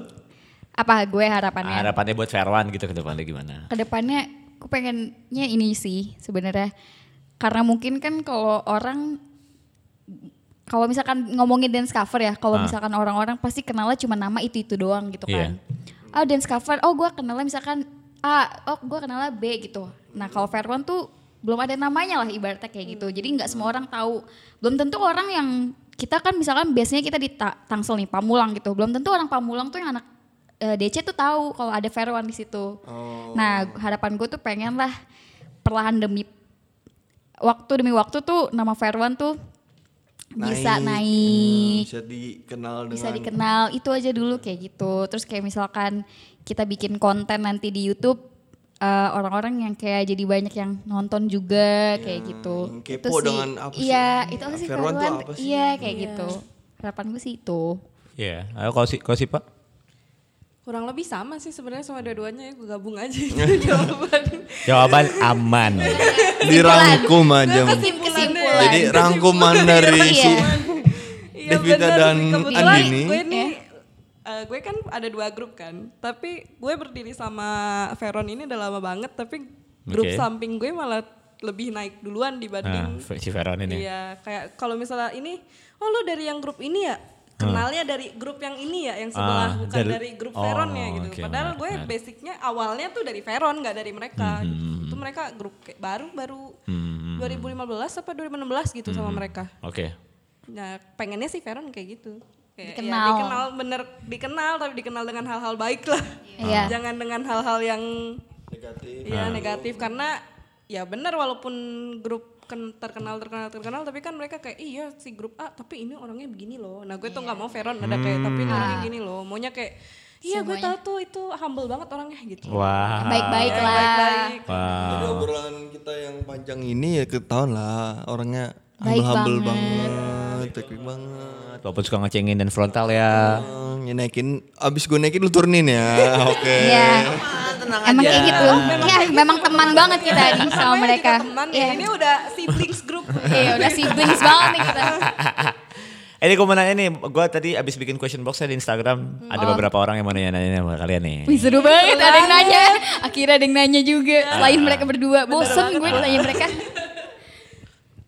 [SPEAKER 5] Apa gue harapannya?
[SPEAKER 3] Harapannya buat Verwan gitu ke depannya gimana?
[SPEAKER 5] Kedepannya aku pengennya ini sih sebenarnya karena mungkin kan kalau orang kalau misalkan ngomongin dance cover ya, kalau
[SPEAKER 3] Ah.
[SPEAKER 5] misalkan orang-orang pasti kenalnya cuma nama itu itu doang gitu kan.
[SPEAKER 3] Iya.
[SPEAKER 5] Ah dance cover, oh gue kenalnya misalkan A, oh gue kenalnya B gitu. Nah kalau Fairwan tuh belum ada namanya lah ibaratnya kayak gitu. Jadi nggak semua orang tahu. Belum tentu orang yang kita kan misalkan biasanya kita di Ta- Tangsel nih Pamulang gitu. Belum tentu orang Pamulang tuh yang anak eh, DC tuh tahu kalau ada Fairwan di situ. Nah harapan gue tuh pengen lah perlahan demi waktu demi waktu tuh nama Fairwan tuh bisa naik
[SPEAKER 6] bisa dikenal dengan
[SPEAKER 5] bisa dikenal itu aja dulu kayak gitu terus kayak misalkan kita bikin konten nanti di YouTube eh, orang-orang yang kayak jadi banyak yang nonton juga kayak gitu.
[SPEAKER 6] Iya, yang
[SPEAKER 5] Itu
[SPEAKER 6] kepo
[SPEAKER 5] sih.
[SPEAKER 6] dengan apa sih?
[SPEAKER 5] Iya, itu apa sih
[SPEAKER 6] Fairwan tuh
[SPEAKER 5] Fairwan?
[SPEAKER 6] apa sih?
[SPEAKER 5] Iya, kayak gitu. Harapan gue sih itu.
[SPEAKER 3] Iya. Ayo kalau si kalau si Pak.
[SPEAKER 7] Kurang lebih sama sih sebenarnya sama dua-duanya ya gue gabung aja itu jawaban.
[SPEAKER 3] Jawaban aman.
[SPEAKER 6] dirangkum aja Mon.
[SPEAKER 5] Kesimpulan.
[SPEAKER 6] jadi rangkuman dari si
[SPEAKER 7] Iya
[SPEAKER 6] Devita
[SPEAKER 7] benar
[SPEAKER 6] dan
[SPEAKER 7] sih. Kebetulan
[SPEAKER 6] Andini.
[SPEAKER 7] Gue ini eh, gue kan ada dua grup kan, tapi gue berdiri sama Veron ini udah lama banget, tapi grup
[SPEAKER 3] Oke.
[SPEAKER 7] samping gue malah lebih naik duluan dibanding.
[SPEAKER 3] Nah, si Veron ini.
[SPEAKER 7] Iya, kayak kalau misalnya ini, oh lu dari yang grup ini ya, kenalnya dari grup yang ini ya, yang sebelah
[SPEAKER 3] Ah,
[SPEAKER 7] bukan
[SPEAKER 3] dari-
[SPEAKER 7] dari, grup Veron ya
[SPEAKER 3] Oh,
[SPEAKER 7] gitu.
[SPEAKER 3] oke,
[SPEAKER 7] Padahal
[SPEAKER 3] menarik,
[SPEAKER 7] gue
[SPEAKER 3] menarik. Hmm,
[SPEAKER 7] basicnya awalnya tuh dari Veron nggak dari mereka. gitu. Itu mereka grup kayak baru baru 2015 apa 2016 gitu
[SPEAKER 3] Hmm,
[SPEAKER 7] sama mereka.
[SPEAKER 3] Oke.
[SPEAKER 7] Nah, pengennya sih Veron kayak gitu. Kayak, ya,
[SPEAKER 5] Dikenal.
[SPEAKER 7] dikenal bener dikenal tapi dikenal dengan hal-hal baik lah.
[SPEAKER 5] Iya.
[SPEAKER 7] Jangan dengan hal-hal yang negatif. Iya, negatif karena ya bener walaupun grup ken- terkenal terkenal terkenal tapi kan mereka kayak iya si grup A tapi ini orangnya begini loh. Nah, gue tuh
[SPEAKER 5] Iya.
[SPEAKER 7] nggak mau Veron ada kayak tapi
[SPEAKER 5] Hmm.
[SPEAKER 7] ini
[SPEAKER 5] Nah.
[SPEAKER 7] orangnya gini loh. Maunya kayak iya gue tahu tuh itu humble banget orangnya gitu.
[SPEAKER 3] Wah.
[SPEAKER 5] Baik-baik
[SPEAKER 6] Iya,
[SPEAKER 5] lah.
[SPEAKER 7] Baik-baik.
[SPEAKER 6] Jadi obrolan kita yang panjang ini ya ketahuan lah orangnya
[SPEAKER 5] Baik
[SPEAKER 6] humble, humble banget, baik banget.
[SPEAKER 3] Walaupun suka ngecengin dan frontal ya.
[SPEAKER 6] Bang, ya naikin, abis gue naikin lu turunin ya, oke.
[SPEAKER 5] Iya. Emang kayak gitu. Iya, memang teman banget kita nih
[SPEAKER 7] Namanya
[SPEAKER 5] sama mereka.
[SPEAKER 7] juga teman ya.
[SPEAKER 5] Iya.
[SPEAKER 7] Ini udah siblings group.
[SPEAKER 5] Iya, udah siblings banget nih kita.
[SPEAKER 3] Ini gue mau nanya nih, gue tadi abis bikin question box di Instagram, ada beberapa orang yang mau nanya-nanya sama kalian nih.
[SPEAKER 5] Hmm. Oh. Wih seru banget, ada yang nanya. Akhirnya ada yang nanya juga. Selain mereka berdua, bosen gue nanya mereka.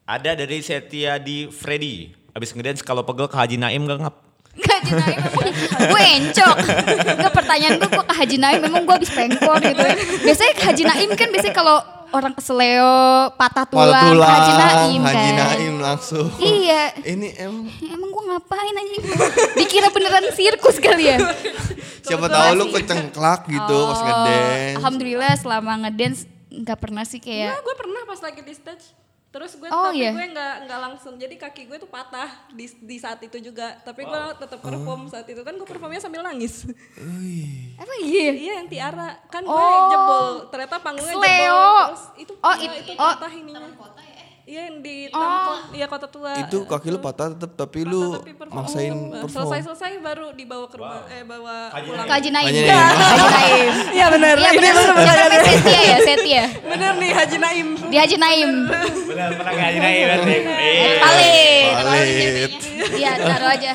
[SPEAKER 3] Ada dari Setia di Freddy, abis ngedance kalau pegel ke Haji Naim gak ngap.
[SPEAKER 5] Ke Haji Naim emang gue encok. Enggak pertanyaan gue, gue ke Haji Naim memang gue habis pengkor gitu. Biasanya ke Haji Naim kan biasanya kalau orang keseleo patah tulang,
[SPEAKER 6] Malah
[SPEAKER 5] ke
[SPEAKER 6] tulang,
[SPEAKER 5] Haji Naim kan.
[SPEAKER 6] Haji Naim langsung.
[SPEAKER 5] Iya.
[SPEAKER 6] Ini emang
[SPEAKER 5] Emang gue ngapain anjing? Dikira beneran sirkus kali ya?
[SPEAKER 6] siapa tahu lu kecengklak gitu pas ngedance.
[SPEAKER 5] Oh, Alhamdulillah selama ngedance nggak pernah sih
[SPEAKER 7] Nah,
[SPEAKER 5] kayak
[SPEAKER 7] gue pernah pas lagi di stage. Terus gue
[SPEAKER 5] Iya. Oh,
[SPEAKER 7] tapi
[SPEAKER 5] iya.
[SPEAKER 7] gue nggak nggak langsung. Jadi kaki gue tuh patah di, di saat itu juga. Tapi gue tetap
[SPEAKER 6] Oh.
[SPEAKER 7] perform saat itu kan gue performnya sambil nangis.
[SPEAKER 5] apa iya?
[SPEAKER 7] iya yang tiara kan gue
[SPEAKER 5] Oh.
[SPEAKER 7] jebol. Ternyata panggungnya
[SPEAKER 5] Sleo.
[SPEAKER 7] jebol. Terus itu
[SPEAKER 5] Oh,
[SPEAKER 7] iya,
[SPEAKER 5] it-
[SPEAKER 7] itu
[SPEAKER 5] oh.
[SPEAKER 7] patah ini. Iya yang di Tamkot, iya kota tua.
[SPEAKER 6] Itu kaki lu patah tetap tapi lu maksain
[SPEAKER 7] Selesai
[SPEAKER 6] perform.
[SPEAKER 7] selesai baru dibawa ke rumah eh bawa pulang.
[SPEAKER 5] Ke Haji Naim.
[SPEAKER 6] Haji
[SPEAKER 5] Ke Haji Naim.
[SPEAKER 7] Iya benar.
[SPEAKER 5] Iya benar. Siapa namanya Setia ya? Setia.
[SPEAKER 7] Benar nih Haji Naim.
[SPEAKER 5] Di Haji Naim.
[SPEAKER 3] Bener, pernah ke Haji Naim. Eh,
[SPEAKER 5] Palit.
[SPEAKER 6] Palit.
[SPEAKER 5] Iya, taruh aja.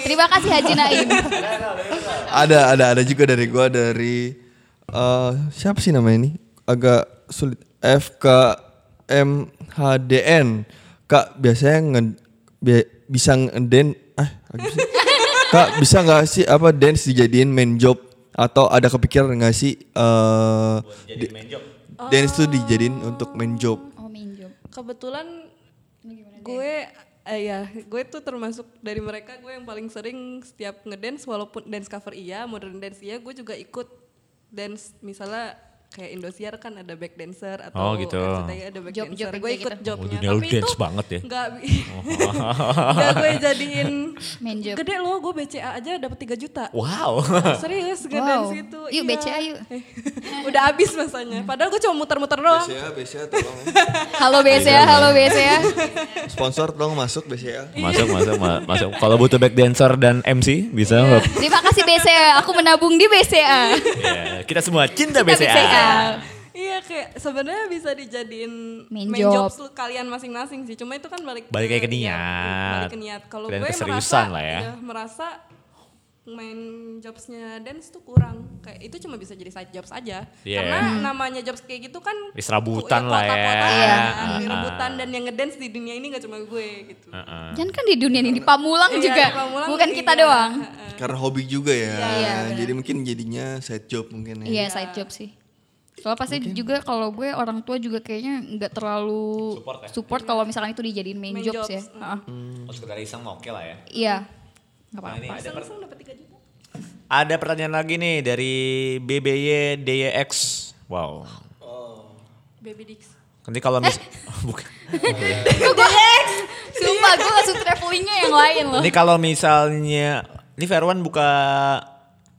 [SPEAKER 5] Terima kasih Haji Naim.
[SPEAKER 6] Ada ada ada juga dari gua dari eh siapa sih namanya ini? Agak sulit. FKMHDN. Kak biasanya nge bi- bisa ngeden ah lagi sih. Kak bisa nggak sih apa dance dijadiin main job atau ada kepikiran nggak sih eh di- dance tuh dijadiin untuk main job?
[SPEAKER 5] Oh, minjem.
[SPEAKER 7] kebetulan gue eh, ya gue tuh termasuk dari mereka gue yang paling sering setiap ngedance walaupun dance cover iya modern dance iya gue juga ikut dance misalnya kayak Indosiar kan ada back dancer atau
[SPEAKER 3] Oh, gitu.
[SPEAKER 7] RCTI ada back
[SPEAKER 5] Job-
[SPEAKER 7] dancer
[SPEAKER 5] job
[SPEAKER 7] gue
[SPEAKER 5] kayak
[SPEAKER 7] ikut
[SPEAKER 5] gitu.
[SPEAKER 7] jobnya
[SPEAKER 3] dunia lu dance banget ya.
[SPEAKER 7] nggak bi- nggak gue jadiin
[SPEAKER 5] Main job.
[SPEAKER 7] gede loh gue BCA aja dapat 3 juta
[SPEAKER 3] Wow.
[SPEAKER 7] serius gue
[SPEAKER 5] Wow.
[SPEAKER 7] dance itu
[SPEAKER 5] Yuk, BCA yuk.
[SPEAKER 7] udah habis masanya padahal gue cuma muter-muter
[SPEAKER 5] Oh.
[SPEAKER 7] doang
[SPEAKER 6] BCA, BCA tolong.
[SPEAKER 5] Halo BCA, halo BCA.
[SPEAKER 6] Sponsor tolong masuk BCA.
[SPEAKER 5] Iya.
[SPEAKER 3] masuk, masuk, ma- masuk. Kalau butuh back dancer dan MC bisa nggak?
[SPEAKER 5] Terima kasih BCA. Aku menabung di BCA.
[SPEAKER 3] Iya, Kita semua cinta
[SPEAKER 5] Kita BCA.
[SPEAKER 7] Iya kayak sebenarnya bisa dijadiin
[SPEAKER 5] Main
[SPEAKER 7] main,
[SPEAKER 5] job.
[SPEAKER 7] job. lu- kalian masing-masing sih. Cuma itu kan balik
[SPEAKER 3] Balik lagi ke
[SPEAKER 7] iya,
[SPEAKER 3] niat.
[SPEAKER 7] balik ke niat. Kalau gue
[SPEAKER 3] Dan
[SPEAKER 7] merasa
[SPEAKER 3] keseriusan lah ya.
[SPEAKER 7] iya, merasa main jobsnya dance tuh kurang kayak itu cuma bisa jadi side jobs aja
[SPEAKER 3] Iya.
[SPEAKER 7] karena namanya jobs kayak gitu kan
[SPEAKER 3] Is rebutan
[SPEAKER 7] ku-
[SPEAKER 3] lah ya.
[SPEAKER 7] kotak-kotakan,
[SPEAKER 3] Iya.
[SPEAKER 7] kan,
[SPEAKER 3] Ah.
[SPEAKER 7] rebutan dan yang ngedance di dunia ini gak cuma gue gitu
[SPEAKER 3] Hmm.
[SPEAKER 5] Jangan kan di dunia ini di Pamulang
[SPEAKER 7] Iya,
[SPEAKER 5] juga.
[SPEAKER 7] di Pamulang
[SPEAKER 5] Bukan kita
[SPEAKER 7] iya.
[SPEAKER 5] doang.
[SPEAKER 6] Karena hobi juga ya.
[SPEAKER 5] Iya,
[SPEAKER 6] Jadi mungkin jadinya side job mungkin ya.
[SPEAKER 5] Iya, side job sih. Soalnya pasti juga kalau gue orang tua juga kayaknya nggak terlalu support,
[SPEAKER 3] ya?
[SPEAKER 5] kalau misalnya itu dijadiin main,
[SPEAKER 7] Main
[SPEAKER 5] jobs,
[SPEAKER 7] jobs, Hmm.
[SPEAKER 5] ya. Heeh.
[SPEAKER 3] Oh, sekedar iseng mah oke lah ya.
[SPEAKER 5] Iya. Nggak
[SPEAKER 3] Nah,
[SPEAKER 5] apa-apa.
[SPEAKER 3] ini ada, per-
[SPEAKER 7] langsung dapat 3 juta
[SPEAKER 3] ada pertanyaan lagi nih dari BBY DYX. Wow.
[SPEAKER 7] baby dicks
[SPEAKER 3] Nanti kalau mis Oh, bukan.
[SPEAKER 5] Kok gue Sumpah gue langsung travelingnya yang lain loh.
[SPEAKER 3] Nanti kalau misalnya ini Verwan buka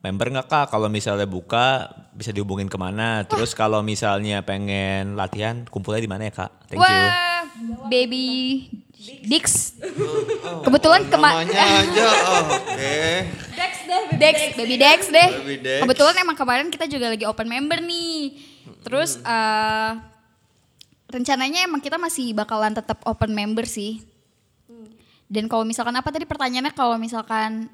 [SPEAKER 3] member nggak kak? Kalau misalnya buka bisa dihubungin kemana. Terus kalau misalnya pengen latihan, kumpulnya di mana ya kak? Thank you.
[SPEAKER 5] Wah, baby Dix. Kebetulan
[SPEAKER 6] Oh,
[SPEAKER 5] kemarin
[SPEAKER 6] Namanya aja, oke.
[SPEAKER 5] Dex, baby Dex deh.
[SPEAKER 6] Baby Dex.
[SPEAKER 5] Kebetulan emang kemarin kita juga lagi open member nih. Terus
[SPEAKER 6] Hmm.
[SPEAKER 5] eh, rencananya emang kita masih bakalan tetap open member sih. Hmm. Dan kalau misalkan apa tadi pertanyaannya kalau misalkan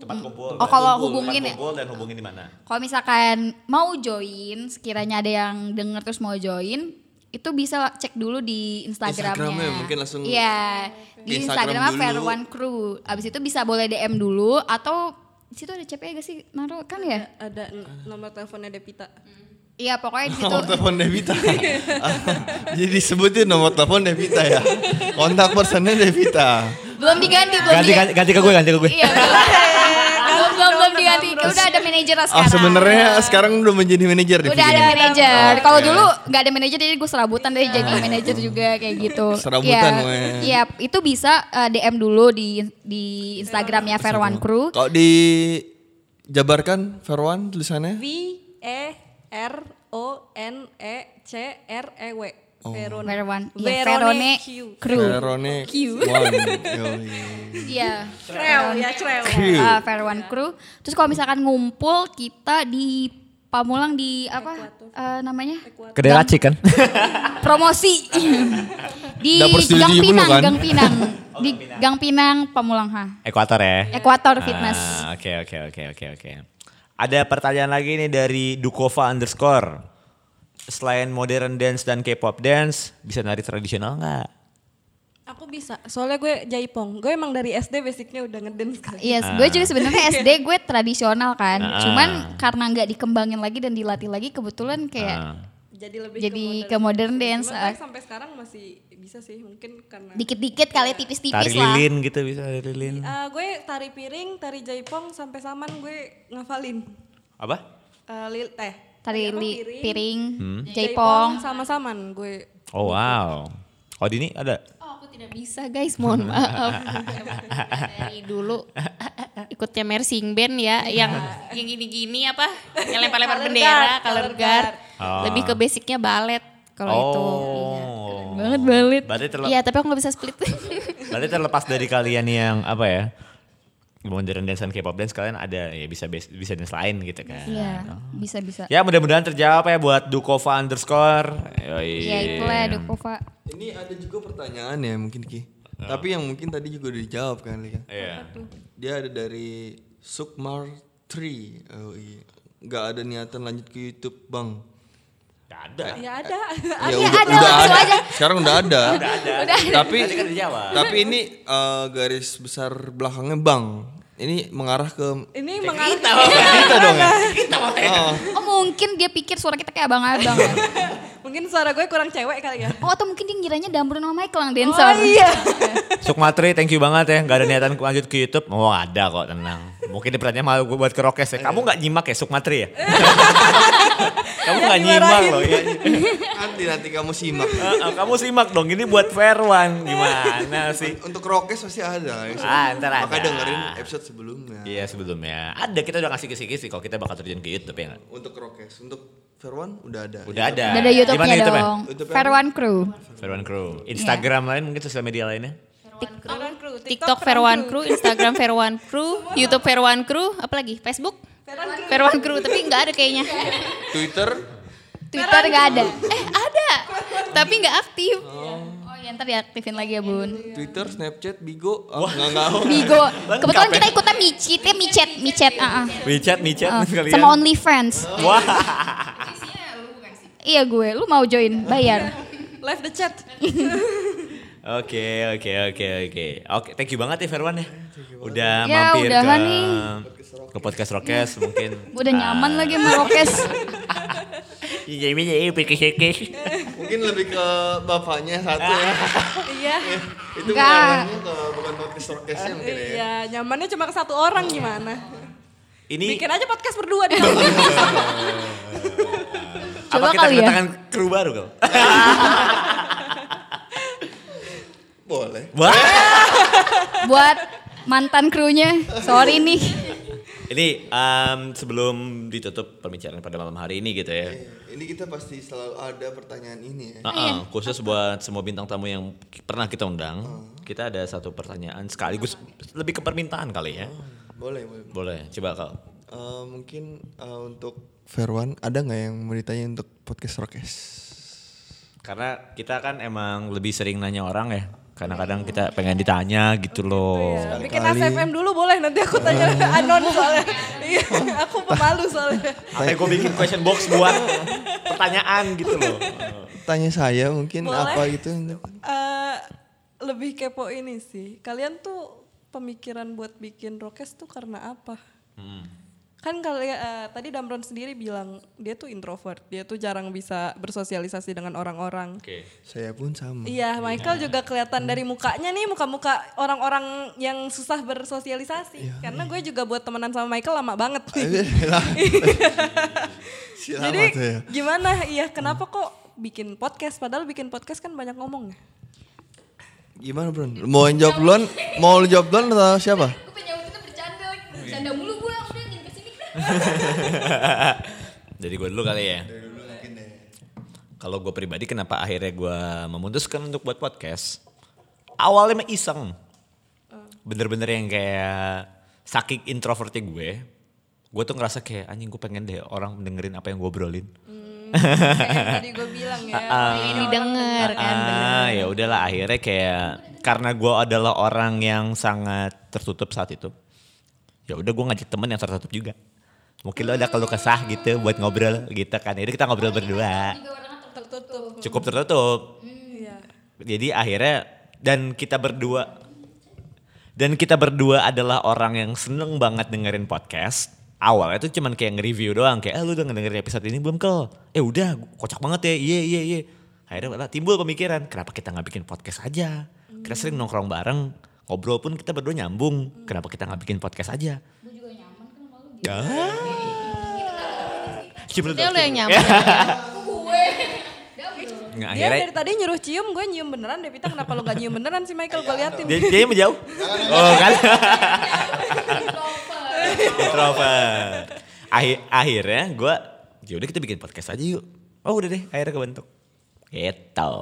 [SPEAKER 3] Tempat kumpul.
[SPEAKER 5] Oh, kalau hubungin ya?
[SPEAKER 3] kumpul dan hubungin di mana?
[SPEAKER 5] kalau misalkan mau join, sekiranya ada yang denger terus mau join, itu bisa cek dulu di Instagramnya.
[SPEAKER 6] Instagramnya, mungkin langsung
[SPEAKER 5] Iya, di
[SPEAKER 6] Instagram
[SPEAKER 5] Instagramnya
[SPEAKER 6] dulu.
[SPEAKER 5] Fair One Crew. Abis itu bisa boleh DM dulu atau di situ ada CP gak sih? Naruh kan ya?
[SPEAKER 9] Ada n- nomor teleponnya Devita.
[SPEAKER 5] Iya, pokoknya di situ.
[SPEAKER 6] Nomor telepon Devita. Jadi disebutin nomor telepon Devita ya. Kontak personnya Devita. Ah,
[SPEAKER 5] belum diganti, belum
[SPEAKER 3] Ganti,
[SPEAKER 5] diganti.
[SPEAKER 3] ganti, ganti ke gue, ganti ke gue.
[SPEAKER 5] Iya, belum. belum, belum, belum diganti. Udah ada manajer
[SPEAKER 3] Ah,
[SPEAKER 5] lah
[SPEAKER 6] Oh
[SPEAKER 5] sekarang.
[SPEAKER 6] sebenarnya sekarang udah menjadi manajer
[SPEAKER 5] Udah
[SPEAKER 6] Devita.
[SPEAKER 5] ada manajer. Kalau
[SPEAKER 6] Oke. Ah.
[SPEAKER 5] dulu nggak ada manajer jadi gue serabutan deh jadi manajer juga kayak gitu.
[SPEAKER 6] Serabutan,
[SPEAKER 5] Iya,
[SPEAKER 6] weh.
[SPEAKER 5] Iya, itu bisa eh, DM dulu di di Instagramnya Fair One Crew.
[SPEAKER 6] Kalau dijabarkan Verwan tulisannya?
[SPEAKER 9] V E R O N E C R E W. Verone.
[SPEAKER 5] Fair One, iya,
[SPEAKER 9] Verone
[SPEAKER 5] Verone
[SPEAKER 9] Q.
[SPEAKER 5] Crew.
[SPEAKER 6] Verone
[SPEAKER 9] Q.
[SPEAKER 6] Wan. Yoi.
[SPEAKER 5] Iya.
[SPEAKER 9] Crew ya crew.
[SPEAKER 5] eh, Fair One Crew. Terus kalau misalkan ngumpul kita di Pamulang di apa eh, namanya?
[SPEAKER 3] Kedai laci kan?
[SPEAKER 5] Promosi. di
[SPEAKER 6] Dapur Studio
[SPEAKER 5] Gang
[SPEAKER 6] 70
[SPEAKER 5] Pinang,
[SPEAKER 6] kan?
[SPEAKER 5] Gang Pinang. Di Gang Pinang Pamulang ha.
[SPEAKER 3] Ekuator ya?
[SPEAKER 5] Ekuator Fitness.
[SPEAKER 3] Ah, Oke oke oke oke oke. Ada pertanyaan lagi nih dari Dukova underscore. Selain modern dance dan K-pop dance, bisa nari tradisional nggak?
[SPEAKER 9] Aku bisa, soalnya gue jaipong. Gue emang dari SD basicnya udah ngedance kan. kali.
[SPEAKER 5] Yes, gue juga sebenarnya SD gue tradisional kan,
[SPEAKER 3] Ah.
[SPEAKER 5] cuman karena nggak dikembangin lagi dan dilatih lagi kebetulan kayak
[SPEAKER 3] Ah.
[SPEAKER 9] Jadi lebih
[SPEAKER 5] Jadi
[SPEAKER 9] ke
[SPEAKER 5] ke
[SPEAKER 9] modern
[SPEAKER 5] modern dance,
[SPEAKER 9] Cuman
[SPEAKER 5] ah.
[SPEAKER 9] gue sampai sekarang masih bisa sih, mungkin karena
[SPEAKER 5] dikit-dikit kali
[SPEAKER 3] Tari
[SPEAKER 5] tipis-tipis lah.
[SPEAKER 3] lilin gitu bisa tari lilin.
[SPEAKER 9] Eh, gue tari piring, tari jaipong sampai saman gue ngafalin.
[SPEAKER 3] Apa?
[SPEAKER 9] Eh, lil teh.
[SPEAKER 5] Tari
[SPEAKER 9] apa,
[SPEAKER 5] li- piring,
[SPEAKER 3] Hmm.
[SPEAKER 9] Jaipong
[SPEAKER 5] jaipong.
[SPEAKER 9] sama saman gue.
[SPEAKER 3] Oh wow. Oh Dini ada?
[SPEAKER 8] Oh, aku tidak bisa guys, mohon maaf. Dari dulu ikutnya Mersing Band ya, yang yang gini-gini apa? Yang lempar-lempar
[SPEAKER 9] Color
[SPEAKER 8] bendera,
[SPEAKER 9] guard,
[SPEAKER 8] color
[SPEAKER 9] color
[SPEAKER 8] guard.
[SPEAKER 3] guard.
[SPEAKER 8] Lebih ke basicnya balet
[SPEAKER 5] Oh,
[SPEAKER 8] kalau
[SPEAKER 3] Oh.
[SPEAKER 8] itu. Iya.
[SPEAKER 3] Banget balit. Berarti, terle-
[SPEAKER 8] Iya, tapi aku nggak bisa split.
[SPEAKER 3] berarti terlepas dari kalian yang apa ya? Modern dance dan K-pop dance kalian ada ya bisa bas- bisa dance lain gitu kan.
[SPEAKER 5] Iya, bisa-bisa.
[SPEAKER 3] Ya mudah-mudahan terjawab ya buat Dukova underscore. Yoi.
[SPEAKER 5] Iya, itulah Dukova.
[SPEAKER 6] Ini ada juga pertanyaan ya mungkin Ki. Tapi yang mungkin tadi juga udah dijawab kan Lika.
[SPEAKER 3] Iya.
[SPEAKER 6] Dia ada dari Sukmar Tree. Oh iya. Gak ada niatan lanjut ke YouTube bang.
[SPEAKER 3] Gak ada.
[SPEAKER 9] Ya ada.
[SPEAKER 6] Ya,
[SPEAKER 5] Oh, iya,
[SPEAKER 6] udah,
[SPEAKER 5] ada,
[SPEAKER 6] udah
[SPEAKER 5] langsung
[SPEAKER 6] ada.
[SPEAKER 5] aja.
[SPEAKER 6] Sekarang udah ada.
[SPEAKER 5] Udah.
[SPEAKER 6] Tapi
[SPEAKER 3] Tadi kan dijawab.
[SPEAKER 6] tapi ini eh, garis besar belakangnya bang. Ini mengarah ke
[SPEAKER 9] Ini mengarah
[SPEAKER 6] kita dong ya. Oh,
[SPEAKER 5] Oh mungkin dia pikir suara kita kayak abang-abang.
[SPEAKER 9] Mungkin suara gue kurang cewek kali ya.
[SPEAKER 5] oh atau mungkin dia ngiranya Damron sama Michael
[SPEAKER 6] Oh,
[SPEAKER 5] yang dancer.
[SPEAKER 6] iya.
[SPEAKER 3] Sukmatri, thank you banget ya. Gak ada niatan lanjut ke YouTube. Oh ada kok, tenang. Mungkin ini pertanyaan malu gue buat ke Rokes ya. Kamu gak nyimak ya Sukmatri ya? kamu gak nyimak loh ya.
[SPEAKER 6] nanti nanti kamu simak.
[SPEAKER 3] Eh, eh, kamu simak dong, ini buat fair one. Gimana sih?
[SPEAKER 6] Untuk rokes pasti ada. Ya.
[SPEAKER 3] Ah, ntar ada.
[SPEAKER 6] Makanya dengerin episode sebelumnya.
[SPEAKER 3] Iya sebelumnya. Ada, kita udah ngasih kisi-kisi kalau kita bakal terjun ke YouTube ya gak?
[SPEAKER 6] Untuk rokes, untuk Verwan udah ada.
[SPEAKER 3] Udah ada.
[SPEAKER 5] Udah ada
[SPEAKER 3] Di mana
[SPEAKER 5] YouTube-nya
[SPEAKER 3] YouTube-nya?
[SPEAKER 5] dong.
[SPEAKER 6] YouTube-nya
[SPEAKER 5] Fair
[SPEAKER 6] apa?
[SPEAKER 5] One Crew.
[SPEAKER 3] Fair One Crew. Instagram lain mungkin sosial media lainnya?
[SPEAKER 8] TikTok Verwan Crew, Instagram Verwan Crew, YouTube Verwan Crew, apa lagi? Facebook? Verwan Crew, tapi nggak ada kayaknya.
[SPEAKER 6] Twitter
[SPEAKER 5] Twitter nggak ada.
[SPEAKER 8] Eh, ada. Tapi nggak aktif.
[SPEAKER 5] Oh iya ntar diaktifin lagi ya bun.
[SPEAKER 6] Twitter, Snapchat, Bigo, oh, nggak nggak.
[SPEAKER 5] Bigo.
[SPEAKER 6] eh.
[SPEAKER 3] Lengkap
[SPEAKER 5] Kebetulan
[SPEAKER 3] ya.
[SPEAKER 5] kita ikutnya micet, ya micet, micet. ah, ah.
[SPEAKER 3] WeChat, WeChat
[SPEAKER 5] Ah,
[SPEAKER 3] kalian.
[SPEAKER 5] sama OnlyFans.
[SPEAKER 3] Wah.
[SPEAKER 5] Iya gue, lu mau join, bayar.
[SPEAKER 9] Live the chat.
[SPEAKER 3] Oke, oke, oke, oke. Oke, thank you banget ya Verwan ya. Udah
[SPEAKER 5] Ya,
[SPEAKER 3] mampir
[SPEAKER 5] udahan
[SPEAKER 3] ke
[SPEAKER 5] nih.
[SPEAKER 3] ke podcast Rokes mungkin.
[SPEAKER 5] Udah
[SPEAKER 6] Nah.
[SPEAKER 5] nyaman lagi sama Rokes.
[SPEAKER 3] Iya, iya, iya, podcast Rokes.
[SPEAKER 6] Mungkin lebih ke bapaknya satu ya.
[SPEAKER 9] Iya.
[SPEAKER 6] Itu
[SPEAKER 5] Nggak.
[SPEAKER 6] mengarahnya ke bukan podcast rokesnya mungkin ya.
[SPEAKER 9] Iya, nyamannya cuma ke satu orang gimana?
[SPEAKER 3] Ini
[SPEAKER 9] Bikin aja podcast berdua di kamar.
[SPEAKER 3] apa
[SPEAKER 5] Coba
[SPEAKER 3] kita
[SPEAKER 5] kali ya.
[SPEAKER 3] kedatangan kru baru kau?
[SPEAKER 6] Boleh.
[SPEAKER 3] Wah.
[SPEAKER 5] Buat mantan krunya, sorry nih.
[SPEAKER 3] Ini em, sebelum ditutup pembicaraan pada malam hari ini gitu ya.
[SPEAKER 6] Ini kita pasti selalu ada pertanyaan ini ya.
[SPEAKER 3] Ah, ah, khusus buat semua bintang tamu yang ki- pernah kita undang, kita ada satu pertanyaan sekaligus lebih ke permintaan kali ya.
[SPEAKER 6] Boleh, boleh.
[SPEAKER 3] Boleh, coba kau.
[SPEAKER 6] Eh, mungkin eh, untuk Verwan ada nggak yang mau ditanya untuk podcast Rokes?
[SPEAKER 3] Karena kita kan emang lebih sering nanya orang ya. Kadang-kadang kita pengen ditanya gitu loh.
[SPEAKER 7] Bikin ACFM dulu boleh nanti aku tanya anon soalnya. Iya, aku pemalu soalnya.
[SPEAKER 3] Apa gue bikin question box buat pertanyaan gitu loh.
[SPEAKER 6] Tanya saya mungkin
[SPEAKER 7] Boleh.
[SPEAKER 6] apa gitu. untuk-
[SPEAKER 7] Eh, lebih kepo ini sih. Kalian tuh pemikiran buat bikin rokes tuh karena apa? Kan kalian eh, tadi Damron sendiri bilang dia tuh introvert, dia tuh jarang bisa bersosialisasi dengan orang-orang.
[SPEAKER 3] Oke.
[SPEAKER 6] Saya pun sama.
[SPEAKER 7] Iya, Michael juga kelihatan dari mukanya nih, muka-muka orang-orang yang susah bersosialisasi. Karena gue juga buat temenan sama Michael lama banget nih.
[SPEAKER 6] Si lama
[SPEAKER 7] Jadi
[SPEAKER 6] tuh ya.
[SPEAKER 7] gimana? Iya, kenapa kok bikin podcast? Padahal bikin podcast kan banyak ngomong.
[SPEAKER 6] Gimana Bron? Mau yang jawab duluan? Mau lu jawab duluan atau siapa?
[SPEAKER 5] Gue pengen waktu itu bercanda, bercanda mulu gue udah gini kesini.
[SPEAKER 3] Jadi gue dulu kali ya. Kalau gue pribadi kenapa akhirnya gue memutuskan untuk buat podcast? Awalnya mah iseng. Bener-bener yang kayak sakit introvertnya gue. Gue tuh ngerasa kayak anjing gue pengen deh orang dengerin apa yang gue obrolin.
[SPEAKER 7] Tadi gue bilang ya.
[SPEAKER 8] Pengen didengar kan.
[SPEAKER 3] Ah, ya udahlah akhirnya kayak karena gue adalah orang yang sangat tertutup saat itu. Ya udah gue ngajak temen yang tertutup juga. Mungkin lo ada keluh kesah gitu buat ngobrol gitu kan. Jadi kita ngobrol berdua. Cukup tertutup. Jadi akhirnya dan kita berdua dan kita berdua adalah orang yang seneng banget dengerin podcast. Awalnya tuh cuman kayak nge-review doang. Kayak, eh lu udah ngedengerin episode ini belum kel? Eh udah, kocak banget ya. Iya, iya, iya. Akhirnya malah timbul pemikiran, kenapa kita nggak bikin podcast aja? Kita sering
[SPEAKER 8] Hmm.
[SPEAKER 3] nongkrong bareng, ngobrol pun kita berdua nyambung. Kenapa kita nggak bikin podcast aja?
[SPEAKER 8] kan
[SPEAKER 3] Gue
[SPEAKER 8] gitu.
[SPEAKER 3] juga
[SPEAKER 8] Iya,
[SPEAKER 3] nyaman kan sama lu.
[SPEAKER 8] Dia iya. lu yang nyaman.
[SPEAKER 7] Dia
[SPEAKER 3] akhirnya
[SPEAKER 7] dari tadi nyuruh cium, gue nyium beneran deh. Pita kenapa lo gak nyium beneran sih Michael? Gue liatin.
[SPEAKER 3] Jadi jadi menjauh. Oh kan. Introvert. Akhir- akhirnya gue, yaudah kita bikin podcast aja yuk. Oh udah deh, akhirnya kebentuk. Gitu.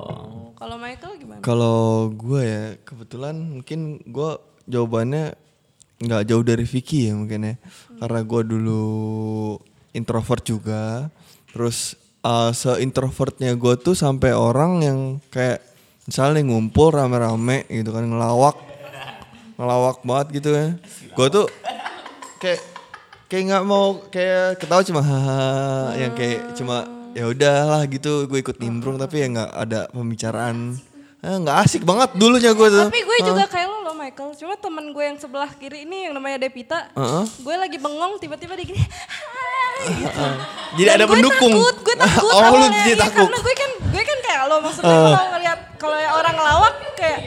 [SPEAKER 7] Kalau Michael gimana?
[SPEAKER 6] Kalau gue ya kebetulan mungkin gue jawabannya nggak jauh dari Vicky ya mungkin ya karena gue dulu introvert juga terus uh, se-introvertnya gue tuh sampai orang yang kayak misalnya ngumpul rame-rame gitu kan ngelawak ngelawak banget gitu ya gue tuh kayak kayak nggak mau kayak ketawa cuma hahaha yang kayak
[SPEAKER 7] Hmm.
[SPEAKER 6] cuma ya udahlah gitu gue ikut nimbrung tapi ya nggak ada pembicaraan Eh, nggak asik banget dulunya gue tuh
[SPEAKER 7] Tapi gue juga kayak lo lo Michael. Cuma temen gue yang sebelah kiri ini yang namanya Devita.
[SPEAKER 6] Heeh.
[SPEAKER 7] Gue lagi bengong tiba-tiba dia gini. "Hai," gitu.
[SPEAKER 6] Jadi ada
[SPEAKER 7] gue
[SPEAKER 6] pendukung.
[SPEAKER 7] Takut, gue
[SPEAKER 6] Oh,
[SPEAKER 7] takut.
[SPEAKER 6] lu
[SPEAKER 7] awalnya.
[SPEAKER 6] jadi
[SPEAKER 7] Iya,
[SPEAKER 6] takut. Eh.
[SPEAKER 7] Karena gue kan gue kan kayak lo maksudnya kalau ngeliat kalau yang orang ngelawak kayak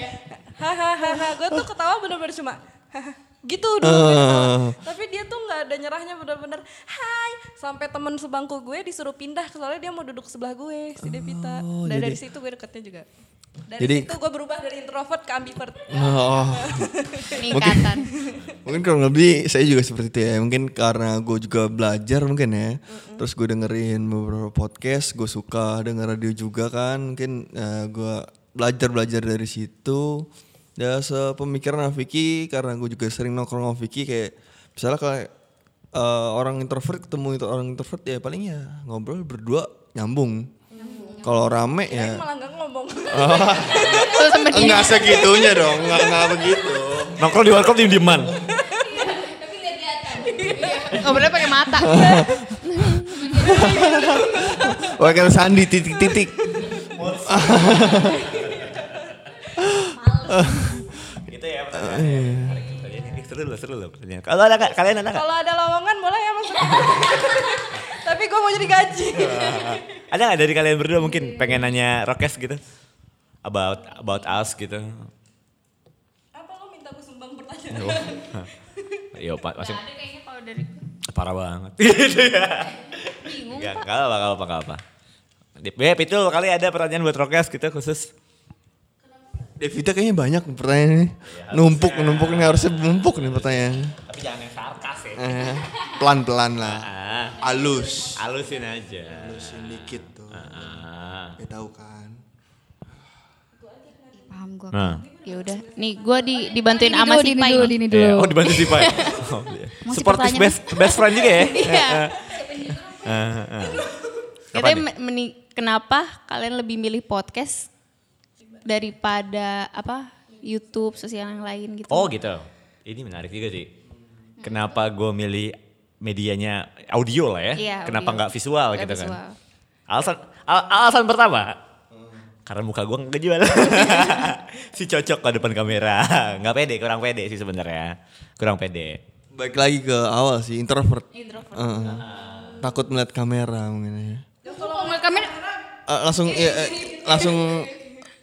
[SPEAKER 7] hahaha. Gue tuh ketawa bener-bener cuma "Hahaha," gitu dulu gue ketawa.
[SPEAKER 6] Eh.
[SPEAKER 7] Tapi dia tuh nggak ada nyerahnya bener-bener. Hai, sampai temen sebangku gue disuruh pindah soalnya dia mau duduk sebelah gue si Devita.
[SPEAKER 6] Oh,
[SPEAKER 7] Dan dari
[SPEAKER 6] jadi-
[SPEAKER 7] situ gue deketnya juga. Dari
[SPEAKER 6] Jadi-
[SPEAKER 7] situ gue berubah dari introvert ke ambivert.
[SPEAKER 6] Oh,
[SPEAKER 8] Peningkatan.
[SPEAKER 6] mungkin kurang lebih saya juga seperti itu ya mungkin karena gue juga belajar mungkin ya terus gue dengerin beberapa podcast gue suka denger radio juga kan mungkin eh, gue belajar belajar dari situ ya sepemikiran sama Vicky karena gue juga sering nongkrong sama Vicky kayak misalnya kayak eh, orang introvert ketemu itu orang introvert ya paling ya ngobrol berdua nyambung kalau rame ya
[SPEAKER 7] Malah nggak ngomong.
[SPEAKER 8] Lu sempet gini.
[SPEAKER 6] enggak segitunya dong enggak enggak begitu
[SPEAKER 3] Nongkrong di warkop diem-dieman.
[SPEAKER 8] Ngobrolnya pakai mata.
[SPEAKER 6] Wakil Sandi titik-titik.
[SPEAKER 3] gitu ya pertanyaannya. Ini seru loh, seru loh pertanyaan. Kalau ada nggak? Kalian ada nggak?
[SPEAKER 7] Kalau ada lowongan boleh ya masuk. Tapi gue mau jadi gaji.
[SPEAKER 6] Eh.
[SPEAKER 3] Ada nggak dari kalian berdua mungkin pengen nanya Rokes gitu? About about us gitu.
[SPEAKER 7] Apa lo minta gue sumbang pertanyaan?
[SPEAKER 3] Yo, Iya, Pak, masih
[SPEAKER 8] Ada kayaknya kalau dari
[SPEAKER 3] parah banget. Gitu ya.
[SPEAKER 8] bingung
[SPEAKER 3] Gak, gak apa, gak apa, gak apa. Di- Beb, itu kali ada pertanyaan buat Rokes gitu khusus.
[SPEAKER 6] Devita kayaknya banyak nih pertanyaan ini. numpuk, numpuk nih harusnya numpuk nih pertanyaan.
[SPEAKER 3] Tapi jangan yang sarkas ya.
[SPEAKER 6] Eh, Pelan-pelan lah. Halus.
[SPEAKER 3] Ah, Halusin aja.
[SPEAKER 6] Halusin dikit tuh.
[SPEAKER 3] Ah.
[SPEAKER 6] Ya tahu kan.
[SPEAKER 8] Paham gue.
[SPEAKER 3] Nah.
[SPEAKER 8] Ya udah, nih gue di dibantuin
[SPEAKER 5] Dini
[SPEAKER 8] sama
[SPEAKER 5] dulu,
[SPEAKER 8] si
[SPEAKER 5] Dini
[SPEAKER 8] Pai
[SPEAKER 5] dulu,
[SPEAKER 8] nih.
[SPEAKER 5] Dini
[SPEAKER 3] Eh,
[SPEAKER 6] Iya,
[SPEAKER 5] dulu.
[SPEAKER 3] oh dibantu si Pai.
[SPEAKER 5] Masih
[SPEAKER 3] Sportif
[SPEAKER 5] pertanyaan.
[SPEAKER 3] iya. best best friend juga ya.
[SPEAKER 8] Iya.
[SPEAKER 3] Eh, eh.
[SPEAKER 8] Katanya me- meni- kenapa kalian lebih milih podcast daripada apa YouTube sosial yang lain gitu?
[SPEAKER 3] Oh gitu. Ini menarik juga sih. Kenapa gue milih medianya audio lah ya?
[SPEAKER 8] Iya,
[SPEAKER 3] Kenapa
[SPEAKER 8] audio.
[SPEAKER 3] nggak visual
[SPEAKER 8] Nggak
[SPEAKER 3] gitu
[SPEAKER 8] visual.
[SPEAKER 3] kan? Alasan al- alasan pertama karena muka gue nggak kejual. si cocok ke depan kamera. Nggak pede, kurang pede sih sebenarnya. Kurang pede.
[SPEAKER 6] Baik lagi ke awal sih introvert. Introvert. Takut melihat kamera mungkin ya.
[SPEAKER 5] Kalau ngeliat kamera,
[SPEAKER 6] Eh, langsung ya, eh, langsung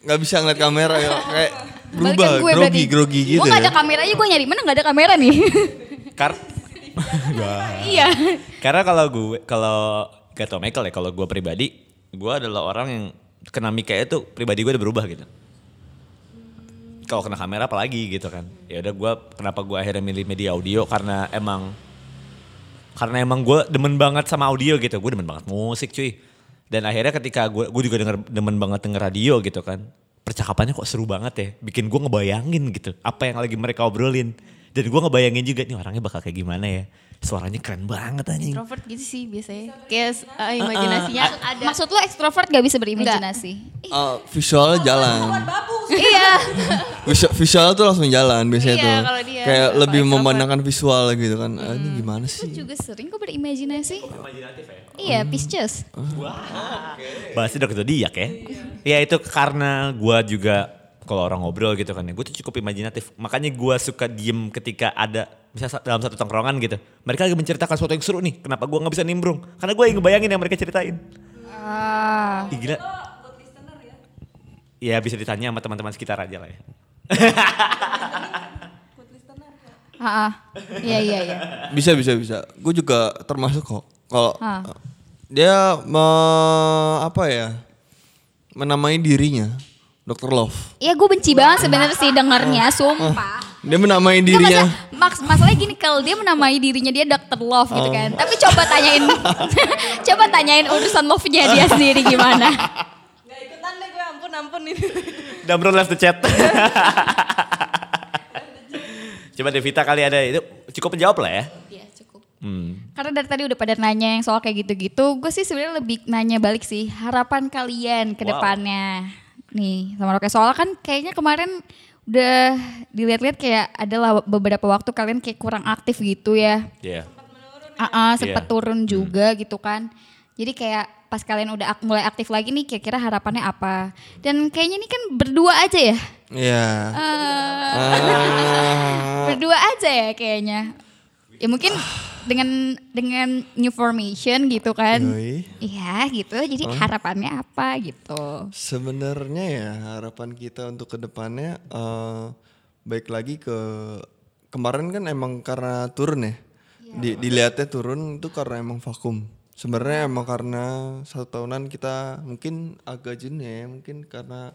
[SPEAKER 6] nggak bisa ngeliat kamera ya kayak berubah
[SPEAKER 5] balikan gue
[SPEAKER 6] grogi
[SPEAKER 5] berarti.
[SPEAKER 6] grogi gitu.
[SPEAKER 5] Gue gak ada
[SPEAKER 6] ya.
[SPEAKER 5] kamera aja gue nyari, mana gak ada kamera nih.
[SPEAKER 3] Kar
[SPEAKER 5] iya.
[SPEAKER 3] Karena kalau gue kalau gak tau Michael ya kalau gue pribadi gue adalah orang yang kena mic kayak itu pribadi gue udah berubah gitu. Kalau kena kamera apalagi gitu kan. Ya udah gue kenapa gue akhirnya milih media audio karena emang karena emang gue demen banget sama audio gitu. Gue demen banget musik cuy. Dan akhirnya ketika gue gue juga denger demen banget denger radio gitu kan. Percakapannya kok seru banget ya. Bikin gue ngebayangin gitu. Apa yang lagi mereka obrolin. Dan gue ngebayangin juga nih orangnya bakal kayak gimana ya. Suaranya keren banget anjing.
[SPEAKER 8] Introvert gitu sih biasanya. Kayak eh,
[SPEAKER 5] Iya,
[SPEAKER 8] imajinasinya ada.
[SPEAKER 5] Maksud lo ekstrovert gak bisa berimajinasi?
[SPEAKER 6] Eh, visualnya jalan.
[SPEAKER 8] iya.
[SPEAKER 6] Visual, visual tuh langsung jalan biasanya
[SPEAKER 8] Iya,
[SPEAKER 6] tuh.
[SPEAKER 8] kalau dia
[SPEAKER 6] Kayak
[SPEAKER 8] apa,
[SPEAKER 6] lebih
[SPEAKER 8] introvert.
[SPEAKER 6] memandangkan visual gitu kan. Ah, ini gimana sih?
[SPEAKER 5] juga sering kok berimajinasi.
[SPEAKER 6] ya?
[SPEAKER 5] Iya, Pisces.
[SPEAKER 3] Bahasnya udah zodiak ya. Ya itu karena gua juga kalau orang ngobrol gitu kan ya, gue tuh cukup imajinatif. Makanya gua suka diem ketika ada misalnya sa- dalam satu tongkrongan gitu. Mereka lagi menceritakan sesuatu yang seru nih. Kenapa gua nggak bisa nimbrung? Karena gua yang ngebayangin yang mereka ceritain. Ah. gila. Ya bisa ditanya sama teman-teman sekitar aja lah ya.
[SPEAKER 5] Heeh. Iya, iya, iya.
[SPEAKER 6] Bisa bisa bisa. Gue juga termasuk kok. Kalau
[SPEAKER 5] Ah.
[SPEAKER 6] eh, dia me- apa ya? Menamai dirinya Dr. Love.
[SPEAKER 5] Iya gue benci banget sebenarnya sih dengernya, sumpah.
[SPEAKER 6] Dia menamai
[SPEAKER 5] Nggak,
[SPEAKER 6] dirinya.
[SPEAKER 5] masalah- maks- masalahnya gini kalau dia menamai dirinya dia Dr. Love gitu kan.
[SPEAKER 3] Oh.
[SPEAKER 5] Tapi coba tanyain coba tanyain urusan love-nya dia sendiri gimana.
[SPEAKER 9] Gak ikutan deh gue ampun ampun ini.
[SPEAKER 3] Damron left the chat. Coba Devita kali ada itu cukup menjawab lah ya.
[SPEAKER 5] Iya, cukup.
[SPEAKER 3] Hmm.
[SPEAKER 5] Karena dari tadi udah pada nanya yang soal kayak gitu-gitu, gue sih sebenarnya lebih nanya balik sih harapan kalian ke
[SPEAKER 3] Wow.
[SPEAKER 5] depannya. Nih, sama Roke soal kan kayaknya kemarin udah dilihat-lihat kayak adalah beberapa waktu kalian kayak kurang aktif gitu ya.
[SPEAKER 3] Iya.
[SPEAKER 5] Ah, ah, sempat
[SPEAKER 3] Iya.
[SPEAKER 6] Hmm.
[SPEAKER 5] turun juga gitu kan. Jadi kayak pas kalian udah ak- mulai aktif lagi nih kira-kira harapannya apa? Dan kayaknya ini kan berdua aja ya.
[SPEAKER 6] Iya.
[SPEAKER 5] Eh,
[SPEAKER 6] Ah.
[SPEAKER 5] berdua aja ya kayaknya. Ya mungkin dengan dengan new formation gitu kan.
[SPEAKER 6] Yoi. Oh.
[SPEAKER 5] Iya gitu. Jadi harapannya apa gitu.
[SPEAKER 6] Sebenarnya ya harapan kita untuk kedepannya eh, baik lagi ke kemarin kan emang karena turun ya, Di- dilihatnya turun itu karena emang vakum. Sebenarnya emang karena satu tahunan kita mungkin agak jenuh ya, mungkin karena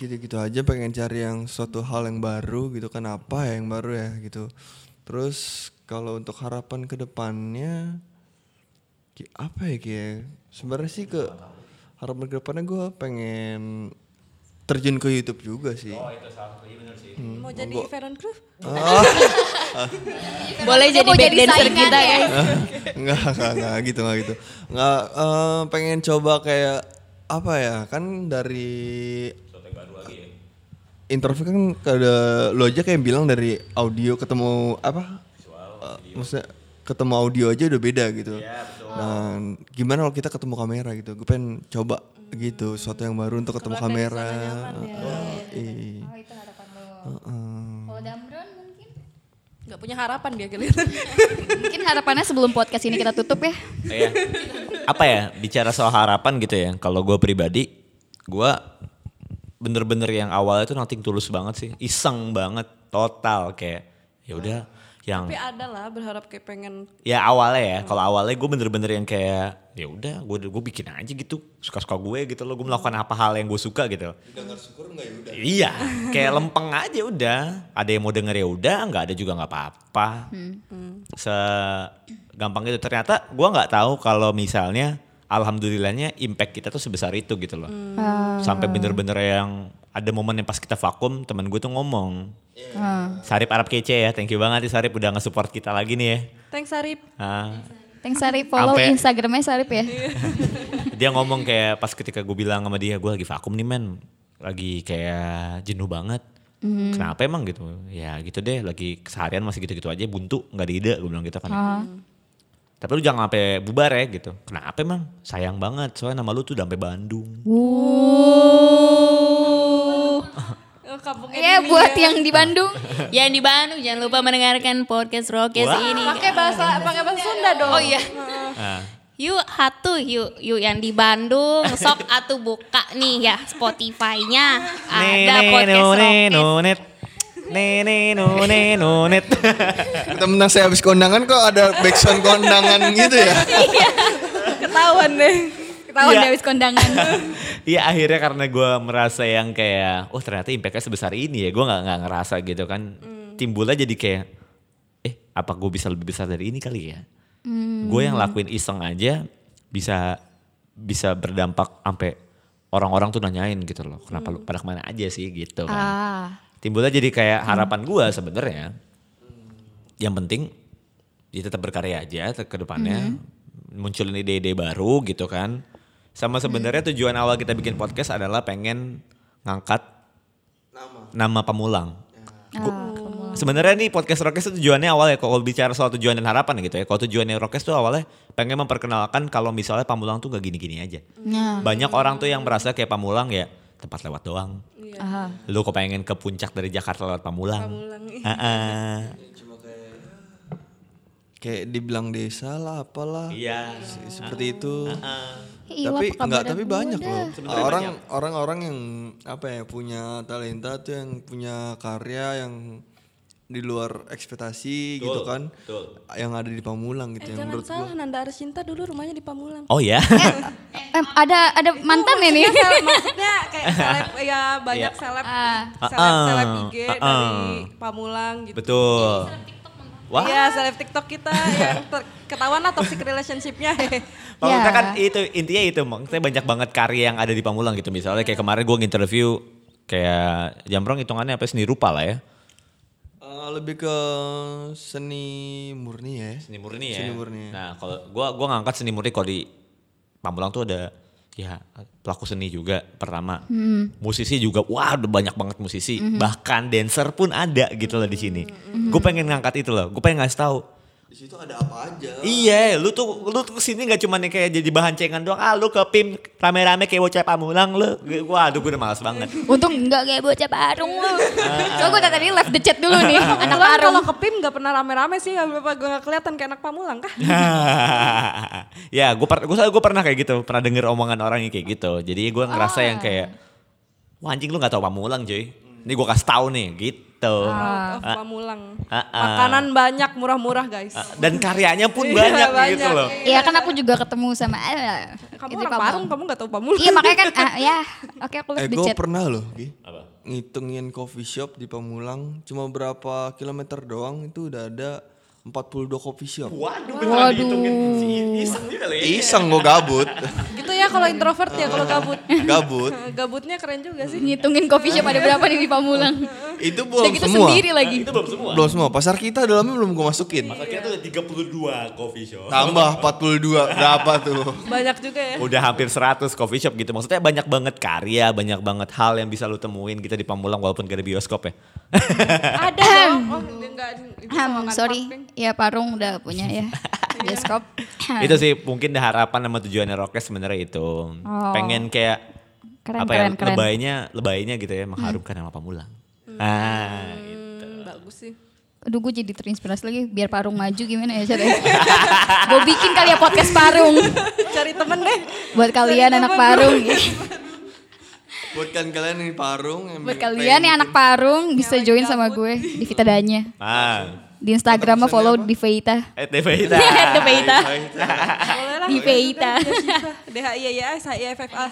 [SPEAKER 6] gitu-gitu aja pengen cari yang suatu hal yang baru gitu kan apa ya yang baru ya gitu terus kalau untuk harapan kedepannya ki- apa ya Ki ya? sebenarnya sih ke harapan kedepannya gue pengen terjun ke YouTube juga sih
[SPEAKER 9] Mau jadi Veron Crew?
[SPEAKER 8] Boleh
[SPEAKER 5] Dia
[SPEAKER 8] jadi
[SPEAKER 5] mau
[SPEAKER 8] back
[SPEAKER 5] jadi
[SPEAKER 8] dancer
[SPEAKER 5] saingan
[SPEAKER 8] kita
[SPEAKER 5] ya.
[SPEAKER 8] ya.
[SPEAKER 6] nggak nggak nggak gitu nggak gitu nggak eh, pengen coba kayak apa ya kan dari interview kan ada lo aja kayak bilang dari audio ketemu apa Eh, maksudnya ketemu audio aja udah beda gitu dan gimana kalau kita ketemu kamera gitu gue pengen coba gitu sesuatu yang baru untuk ketemu kamera Iya.
[SPEAKER 5] Oh itu harapan lo.
[SPEAKER 6] Heeh.
[SPEAKER 5] Kalau Damron mungkin?
[SPEAKER 9] Gak punya harapan dia kelihatan.
[SPEAKER 5] Mungkin harapannya sebelum podcast ini kita tutup ya.
[SPEAKER 3] Iya. Apa ya bicara soal harapan gitu ya. Kalau gue pribadi, gue bener-bener yang awalnya tuh nothing tulus banget sih, iseng banget, total kayak ya udah yang
[SPEAKER 9] Tapi ada lah berharap kayak pengen
[SPEAKER 3] ya awalnya ya kalau awalnya gue bener-bener yang kayak ya udah gue gue bikin aja gitu suka-suka gue gitu loh gue melakukan apa hal yang gue suka gitu iya kayak lempeng aja udah ada yang mau denger ya udah nggak ada juga nggak apa-apa segampang itu ternyata gue nggak tahu kalau misalnya alhamdulillahnya impact kita tuh sebesar itu gitu loh sampai bener-bener yang ada momen yang pas kita vakum temen gue tuh ngomong Sarip Arab kece ya thank you banget ya Sarip udah nge-support kita lagi nih ya
[SPEAKER 9] thanks Arif.
[SPEAKER 3] Ah,
[SPEAKER 5] Thanks Sarip, follow
[SPEAKER 3] Ampe-
[SPEAKER 5] Instagramnya Sarip ya.
[SPEAKER 3] dia ngomong kayak pas ketika gue bilang sama dia gue lagi vakum nih men lagi kayak jenuh banget
[SPEAKER 8] Hmm.
[SPEAKER 3] kenapa emang gitu ya gitu deh lagi keseharian masih gitu-gitu aja buntu nggak ada ide gue bilang gitu kan ya.
[SPEAKER 8] Ah.
[SPEAKER 3] tapi lu jangan sampai bubar ya gitu kenapa emang sayang banget soalnya nama lu tuh udah sampai Bandung
[SPEAKER 9] Oh, kampungnya
[SPEAKER 5] Ya
[SPEAKER 9] Dini
[SPEAKER 5] buat
[SPEAKER 9] ya.
[SPEAKER 5] yang di Bandung.
[SPEAKER 8] Yang di Bandung jangan lupa mendengarkan podcast Rokes
[SPEAKER 3] Wah.
[SPEAKER 8] ini.
[SPEAKER 9] pakai bahasa pakai bahasa Sunda dong.
[SPEAKER 8] Oh iya.
[SPEAKER 3] Ah.
[SPEAKER 8] Yuk hatu yuk yuk yang di Bandung sok atu buka nih ya Spotify-nya ada podcast Rokes.
[SPEAKER 3] nunet Nene nune nunet
[SPEAKER 6] Iya. Kita menang saya habis kondangan kok ada backsound kondangan gitu ya.
[SPEAKER 7] Ketahuan deh.
[SPEAKER 5] Ketahuan
[SPEAKER 3] Iya.
[SPEAKER 5] dia habis kondangan.
[SPEAKER 3] Iya akhirnya karena gue merasa yang kayak, oh ternyata impactnya sebesar ini ya, gue nggak nggak ngerasa gitu kan, timbulnya jadi kayak, eh apa gue bisa lebih besar dari ini kali ya? Gue yang lakuin iseng aja bisa bisa berdampak sampai orang-orang tuh nanyain gitu loh, kenapa lu pada kemana aja sih gitu kan?
[SPEAKER 8] Ah,
[SPEAKER 3] Timbulnya jadi kayak harapan gue sebenarnya, yang penting dia tetap berkarya aja te- ke depannya munculin ide-ide baru gitu kan sama sebenarnya tujuan awal kita bikin podcast adalah pengen ngangkat nama pemulang Gua- sebenarnya nih podcast Rockes itu tujuannya awal ya kalau bicara soal tujuan dan harapan gitu ya kalau tujuannya Rockes tuh awalnya pengen memperkenalkan kalau misalnya pamulang tuh gak gini-gini aja banyak orang tuh yang merasa kayak pamulang ya tempat lewat doang lu kok pengen ke puncak dari Jakarta lewat pamulang, Heeh.
[SPEAKER 6] Kayak dibilang desa lah apalah.
[SPEAKER 3] iya Ah,
[SPEAKER 6] Seperti itu.
[SPEAKER 5] Ih,
[SPEAKER 6] tapi
[SPEAKER 5] apa kabar
[SPEAKER 6] enggak tapi
[SPEAKER 5] gua
[SPEAKER 6] banyak
[SPEAKER 5] dah?
[SPEAKER 6] loh orang orang orang yang apa ya punya talenta tuh yang punya karya yang di luar ekspektasi gitu kan yang ada di Pamulang
[SPEAKER 5] Eh,
[SPEAKER 6] gitu yang
[SPEAKER 9] Jangan
[SPEAKER 6] menurut gua
[SPEAKER 9] salah Nanda Arshinta dulu rumahnya di Pamulang.
[SPEAKER 3] oh ya
[SPEAKER 5] Em, Eh, ada ada mantan ya nih.
[SPEAKER 9] Maksudnya seleb- maksudnya kayak seleb ya banyak seleb seleb seleb IG
[SPEAKER 3] Iya. Ah, ah.
[SPEAKER 9] dari Pamulang gitu.
[SPEAKER 3] Betul. Wah,
[SPEAKER 9] Iya, seleb TikTok kita yang ter- ketahuan lah toxic relationship-nya.
[SPEAKER 3] maksudnya
[SPEAKER 5] Ya.
[SPEAKER 3] kan itu intinya itu, maksudnya banyak banget karya yang ada di Pamulang gitu. Misalnya kayak kemarin gue nginterview kayak Jamrong hitungannya apa seni rupa lah ya.
[SPEAKER 6] Eh, lebih ke seni murni ya
[SPEAKER 3] Seni murni ya.
[SPEAKER 6] Seni murni.
[SPEAKER 3] Nah, kalau gua gua ngangkat seni murni kalau di Pamulang tuh ada ya pelaku seni juga pertama. Musisi juga wah ada banyak banget musisi, bahkan dancer pun ada gitu loh di sini. Gue pengen ngangkat itu loh. Gue pengen ngasih tahu
[SPEAKER 6] di situ ada apa aja
[SPEAKER 3] Iya, lu tuh lu tuh kesini nggak cuma nih kayak jadi bahan cengan doang. Ah, lu ke PIM rame-rame kayak bocah pamulang lu. Gue- Waduh, gue udah malas banget.
[SPEAKER 5] Untung enggak kayak bocah parung
[SPEAKER 3] Ah.
[SPEAKER 5] lu. Soalnya gue tadi left the chat dulu nih. Anak
[SPEAKER 9] Kebetulan
[SPEAKER 5] parung.
[SPEAKER 9] kalau ke PIM gak pernah rame-rame sih, apa gue gak kelihatan kayak anak Pamulang kah?
[SPEAKER 3] ya, gue per, gue gue pernah kayak gitu, pernah denger omongan orang yang kayak gitu. Jadi gue ngerasa yang kayak Wah anjing lu gak tau pamulang cuy. Ini gue kasih tahu nih gitu.
[SPEAKER 9] Out of
[SPEAKER 3] Ah,
[SPEAKER 9] Pamulang.
[SPEAKER 3] Ah, ah.
[SPEAKER 9] Makanan banyak, murah-murah guys.
[SPEAKER 3] Dan karyanya pun
[SPEAKER 9] Iya,
[SPEAKER 3] banyak, gitu
[SPEAKER 9] banyak.
[SPEAKER 3] loh.
[SPEAKER 5] Iya kan aku juga ketemu sama eh,
[SPEAKER 9] Kamu
[SPEAKER 5] itu
[SPEAKER 9] orang
[SPEAKER 5] Pamulang.
[SPEAKER 9] Parung, kamu gak tahu Pamulang.
[SPEAKER 5] Iya makanya kan ah, ya oke aku
[SPEAKER 6] eh
[SPEAKER 5] left the
[SPEAKER 6] gua
[SPEAKER 5] chat.
[SPEAKER 6] pernah loh Gi.
[SPEAKER 3] Apa?
[SPEAKER 6] ngitungin coffee shop di Pamulang cuma berapa kilometer doang itu udah ada 42 coffee shop
[SPEAKER 3] Waduh, beneran dihitungin si iseng juga loh ya.
[SPEAKER 6] iseng gue gabut
[SPEAKER 9] gitu ya kalau introvert ya, kalau gabut. Eh,
[SPEAKER 6] gabut
[SPEAKER 9] Gabutnya keren juga sih.
[SPEAKER 5] Ngitungin coffee shop ada berapa nih di Pamulang.
[SPEAKER 6] itu
[SPEAKER 5] Udah
[SPEAKER 6] belum
[SPEAKER 5] gitu
[SPEAKER 6] semua
[SPEAKER 5] sendiri lagi.
[SPEAKER 3] Itu belum semua.
[SPEAKER 6] belum semua pasar kita dalamnya belum gue masukin
[SPEAKER 3] Akhirnya tuh ada 32 coffee shop.
[SPEAKER 6] Tambah 42 berapa tuh?
[SPEAKER 9] Banyak juga ya.
[SPEAKER 3] udah hampir 100 coffee shop gitu. Maksudnya banyak banget karya, banyak banget hal yang bisa lu temuin kita di Pamulang walaupun gak ada bioskop ya.
[SPEAKER 9] Ada dong. Oh, enggak. itu
[SPEAKER 5] Hmm,
[SPEAKER 9] sama
[SPEAKER 5] sorry,
[SPEAKER 9] Parung.
[SPEAKER 5] ya Parung udah punya ya bioskop.
[SPEAKER 3] itu sih mungkin harapan sama tujuannya Rockes sebenarnya itu. Pengen kayak
[SPEAKER 5] Oh. Keren,
[SPEAKER 3] apa
[SPEAKER 5] keren,
[SPEAKER 3] ya,
[SPEAKER 5] keren.
[SPEAKER 3] lebaynya, lebaynya gitu ya mengharumkan nama Pamulang. Ah, gitu.
[SPEAKER 9] Hmm, bagus sih.
[SPEAKER 5] Aduh gue jadi terinspirasi lagi biar Parung maju gimana ya caranya. gue bikin kali ya podcast Parung.
[SPEAKER 9] Cari temen deh.
[SPEAKER 5] Buat kalian anak Parung.
[SPEAKER 6] Buat kan kalian yang di parung yang
[SPEAKER 5] Buat
[SPEAKER 6] pengen
[SPEAKER 5] kalian yang anak Parung bisa join sama gue di Vita Danya.
[SPEAKER 3] Ah,
[SPEAKER 5] Di Instagram mah follow di Feita.
[SPEAKER 3] Eh, Devita.
[SPEAKER 5] The Feita.
[SPEAKER 7] Boleh lah.
[SPEAKER 5] Di Feita.
[SPEAKER 7] DHIYS, HIFFA.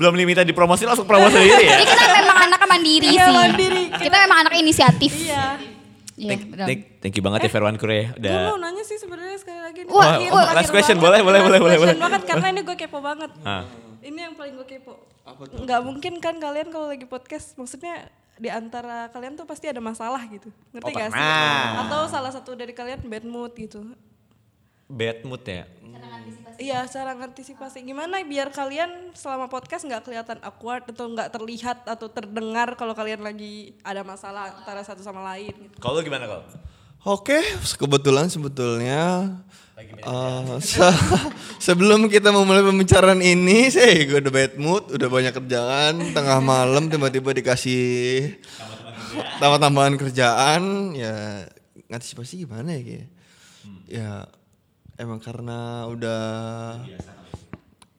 [SPEAKER 3] Belum limited di promosi langsung promosi sendiri
[SPEAKER 5] Jadi
[SPEAKER 3] ya.
[SPEAKER 5] Iya, kita memang anak mandiri
[SPEAKER 7] Iya,
[SPEAKER 5] sih.
[SPEAKER 7] mandiri.
[SPEAKER 5] Kita memang anak inisiatif.
[SPEAKER 7] Iya.
[SPEAKER 5] Iya, Eh,
[SPEAKER 3] Thank,
[SPEAKER 5] benar.
[SPEAKER 3] thank- thank you banget ya Verwan Kure.
[SPEAKER 7] Gue mau
[SPEAKER 3] Udah.
[SPEAKER 7] nanya sih sebenarnya sekali lagi. nih.
[SPEAKER 5] Wah,
[SPEAKER 7] Terakhir
[SPEAKER 5] wah,
[SPEAKER 7] banget.
[SPEAKER 3] last question. Boleh, boleh,
[SPEAKER 7] Last
[SPEAKER 3] boleh, boleh,
[SPEAKER 7] question
[SPEAKER 3] boleh.
[SPEAKER 7] banget karena ini gue kepo banget.
[SPEAKER 3] Ah.
[SPEAKER 7] Ini yang paling gue kepo. Nggak mungkin kan kalian kalau lagi podcast, maksudnya di antara kalian tuh pasti ada masalah gitu. Ngerti
[SPEAKER 3] Oh,
[SPEAKER 7] gak sih?
[SPEAKER 3] pernah.
[SPEAKER 7] Atau salah satu dari kalian bad mood gitu.
[SPEAKER 3] Bad mood ya.
[SPEAKER 7] Iya, cara antisipasi. Gimana biar kalian selama podcast nggak kelihatan awkward atau nggak terlihat atau terdengar kalau kalian lagi ada masalah antara satu sama lain gitu.
[SPEAKER 3] Kalau lu gimana kalau?
[SPEAKER 6] Oke, kebetulan sebetulnya eh, se- sebelum kita memulai pembicaraan ini, sih gue udah bad mood, udah banyak kerjaan, tengah malam tiba-tiba dikasih tambah-tambahan kerjaan, ya antisipasi gimana ya? Ki? Ya emang karena udah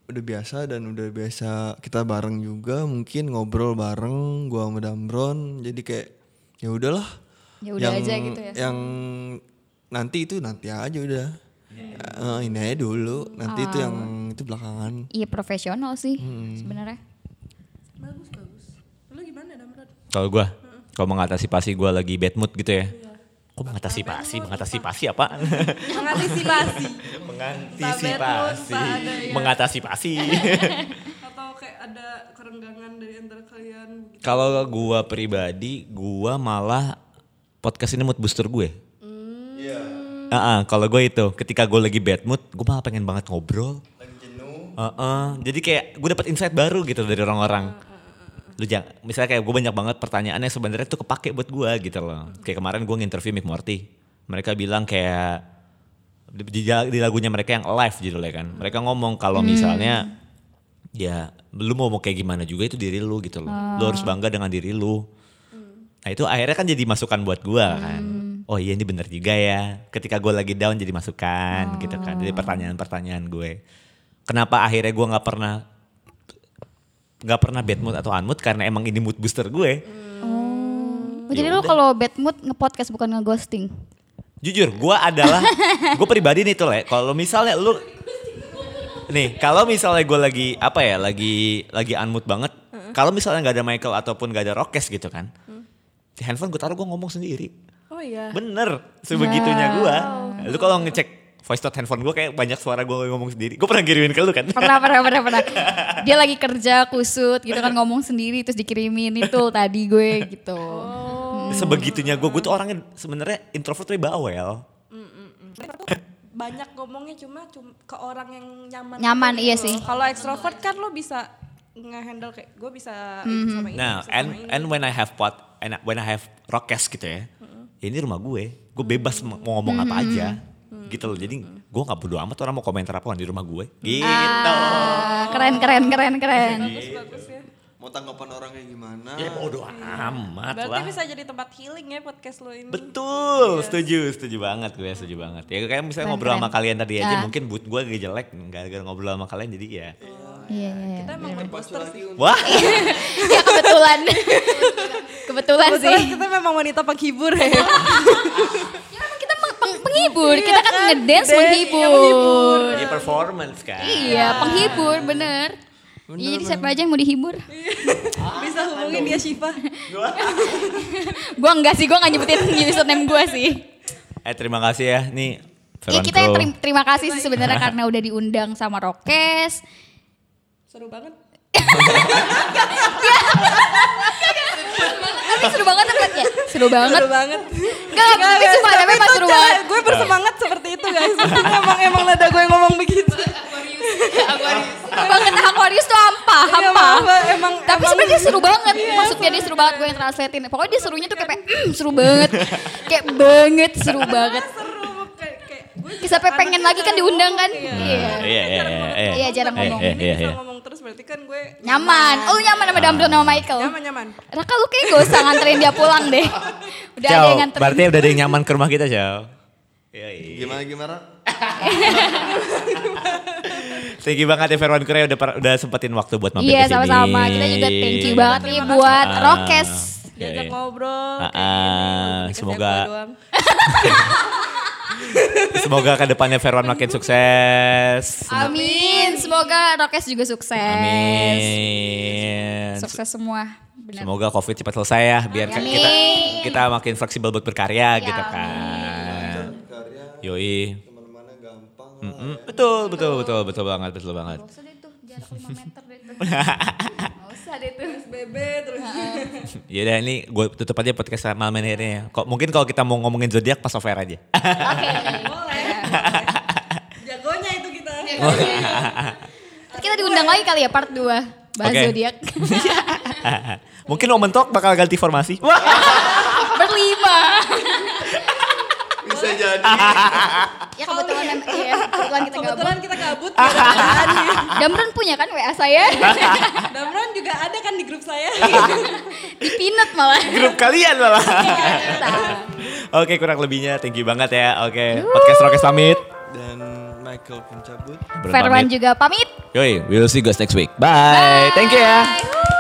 [SPEAKER 6] udah biasa dan udah biasa kita bareng juga, mungkin ngobrol bareng gua sama Damron, jadi kayak ya udahlah.
[SPEAKER 5] Ya udah aja gitu ya.
[SPEAKER 6] Yang nanti itu nanti aja udah. Eh, ini aja dulu, nanti itu yang itu belakangan.
[SPEAKER 5] Iya profesional sih
[SPEAKER 6] Hmm.
[SPEAKER 5] sebenarnya.
[SPEAKER 3] Kalau gua, kalau mengatasi pasi gua lagi bad mood gitu ya.
[SPEAKER 5] Iya.
[SPEAKER 3] Kok mengatasi pasi? Mengatasi pasi apaan?
[SPEAKER 7] Mengantisipasi
[SPEAKER 3] mengantisipasi
[SPEAKER 7] Entah bad mood, entah ada ya.
[SPEAKER 3] mengatasi pasi
[SPEAKER 7] atau kayak ada kerenggangan dari antara kalian.
[SPEAKER 3] kalau gua pribadi gua malah podcast ini mood booster gue Iya. kalau gue itu ketika gue lagi bad mood gue malah pengen banget ngobrol lagi jenuh jadi kayak gue dapat insight baru gitu dari orang-orang lu jangan misalnya kayak gue banyak banget pertanyaannya sebenarnya tuh kepake buat gue gitu loh kayak kemarin gue nginterview Mick Morty mereka bilang kayak di, di- di lagunya mereka yang live judulnya kan mereka ngomong kalau misalnya ya lu mau mau kayak gimana juga itu diri lu gitu loh lu harus bangga dengan diri lu nah itu akhirnya kan jadi masukan buat gua kan oh iya ini bener juga ya ketika gua lagi down jadi masukan gitu kan jadi pertanyaan-pertanyaan gue kenapa akhirnya gua nggak pernah nggak pernah bad mood atau unmood karena emang ini mood booster gue
[SPEAKER 6] Ya
[SPEAKER 5] Oh, jadi lo kalau bad mood nge-podcast bukan nge-ghosting.
[SPEAKER 3] Jujur, gue adalah gue pribadi nih tuh le. Kalau misalnya lu nih, kalau misalnya gue lagi apa ya, lagi lagi unmute banget. Kalau misalnya nggak ada Michael ataupun nggak ada Rokes gitu kan, di handphone gue taruh gue ngomong sendiri.
[SPEAKER 7] Oh iya.
[SPEAKER 3] Bener, sebegitunya gue. Lu kalau ngecek voice note handphone gue kayak banyak suara gue ngomong sendiri. Gue pernah kirimin ke lu kan?
[SPEAKER 5] Pernah, pernah, pernah, pernah. Dia lagi kerja kusut gitu kan ngomong sendiri terus dikirimin itu tadi gue gitu.
[SPEAKER 7] Oh.
[SPEAKER 3] sebegitunya gue, gue tuh orangnya sebenarnya introvert tapi bawel.
[SPEAKER 7] banyak ngomongnya cuma cum- ke orang yang nyaman.
[SPEAKER 5] Nyaman,
[SPEAKER 7] gitu
[SPEAKER 5] iya
[SPEAKER 7] loh.
[SPEAKER 5] sih.
[SPEAKER 7] Kalau ekstrovert kan lo bisa ngehandle kayak gue bisa ini
[SPEAKER 5] Mhm.
[SPEAKER 7] sama ini.
[SPEAKER 3] Nah,
[SPEAKER 7] bisa sama
[SPEAKER 3] and
[SPEAKER 7] ini.
[SPEAKER 3] and when I have pot and when I have rockes gitu ya, ya ini rumah gue, gue bebas mau mau ngomong apa aja, gitu loh. Jadi gue nggak bodo amat orang mau komentar apa di rumah gue, gitu.
[SPEAKER 5] Ah, keren, keren, keren, keren.
[SPEAKER 7] bagus ya.
[SPEAKER 6] Mau tanggapan orang kayak gimana?
[SPEAKER 3] Ya bodo amat
[SPEAKER 7] Berarti
[SPEAKER 3] Nah, lah.
[SPEAKER 7] bisa jadi tempat healing ya podcast lo ini.
[SPEAKER 5] Iya.
[SPEAKER 3] Betul, setuju, setuju banget gue, setuju banget. Ya kayak misalnya ngobrol sama kalian tadi aja,
[SPEAKER 5] Ah.
[SPEAKER 3] mungkin mood gue agak jelek, gara-gara ngobrol sama kalian jadi ya.
[SPEAKER 5] Iya, iya, iya.
[SPEAKER 7] Kita emang monster sih.
[SPEAKER 3] Wah,
[SPEAKER 5] Ya kebetulan. kebetulan sih.
[SPEAKER 7] Iya, Kebetulan kita memang wanita penghibur ya.
[SPEAKER 5] Ya, memang kita meng- peng- penghibur, kita kan
[SPEAKER 7] kan?
[SPEAKER 5] ngedance
[SPEAKER 7] Dance, iya,
[SPEAKER 5] menghibur.
[SPEAKER 3] ya performance kan.
[SPEAKER 5] Iya, penghibur, bener. Iya, jadi siapa aja yang mau dihibur?
[SPEAKER 7] Iya. bisa hubungin dia Syifa.
[SPEAKER 5] gua enggak sih, gua enggak nyebutin username gua sih.
[SPEAKER 3] Eh terima kasih ya, nih.
[SPEAKER 5] Ya
[SPEAKER 3] Veron
[SPEAKER 5] kita yang
[SPEAKER 3] Crow.
[SPEAKER 5] terim- terima kasih
[SPEAKER 7] Iya.
[SPEAKER 5] sih sebenarnya karena udah diundang sama Rokes.
[SPEAKER 7] Seru banget.
[SPEAKER 5] Tapi seru banget tempat ya. Seru banget.
[SPEAKER 7] Seru banget.
[SPEAKER 5] Enggak, Ah, tapi
[SPEAKER 7] guys,
[SPEAKER 5] cuma tapi pas
[SPEAKER 7] itu
[SPEAKER 5] seru
[SPEAKER 7] cara
[SPEAKER 5] banget.
[SPEAKER 7] Gue bersemangat seperti itu guys. emang emang nada gue ngomong begitu.
[SPEAKER 5] Seru banget Aquarius tuh hampa,
[SPEAKER 7] Iya,
[SPEAKER 5] hampa.
[SPEAKER 7] maaf, emang
[SPEAKER 5] Tapi
[SPEAKER 7] emang-
[SPEAKER 5] sebenarnya dia seru banget.
[SPEAKER 7] Iya,
[SPEAKER 5] Maksudnya dia seru banget gue yang translatein. Pokoknya dia serunya tuh kayak "Mm, seru banget. kayak banget seru banget.
[SPEAKER 7] seru kayak kayak gue juga
[SPEAKER 5] Sampai pengen
[SPEAKER 7] anaknya
[SPEAKER 5] lagi kan
[SPEAKER 7] jarang
[SPEAKER 5] diundang kan?
[SPEAKER 7] ngomong, ya.
[SPEAKER 5] Iya.
[SPEAKER 3] Iya, iya, iya, iya.
[SPEAKER 5] Iya, jarang
[SPEAKER 3] Iya,
[SPEAKER 5] ngomong.
[SPEAKER 3] iya,
[SPEAKER 7] Ini
[SPEAKER 3] iya,
[SPEAKER 7] bisa
[SPEAKER 3] iya.
[SPEAKER 7] ngomong terus berarti kan gue
[SPEAKER 5] Nyaman. Oh lu nyaman sama Damron sama Michael.
[SPEAKER 7] nyaman nyaman.
[SPEAKER 5] Raka lu kayak gak usah nganterin dia pulang deh. Udah ada yang nganterin.
[SPEAKER 3] berarti udah ada yang nyaman ke rumah kita, Ciao. Yoi.
[SPEAKER 6] Gimana gimana?
[SPEAKER 3] Thank you banget ya Verwan Korea udah per- udah sempetin waktu buat mampir
[SPEAKER 5] Iya
[SPEAKER 3] ke sini.
[SPEAKER 5] sama-sama. Kita juga thank you banget nih buat
[SPEAKER 3] Ah.
[SPEAKER 5] Rokes.
[SPEAKER 9] diajak
[SPEAKER 3] Yoi.
[SPEAKER 9] ngobrol
[SPEAKER 3] Ah,
[SPEAKER 9] kayak gini.
[SPEAKER 3] ah,
[SPEAKER 9] Dikasih
[SPEAKER 3] semoga-
[SPEAKER 9] aku doang.
[SPEAKER 3] Semoga kedepannya Verwan makin sukses.
[SPEAKER 5] Amin. Semoga Rokes juga sukses.
[SPEAKER 3] Amin.
[SPEAKER 5] Sukses semua. Benar.
[SPEAKER 3] Semoga COVID cepat selesai ya, biar kan kita
[SPEAKER 5] Amin. Ya,
[SPEAKER 3] kita makin fleksibel buat berkarya gitu kan.
[SPEAKER 6] Karya
[SPEAKER 3] Yoi.
[SPEAKER 6] kemana-mana gampang lah. ya.
[SPEAKER 3] Mm, betul, betul, betul, betul banget, betul banget.
[SPEAKER 5] Gak usah deh tuh jarak 5 meter deh tuh. Gak usah deh tuh. SBB
[SPEAKER 9] Ah,
[SPEAKER 5] terus.
[SPEAKER 3] Yaudah ini gue tutup aja podcast malam ini akhirnya ya. Kok mungkin kalau kita mau ngomongin zodiak pas off air aja.
[SPEAKER 5] Oke.
[SPEAKER 9] Boleh. Jagonya itu kita.
[SPEAKER 5] Kita diundang lagi kali ya part 2. Bahas
[SPEAKER 3] Oke.
[SPEAKER 5] zodiak.
[SPEAKER 3] mungkin Omen Talk bakal ganti formasi. Wah.
[SPEAKER 5] Berlima.
[SPEAKER 6] Bisa jadi.
[SPEAKER 5] Ya kebetulan em- iya, kebetulan kita gabung.
[SPEAKER 9] Kebetulan kita kabut. gak ada kerjaan nih.
[SPEAKER 5] Damron punya kan WA saya?
[SPEAKER 9] Damron juga ada kan di grup saya.
[SPEAKER 5] Di Pinet malah.
[SPEAKER 3] grup kalian malah. Oke kurang lebihnya thank you banget ya. Oke podcast Rokes pamit.
[SPEAKER 6] Dan Michael pencabut.
[SPEAKER 3] Belum
[SPEAKER 5] Verwan
[SPEAKER 3] pamit.
[SPEAKER 5] juga pamit.
[SPEAKER 3] Yoi, we'll see you guys next week. Bye. Thank you ya.
[SPEAKER 5] Bye.